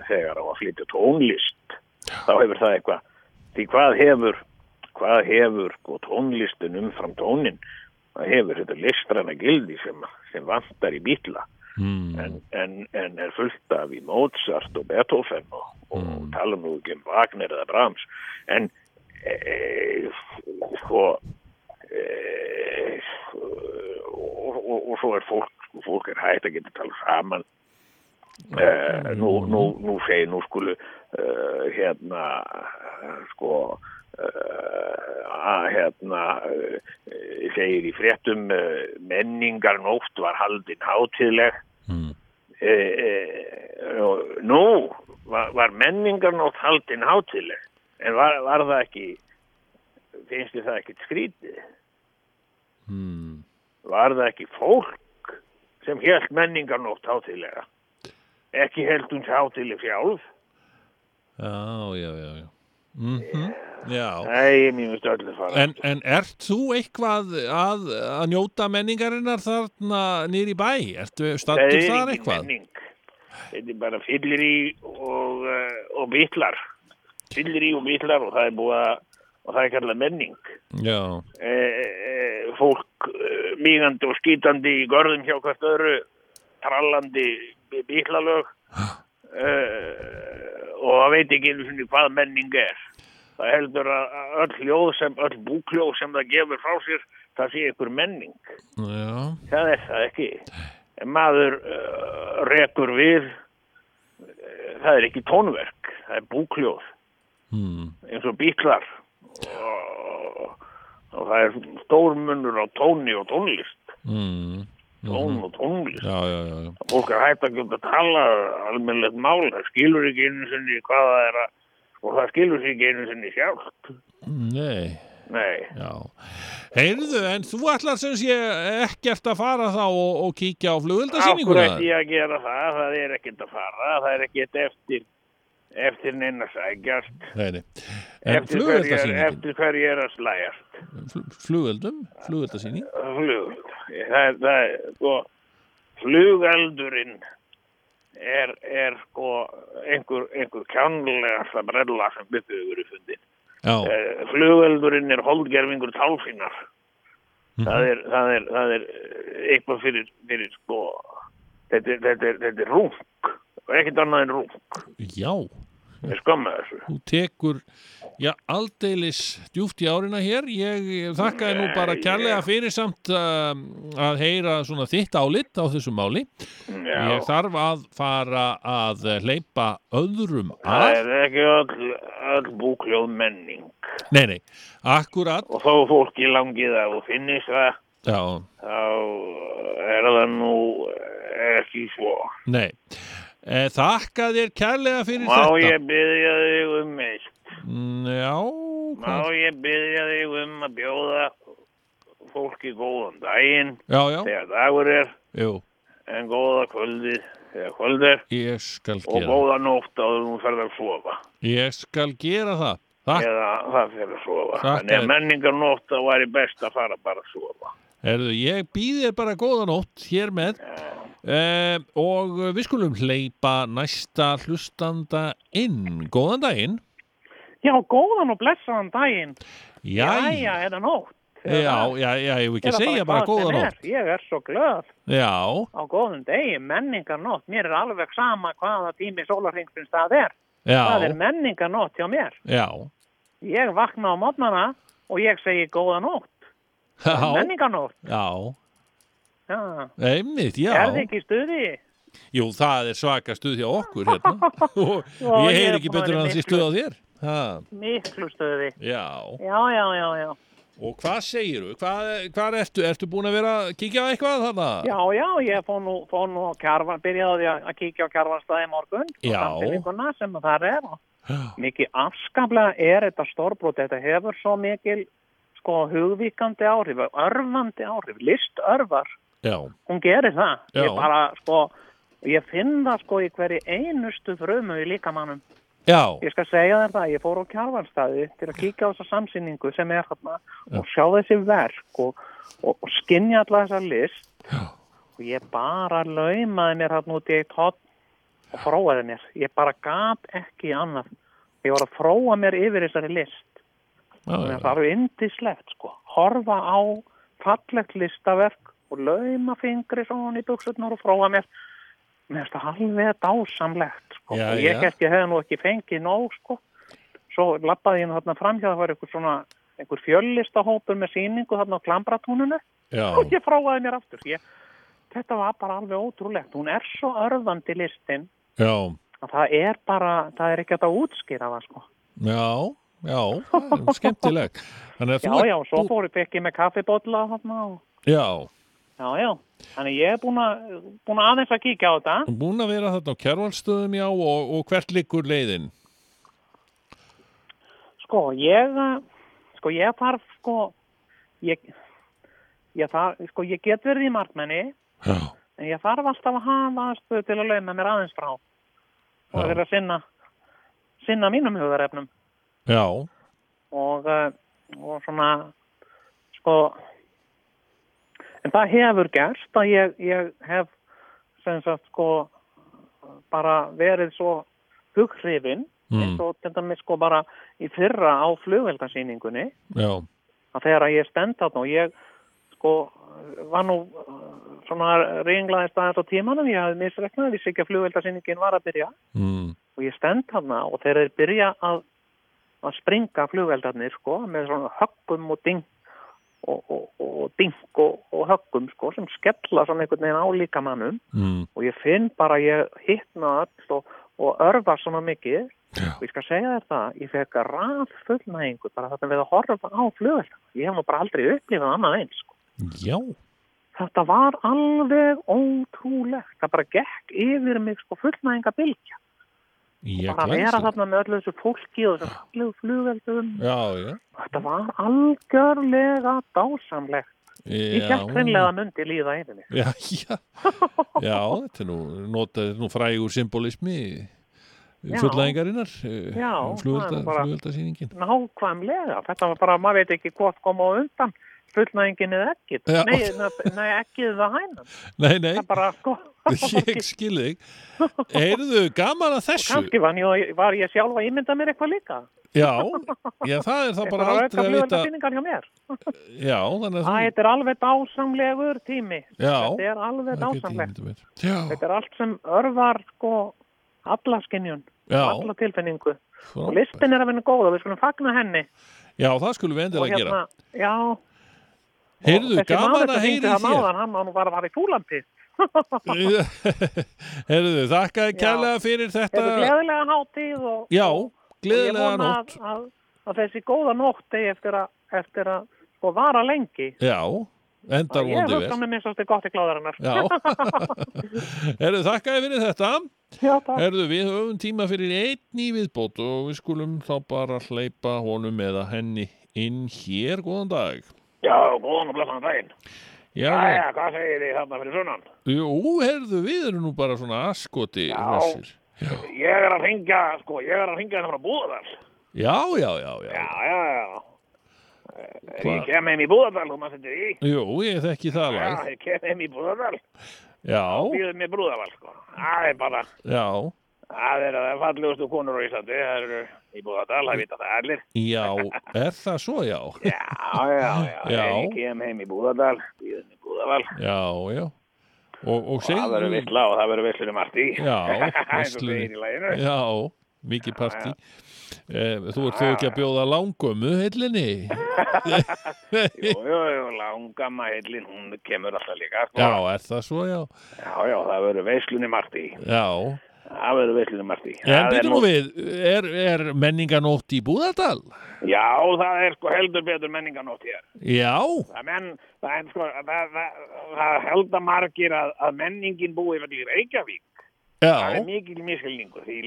þegar á að flytja tónlist, þá hefur það eitthvað. Því hvað hefur, hvað hefur sko, tónlistin umfram tónin? Það hefur þetta listrana gildi sem, sem vantar í bíla. Mm. En, en, en er fullt af í Mozart og Beethoven og, og tala nú ekki um Wagner eða Brahms en e, e, sko e, og, og, og svo er fólk fólk er hægt að geta tala saman e, nú, nú, nú segi nú skulu e, hérna sko e, að hérna e, segir í fréttum e, menningar nótt var haldin hátileg e, e, og nú var, var menningarnótt haldin hátileg en var, var það ekki finnst þið það ekki skrítið var það ekki fólk sem held menningarnótt hátilega ekki held hún hátileg sjálf Já, já, já, já. Mm Já. nei, mér finnst öllu fara En, en ert þú eitthvað að, að njóta menningarinnar þarna nýri bæ? Ertu það stattur er þar ekki eitthvað? menning þetta er bara fyllir í og, eh, og bitlar fyllir í og bitlar og það er búið að og það er kallað menning Já, e, e, fólk e, mígandi og skítandi í görðum hjá hvert öðru trallandi bí- bílalög e, og það veit ekki einu sinni hvað menning er það heldur að að öll ljóð sem öll búkljóð sem það gefur frá sér það sé ykkur menning já, það er það ekki en maður uh, rekur við uh, það er ekki tónverk það er búkljóð mm. eins og bíklar og, og það er stór munur á tóni og tónlist mm, tón og tónlist já, já, já, já. fólk er hægt að geta að tala almennilegt mál, það skilur ekki einu sinni hvað það er að og það skilur sig ekki einu sinni sjálft Nei, nei, já. Heyrðu, en þú ætlar sem sé ekkert að fara þá og, og kíkja á Akkur flugöldasýninguna? ætti ég að gera það, það er ekkert að fara, það er ekkert eftir, eftir neina sækjast, Nei, nei. En eftir hverju er, flugöldasýningin? eftir hverju er að slæjast. Flugöldum? Flugöldasýning? Flugöld, það, er- það er, sko, flugaldurinn er, er sko, einhver, einhver kjánlega brella sem byggur yfir í fundin. Já, Eh, flugöldurinn er holdgerfingur tálfinnar það, er, það, er, það er eh, eitthvað fyrir, fyrir sko þetta, er- þetta, er- þetta er rung og ekkert annað en rung já. ég skamma þessu Þú tekur, já, aldeilis djúft í árina hér. Ég þakkaði nú bara kærlega fyrir samt um, að heyra svona þitt álit á þessu máli. Já, Ég þarf að fara að hleypa öðrum það að. er ekki öll, öll búkljóð menning Nei, nei, akkurat. og þó fólki langið að og finnist það Já, þá er það nú ekki svo nei. E, þakka þér kærlega fyrir má þetta. ég byrja þig um eitt Mm, Já, má hvað? ég byrja þig um að bjóða fólki góðan daginn Já, já, þegar dagur er jú, en góða kvöldi þegar kvöld er ég skal og gera. góða nótt áður hún ferð að sofa Ég skal gera það. Takk, eða það fer að sofa Þakka en ef þér. menningar nótt þá væri best að fara bara að sofa erðu, ég býð þér bara góðanótt hér með e, og við skulum hleypa næsta hlustanda inn. Góðan daginn. Já, góðan og blessaðan daginn Jæja, eða nótt já, já, já, ég vil ekki segja bara góðanótt. Ég er svo glöð Já, á góðum degi, menningar nótt mér er alveg sama hvaða tími sólarhengsins það er, já, menningar nótt hjá mér já. ég vakna á mótnana og ég segi góða nótt, Já, menningar nótt já, Já, einmitt, já. er þið ekki í stuði? Jú, það er svaka stuð hjá okkur hérna og Já, ég ég heyr er ekki búin að betur en að vera það sé miklu- stuð á þér Ha, miklu stöði. já. Já, já, já, já. Og hvað segiru? Hvað, hvað ertu? Ertu búin að vera að kíkja á eitthvað þarna? Já, já, ég fór nú, fór nú á kjarvan, byrjaði að að kíkja á kjarvanstæði morgun Já. og samfélinguna sem að það er og mikið afskaplega er þetta stórbrot, þetta hefur svo mikil sko hugvíkandi áhrif, örfandi áhrif, list örfar, Já. hún gerir það. Já. Ég bara sko, ég finn það sko í hverju einustu frumu í líkamannum. Já. Ég skal segja þér það, ég fór á kjarvanstæði til að kíkja á þessa samsýningu sem er þarna og sjá þessi verk og, og, og skinja alla þessa list og ég bara laumaði mér þarna út í eitt hot og fróaði mér. Ég bara gat ekki annað. Ég var að fróa mér yfir þessari list. Já, já. Þannig að Það eru indislegt sko. Horfa á fallegt listaverk og lauma fingri svona í buksutnar og fróa mér. Mér finnst það alveg dásamlegt sko. Já, Og ég já. held ég hefði nú ekki fengið nóg sko. Svo lappaði ég nú þarna framhjá það var einhver svona einhver fjöllistahópur með síningu þarna á klambratúnunu og Já. ég fráaði mér aftur ég, þetta var bara alveg ótrúlegt hún er svo örðandi listin Já. að það er bara, það er ekki hægt að útskýra það sko. Já. Já. Það er skemmtileg. Þannig að já þú ert já, svo bú- fóru pekki með kaffibotla þarna og, Já. já já, þannig ég er búin að búin að aðeins að kíkja á þetta Búin að vera þarna á kjærvalstöðum, já, og, og hvert liggur leiðin? sko ég eh, sko ég þarf sko ég, ég þarf, sko ég get verið í markmenni Já. en ég þarf alltaf að hafa aðstöðu til að lauma mér aðeins frá og Já. verið að sinna sinna mínum hugarefnum Já. og, eh, og svona sko en það hefur gerst að ég, ég hef sem sagt sko bara verið svo hughrifin Mm. eins og til dæmis sko bara í fyrra á flugveldasýningunni Já. að þegar ég stend þarna og ég sko var nú uh, svona ringlaðist aðeins á tímanum ég hafði misreknað, vissi ekki að flugveldasýningin var að byrja Mm. og ég stend hana og þeir eru byrja að, að springa flugveldarnir sko með svona höggum og ding og, og, og ding og, og höggum sko sem skella svona einhvern veginn á líkamannum Mm. og ég finn bara ég hittna öll og, og örfa svona mikið Já. og ég skal segja þér það, ég fekk raf fullnægingu bara þetta við að horfa á flugveldar ég hef nú bara aldrei upplifað annað eins sko Já. Þetta var alveg ótrúlegt, það bara gekk yfir mig sko fullnægingabilgja. Ég bara að vera þarna með öllu þessu fólki og þessu fallegu flugveldum Já, já. þetta var algjörlega dásamlegt ég Já. held hreinlega að myndi líða einu mig Já, já, já, þetta er nú, nota, þetta er nú frægur symbolismi eh, Já. fullnæðingarinnar, Já, það flugvelda, er bara- flugveldasýningin. nákvæmlega, þetta var bara, maður veit ekki hvort kom á undan fullnæðingin eða ekkit Já. nei, na- nei, ekkið eða hænan Nei, nei, það bara sko ég skil þig. Heyrðu, gaman að þessu. kannski var, ég- var ég sjálf að ímynda mér eitthvað líka Já, já, það er það þetta bara var aldrei auka að vita. flugveldasýningar hjá mér Já, þannig Æ, að þú, þetta er alveg dásamlegur tími já, þetta er alveg það get ég dásamlegt myndið mér. Já, þetta er allt sem örvar sko alla skinjun, Já. alla tilfinningu og frábært. listin er að vinna góð og við skulum fagna henni já, það skulum við og hérna, endilega gera. já, Heyrðu, þessi maður gaman sem að hringdi heyri þarna þér. áðan, hann má nú bara að fara í fúlandi Heyrðu, þakkaði Já. kærlega fyrir þetta er þetta. gleðilega hátíð og, Já, og ég gleðilega vona nótt. að, að, að þessi góða nótt eigi eftir að, eftir að sko vara lengi Já, endar ég vondi vel. hugsa hann með svolítið gott í gláðarinnar Já, herðu þakkaði fyrir þetta já, takk. Herðu við höfum tíma fyrir einn í viðbót og við skulum þá bara hleypa honum eða henni inn hér, góðan dag Já, góðan og blessaðan daginn. Já, Æja, hvað segir þið þarna fyrir sunnan? jú, herðu við erum nú bara svona askoti Já, Ég er að hringja, sko, ég er að hringja hérna frá Búðardal. já, já, já, já. Já, já, já. Hva? Hva- Ég kem heim í Búðardal og maður setur í. Jú, ég þekki það Já, lag ég kem heim í Búðardal. Já, Býðum mér brúðaval, sko. Það er bara, já, það er að það fallegustu konur á Íslandi. Það eru í Búðardal, það vita það allir. já, er það svo, já Já, já, já. Já. Ég kem heim í Búðardal, býðum mér brúðaval. Já, já Og, og Það verður segðu vissla og það verður visslur um allt í. Já, Eins og veislu. segir í laginu. Já, mikið partí Eh, Þú ert þau ekki að bjóða langömmu heillinni Jú, jú, jú, langa maðurlinn, hún kemur alltaf líka, sko. Já, er það svo, já Já, já, það verður veislunni margt í. Já, um það verður veitlega margt í En Það er byrjum nú við, er, er menninganótt í Búðardal? Já, það er sko heldur betur menninganótt hér Já, það menn, það er sko það, það, það held að margir að, að menningin búi yfir í Reykjavík það já, er mikil miskilningu því,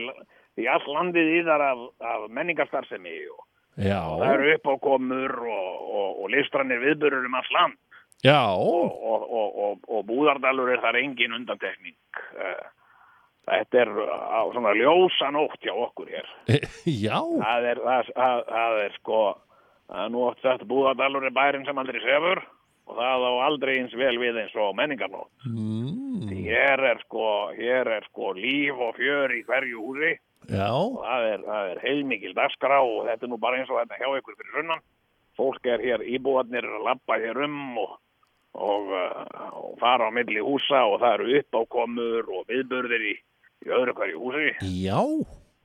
því all landið yðar af, af menningarstarfsemi og það já, eru uppákomur og, og, og listranir viðbörur um all land já, og, og, og, og Búðardalur er þar engin undantekning Eh, þetta er eh, á svona ljósanótt hjá okkur hér já, það er, það, það, það er sko það er nú oft sagt Búðardalur er bærin sem aldrei sefur og það á aldrei eins vel við eins og menningarnótt mm, hér er sko hér er sko líf og fjör í hverju húsi já, og það er, það er heilmikil dagskrá og þetta er nú bara eins og þetta hjá ykkur fyrir sunnan fólk er hér, íbúarnir er að labba hér um og, og, uh, og fara á milli húsa og það eru uppákomur og viðburðir í, í öðru hverju húsi já,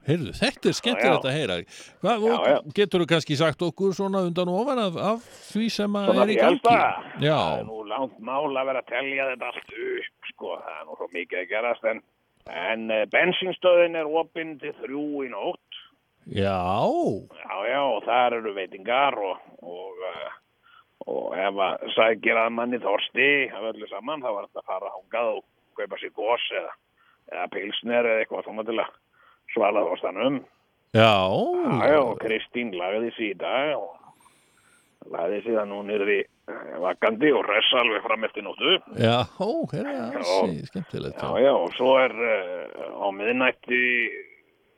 heyrðu, þetta er skemmtilegt Já, já. að heyra. Hvað, Já, já. og getur þú kannski sagt okkur svona undan og ofan af, af því sem að Svona er í því gangi? helsta. það Já, er nú langt mál að vera að telja þetta allt upp sko, það er nú svo mikið að gerast en, en eh, bensínstöðin er opinn til þrjú í nótt já, já já og þar eru veitingar og, og, eh, og ef að sækir að manni þorsti af öllu saman þá var þetta að fara hangað og kaupa sér gos eða, eða pilsner eða eitthvað svona til að svala þorstanum já, Já, já, og Kristín lagði sig í dag og lagði síðan hún nýrði eh, vakandi og ressa alveg fram eftir nóttu. já, heyrðu, ansi, skemmtilegt. Já, já, og svo er uh, á miðnætti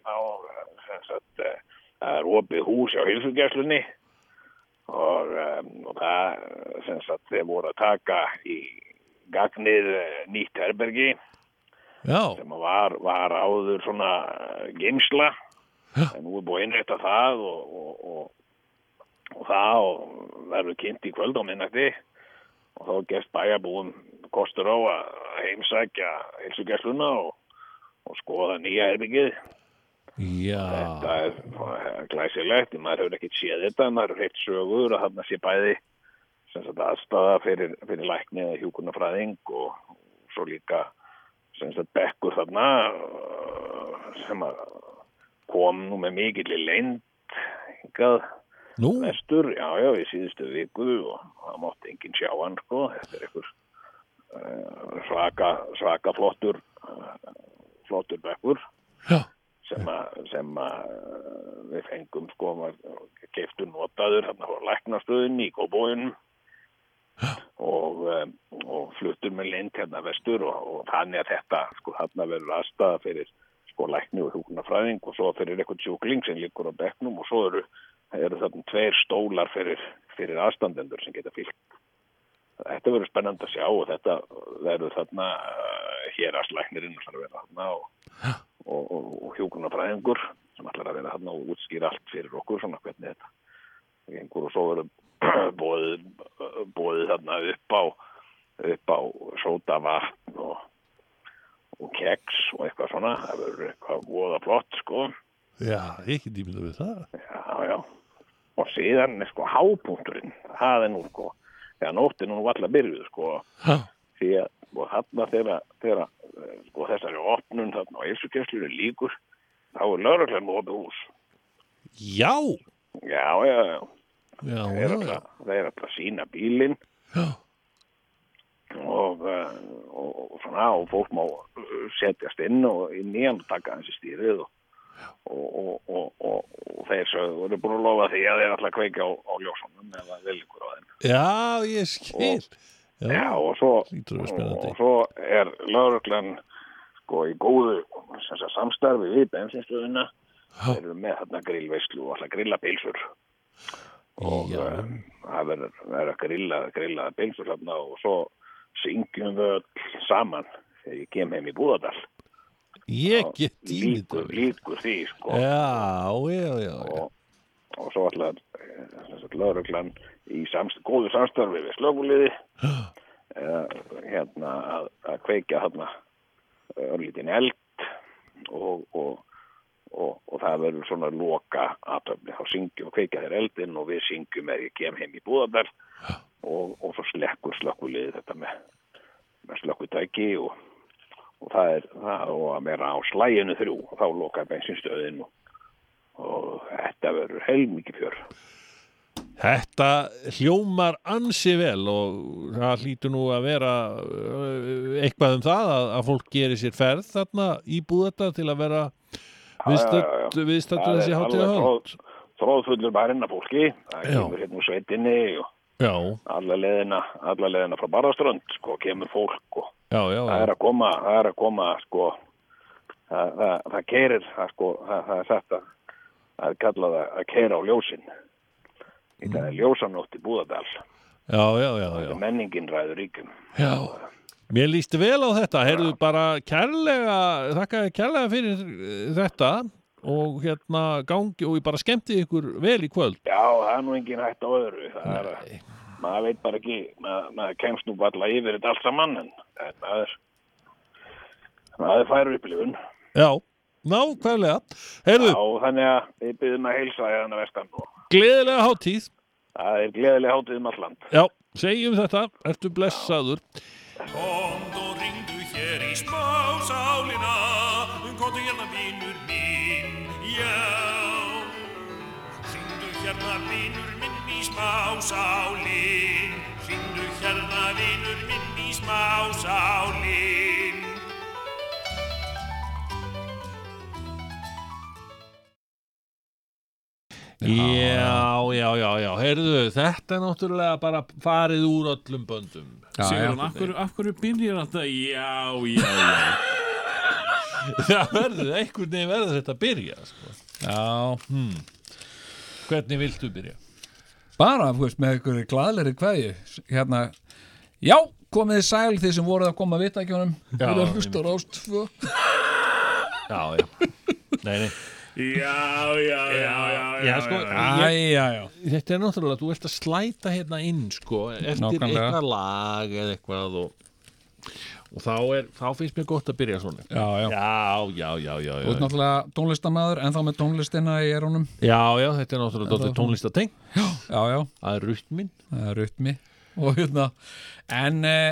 á, eh, sem sagt, eh, það er opið hús á hilsugjæslunni og, um, og það, eh, sem sagt, þeir voru að taka í gagnið uh, nýtt herbergi já, sem var, var áður svona geimsla en nú er búið að innrætta það og, og, og, og það og verður kynnt í kvöld á minnætti og þá gest bæjarbúum kostur á að heimsækja heilsugjæsluna og, og skoða nýja herbyggið já, þetta er eh, glæsilegt maður hefur ekkert séð þetta, maður hefur heitt sögur að þarna sé bæði sem sagt, aðstaða fyrir, fyrir lækni eða hjúkunarfræðing og svo líka sem sagt, bekkur þarna eh, sem að kom nú með mikilli leynd hingað nú, vestur, já, já, í síðustu viku og það mátti enginn sjá hann, sko, þetta er einhver eh, svaka, svaka flottur, eh, flottur bekkur já, sem að, sem að eh, við fengum sko keftur notaður hann á læknastöðinni í Kóbóinum og, eh, og fluttur með lind hérna vestur og, og þannig að þetta sko þarna verður aðstaða fyrir sko lækni og hjúknafræðing og svo fyrir eitthvað sjúkling sem liggur á bekknum og svo eru, eru þarna tveir stólar fyrir, fyrir aðstandendur sem geta fyllt. Þetta verður spennandi að sjá og þetta verður þarna uh, hér aðslæknirinn og verða þarna og og, og, og hjúkunarfræðingur sem ætlar að vera hann og útskýra allt fyrir okkur svona hvernig þetta gengur og svo verður bóðið bóðið þarna upp á upp á sóta vatn og, og keks og eitthvað svona, það verður eitthvað voða flott sko, já, ekki dýmynda við það. já já og síðan er sko hápunkturinn það er nú sko, þegar nóttin er nú allar byrjuð sko, Já, því að og þarna þegar, þegar eh, sko, þessari opnun þarna á eilsugjöfslunni líkur þá er lauruglan með opið hús já, já, já, já, já, þeir já, eru já. alltaf, þeir eru alltaf sína bílinn já. og, eh, og, og svona og fólk má eh, setjast inn og inn í hann og taka hans í stýrið og, og, og, og, og, og þeir sögðu voru búin að lofa því að þeir alltaf kveikja á, á ljósunum eða viljugur á þeim Já, ég skil Já, Já, og svo, hlýtur að vera og, spennandi. og svo er lauruglan sko í góðu sem sagt, samstarfi við bensinstöðuna þeir eru með þarna grillveislu og alltaf grilla pilsur og Já. eh, það verður verður að grilla, grilla pilsur þarna og svo syngjum við öll saman þegar ég kem heim í Búðardal ég get líkur, ímyndað við líkur því sko Já, já, já, já. og, og svo eh, allar lauruglan í samst, góðu samstarfi við slöguliði hérna að, að kveikja hérna örlítinn eld og, og, og, og það verður svona loka aðtöfni, þá syngjum og kveikja þér eldinn og við syngjum er ég kem heim í Búðardal og, og svo slekkur slökuliði þetta með, með slökkutæki og, og og það er það og að vera á slæginu þrjú og þá lokaði bensinstöðin og, og þetta verður heilmikið fjör Þetta hljómar ansi vel og það hlýtur nú að vera uh, eitthvað um það að, að fólk gerir sér ferð þarna í búðata til að vera já, viðstödd- viðstaddur þessi hátíða höll. tróð, tróðfullur bærinn af fólki það Já. kemur hérna úr sveitinni og Já, alla leðina, alla leðina frá Barðaströnd sko, kemur fólk og já, já. það er að koma, það er að koma sko, það, það, það keirir það, sko, það, það er þetta það er kallað að að keira á ljósin í það er ljósanótt í Búðardal Já, já, Mm. já, já. menningin ræður ríkum Já, mér líst vel á þetta, heyrðu bara kærlega, þakka þér kærlega fyrir eh, þetta og hérna gangi og ég bara skemmti ykkur vel í kvöld. já, það er nú engin hægt á öðru það er að maður veit bara ekki, maður, maður kemst nú bara yfir þetta allt saman en, en maður maður færir upplifun Já, nákvæmlega. Heyrðu, já, þannig að við byrjum að heilsa hérna vestan og gleðilega hátíð. það er gleðileg hátíð um alland Já, segjum þetta, ertu blessaður. Komd og ringdu hér í spásálina Komdu hérna vinur minn, já Ringdu hérna vinur minn í spásálin Ringdu hérna vinur minn í spásálin Já, já, já, já, heyrðu, þetta er náttúrulega bara farið úr öllum böndum. Sigurðan, af hverju, af hverju byrjar alltaf já, já, já Það verður, einhvern veginn verður þetta að byrja, sko. Já, hmm. Hvernig viltu byrja? bara, þú veist, með einhverju glæðleri kveðju hérna, já, komið þið sæl þið sem voruð að koma að vita ekki honum Já, við erum hlustar ástfö Já, já. Nei, nei. Já, já, já, já, Já, sko, Æ, já, já, þetta er náttúrulega, þú ert að slæta hérna inn sko, eftir Nákvæmlega. eitthvað lag eða eitthvað og, og þá, er, þá finnst mér gott að byrja svona já, já. Já, já, já, já, Þú já, ert náttúrulega tónlistamæður en þá með tónlistina í erónum já, já þetta er náttúrulega dóttir tónlistateng, Já, já, það er rutmin það er rytmi og hérna en eh,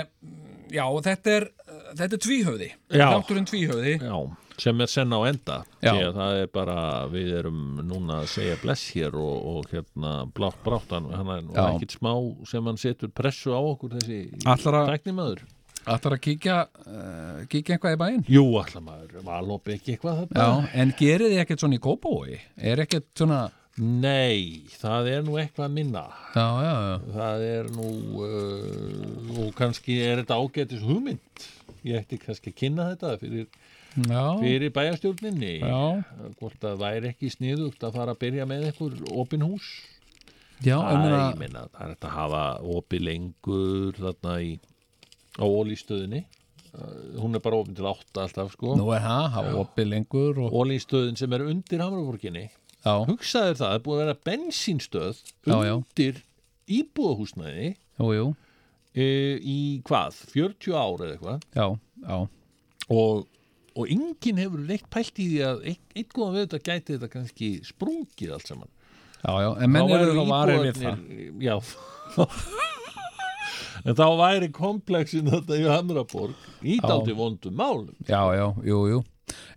já, þetta er þetta er tvíhöfði, Já. þátturinn tvíhöfði já, sem er senn á enda Já. því að það er bara, við erum núna að segja bless hér og, og hérna blátt bráttan, hann er nú Já. ekkit smá sem hann setur pressu á okkur þessi Ætlar að- tæknimaður ætlar að kíkja uh, kíkja eitthvað í bæinn Jú, allar maður, valop ekki eitthvað það bara Já, en gerið þið ekkert svona í kópói er ekkert svona Nei, það er nú eitthvað minna já, já, já, Það er nú uh, og kannski er þetta ágætis hugmynd Ég ætti kannski að kynna þetta fyrir, já, fyrir bæjarstjórninni já. Hvort að væri ekki sniðugt að fara að byrja með einhver opin hús Já, Það um ég er, meina, ég meina, það er þetta að hafa opið lengur þarna í á ólístöðinni Uh, Hún er bara opin til átta alltaf sko nú er það, hafa opið lengur og, Ólístöðin sem er undir Hamraborginni já, hugsaður það, það er búið að vera bensínstöð Já, já. undir íbúðahúsnæði jú, jú, e, í hvað, 40 ár eða eitthvað já, já, og, og enginn hefur leitt pælt í því að ein- einn góðan við þetta gæti þetta kannski sprungið allt saman já, já, en menn Þá eru væru þá varir við það. íbúarnir- já en þá væri kompleksin þetta í Hamraborg ítaldi vondum málum Já, já, jú, jú,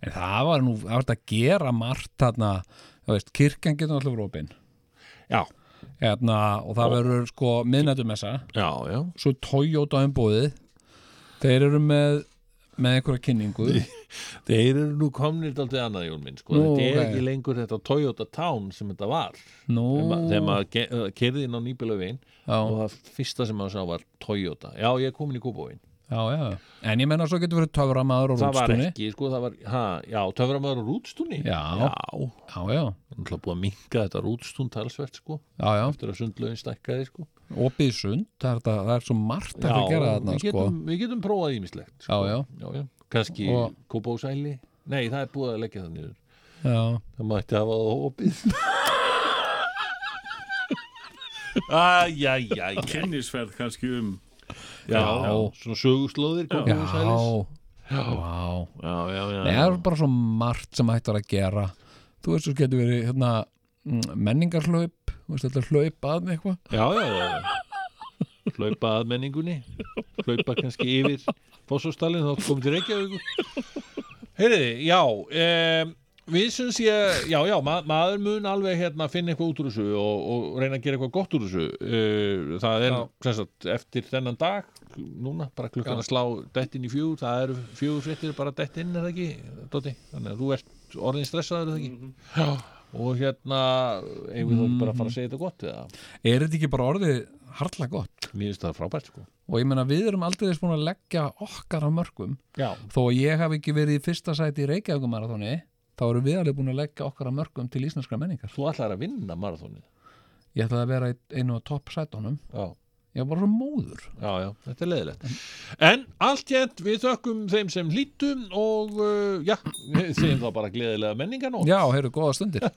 en það var nú, það var þetta að gera margt þarna, þú veist, kirkjan getur alltaf opin, já, hérna, og það verður sko miðnættumessa, já, já svo Toyota umbúðið, þeir eru með, með einhverja kynningu, Þeir eru nú komnir daldið annað Jón minn sko. Nú, Þetta er ok. ekki lengur þetta Toyota Town sem þetta var nú, þegar ma- þegar maður kerði inn á nýbjölaugin já, og það fyrsta sem maður sá var Toyota, já ég er komin í Kópavóin já, já, en ég menna svo getur verið töframaður og það var rústunni, ekki, sko, það var ha, já, töframöður og rútstúni Já. já, já, já, náttúrulega búið að minka þetta rútstún talsvert, sko, já, já, eftir að sundlaugin stækkaði, sko opið í sund, það er, þetta- það er svo margt að já, gera þarna, við, sko. getum, við getum prófað ímislegt sko. Já, já. já, já, kannski Og- Kópavósæli nei, það er búið að leggja það niður Já, Það mætti hafa það opið Æjæjæjæ Kennisferð kannski um Já, já, svona söguslóðir já, komu úr já, sælis. vá. já, já, já, Nei, já. það er bara svo margt sem hægt er að gera Þú veist, þú getur verið hérna, mm, menningarhlaup Þú veist, þetta er hlaup að með eitthvað já, já, já. Hlaupa að menningunni Hlaupa kannski yfir Fossóstalinn, þá komum til Reykjavík Heyriði, já um, Við syns ég, já, já, ma maður mun alveg hérna finna eitthvað út úr þessu og, og reyna að gera eitthvað gott úr þessu uh, Það er, Já. sem sagt, eftir þennan dag, núna, bara klukkan Já. að slá dett inn í fjúr, það eru fjögur fréttir bara dett inn, er það ekki, Dóti? Þannig að þú ert orðin stressaður, er það ekki? Mhm. Já Og hérna, eigum við þá ekki bara að fara að segja þetta gott eða? Er þetta ekki bara orðið harla gott? Mér finnst það frábært, sko Og ég meina við erum aldrei þess búin að leggja okkar á mörgum Já, Þó að ég hafi ekki verið í fyrsta sæti í Reykjavíkumarathoni þá erum við alveg búin að leggja okkar á mörgum til íslenskra menningar þú ætlar að vinna marathónið Ég ætlaði að vera í einu á topp sætunum Já, Ég var bara svo móður já, já, þetta er leiðilegt En allt jænt, við þökkum þeim sem hlýtum og uh, já, við segjum þá bara gleðilega menningan og Já, heyrðu, góða stundir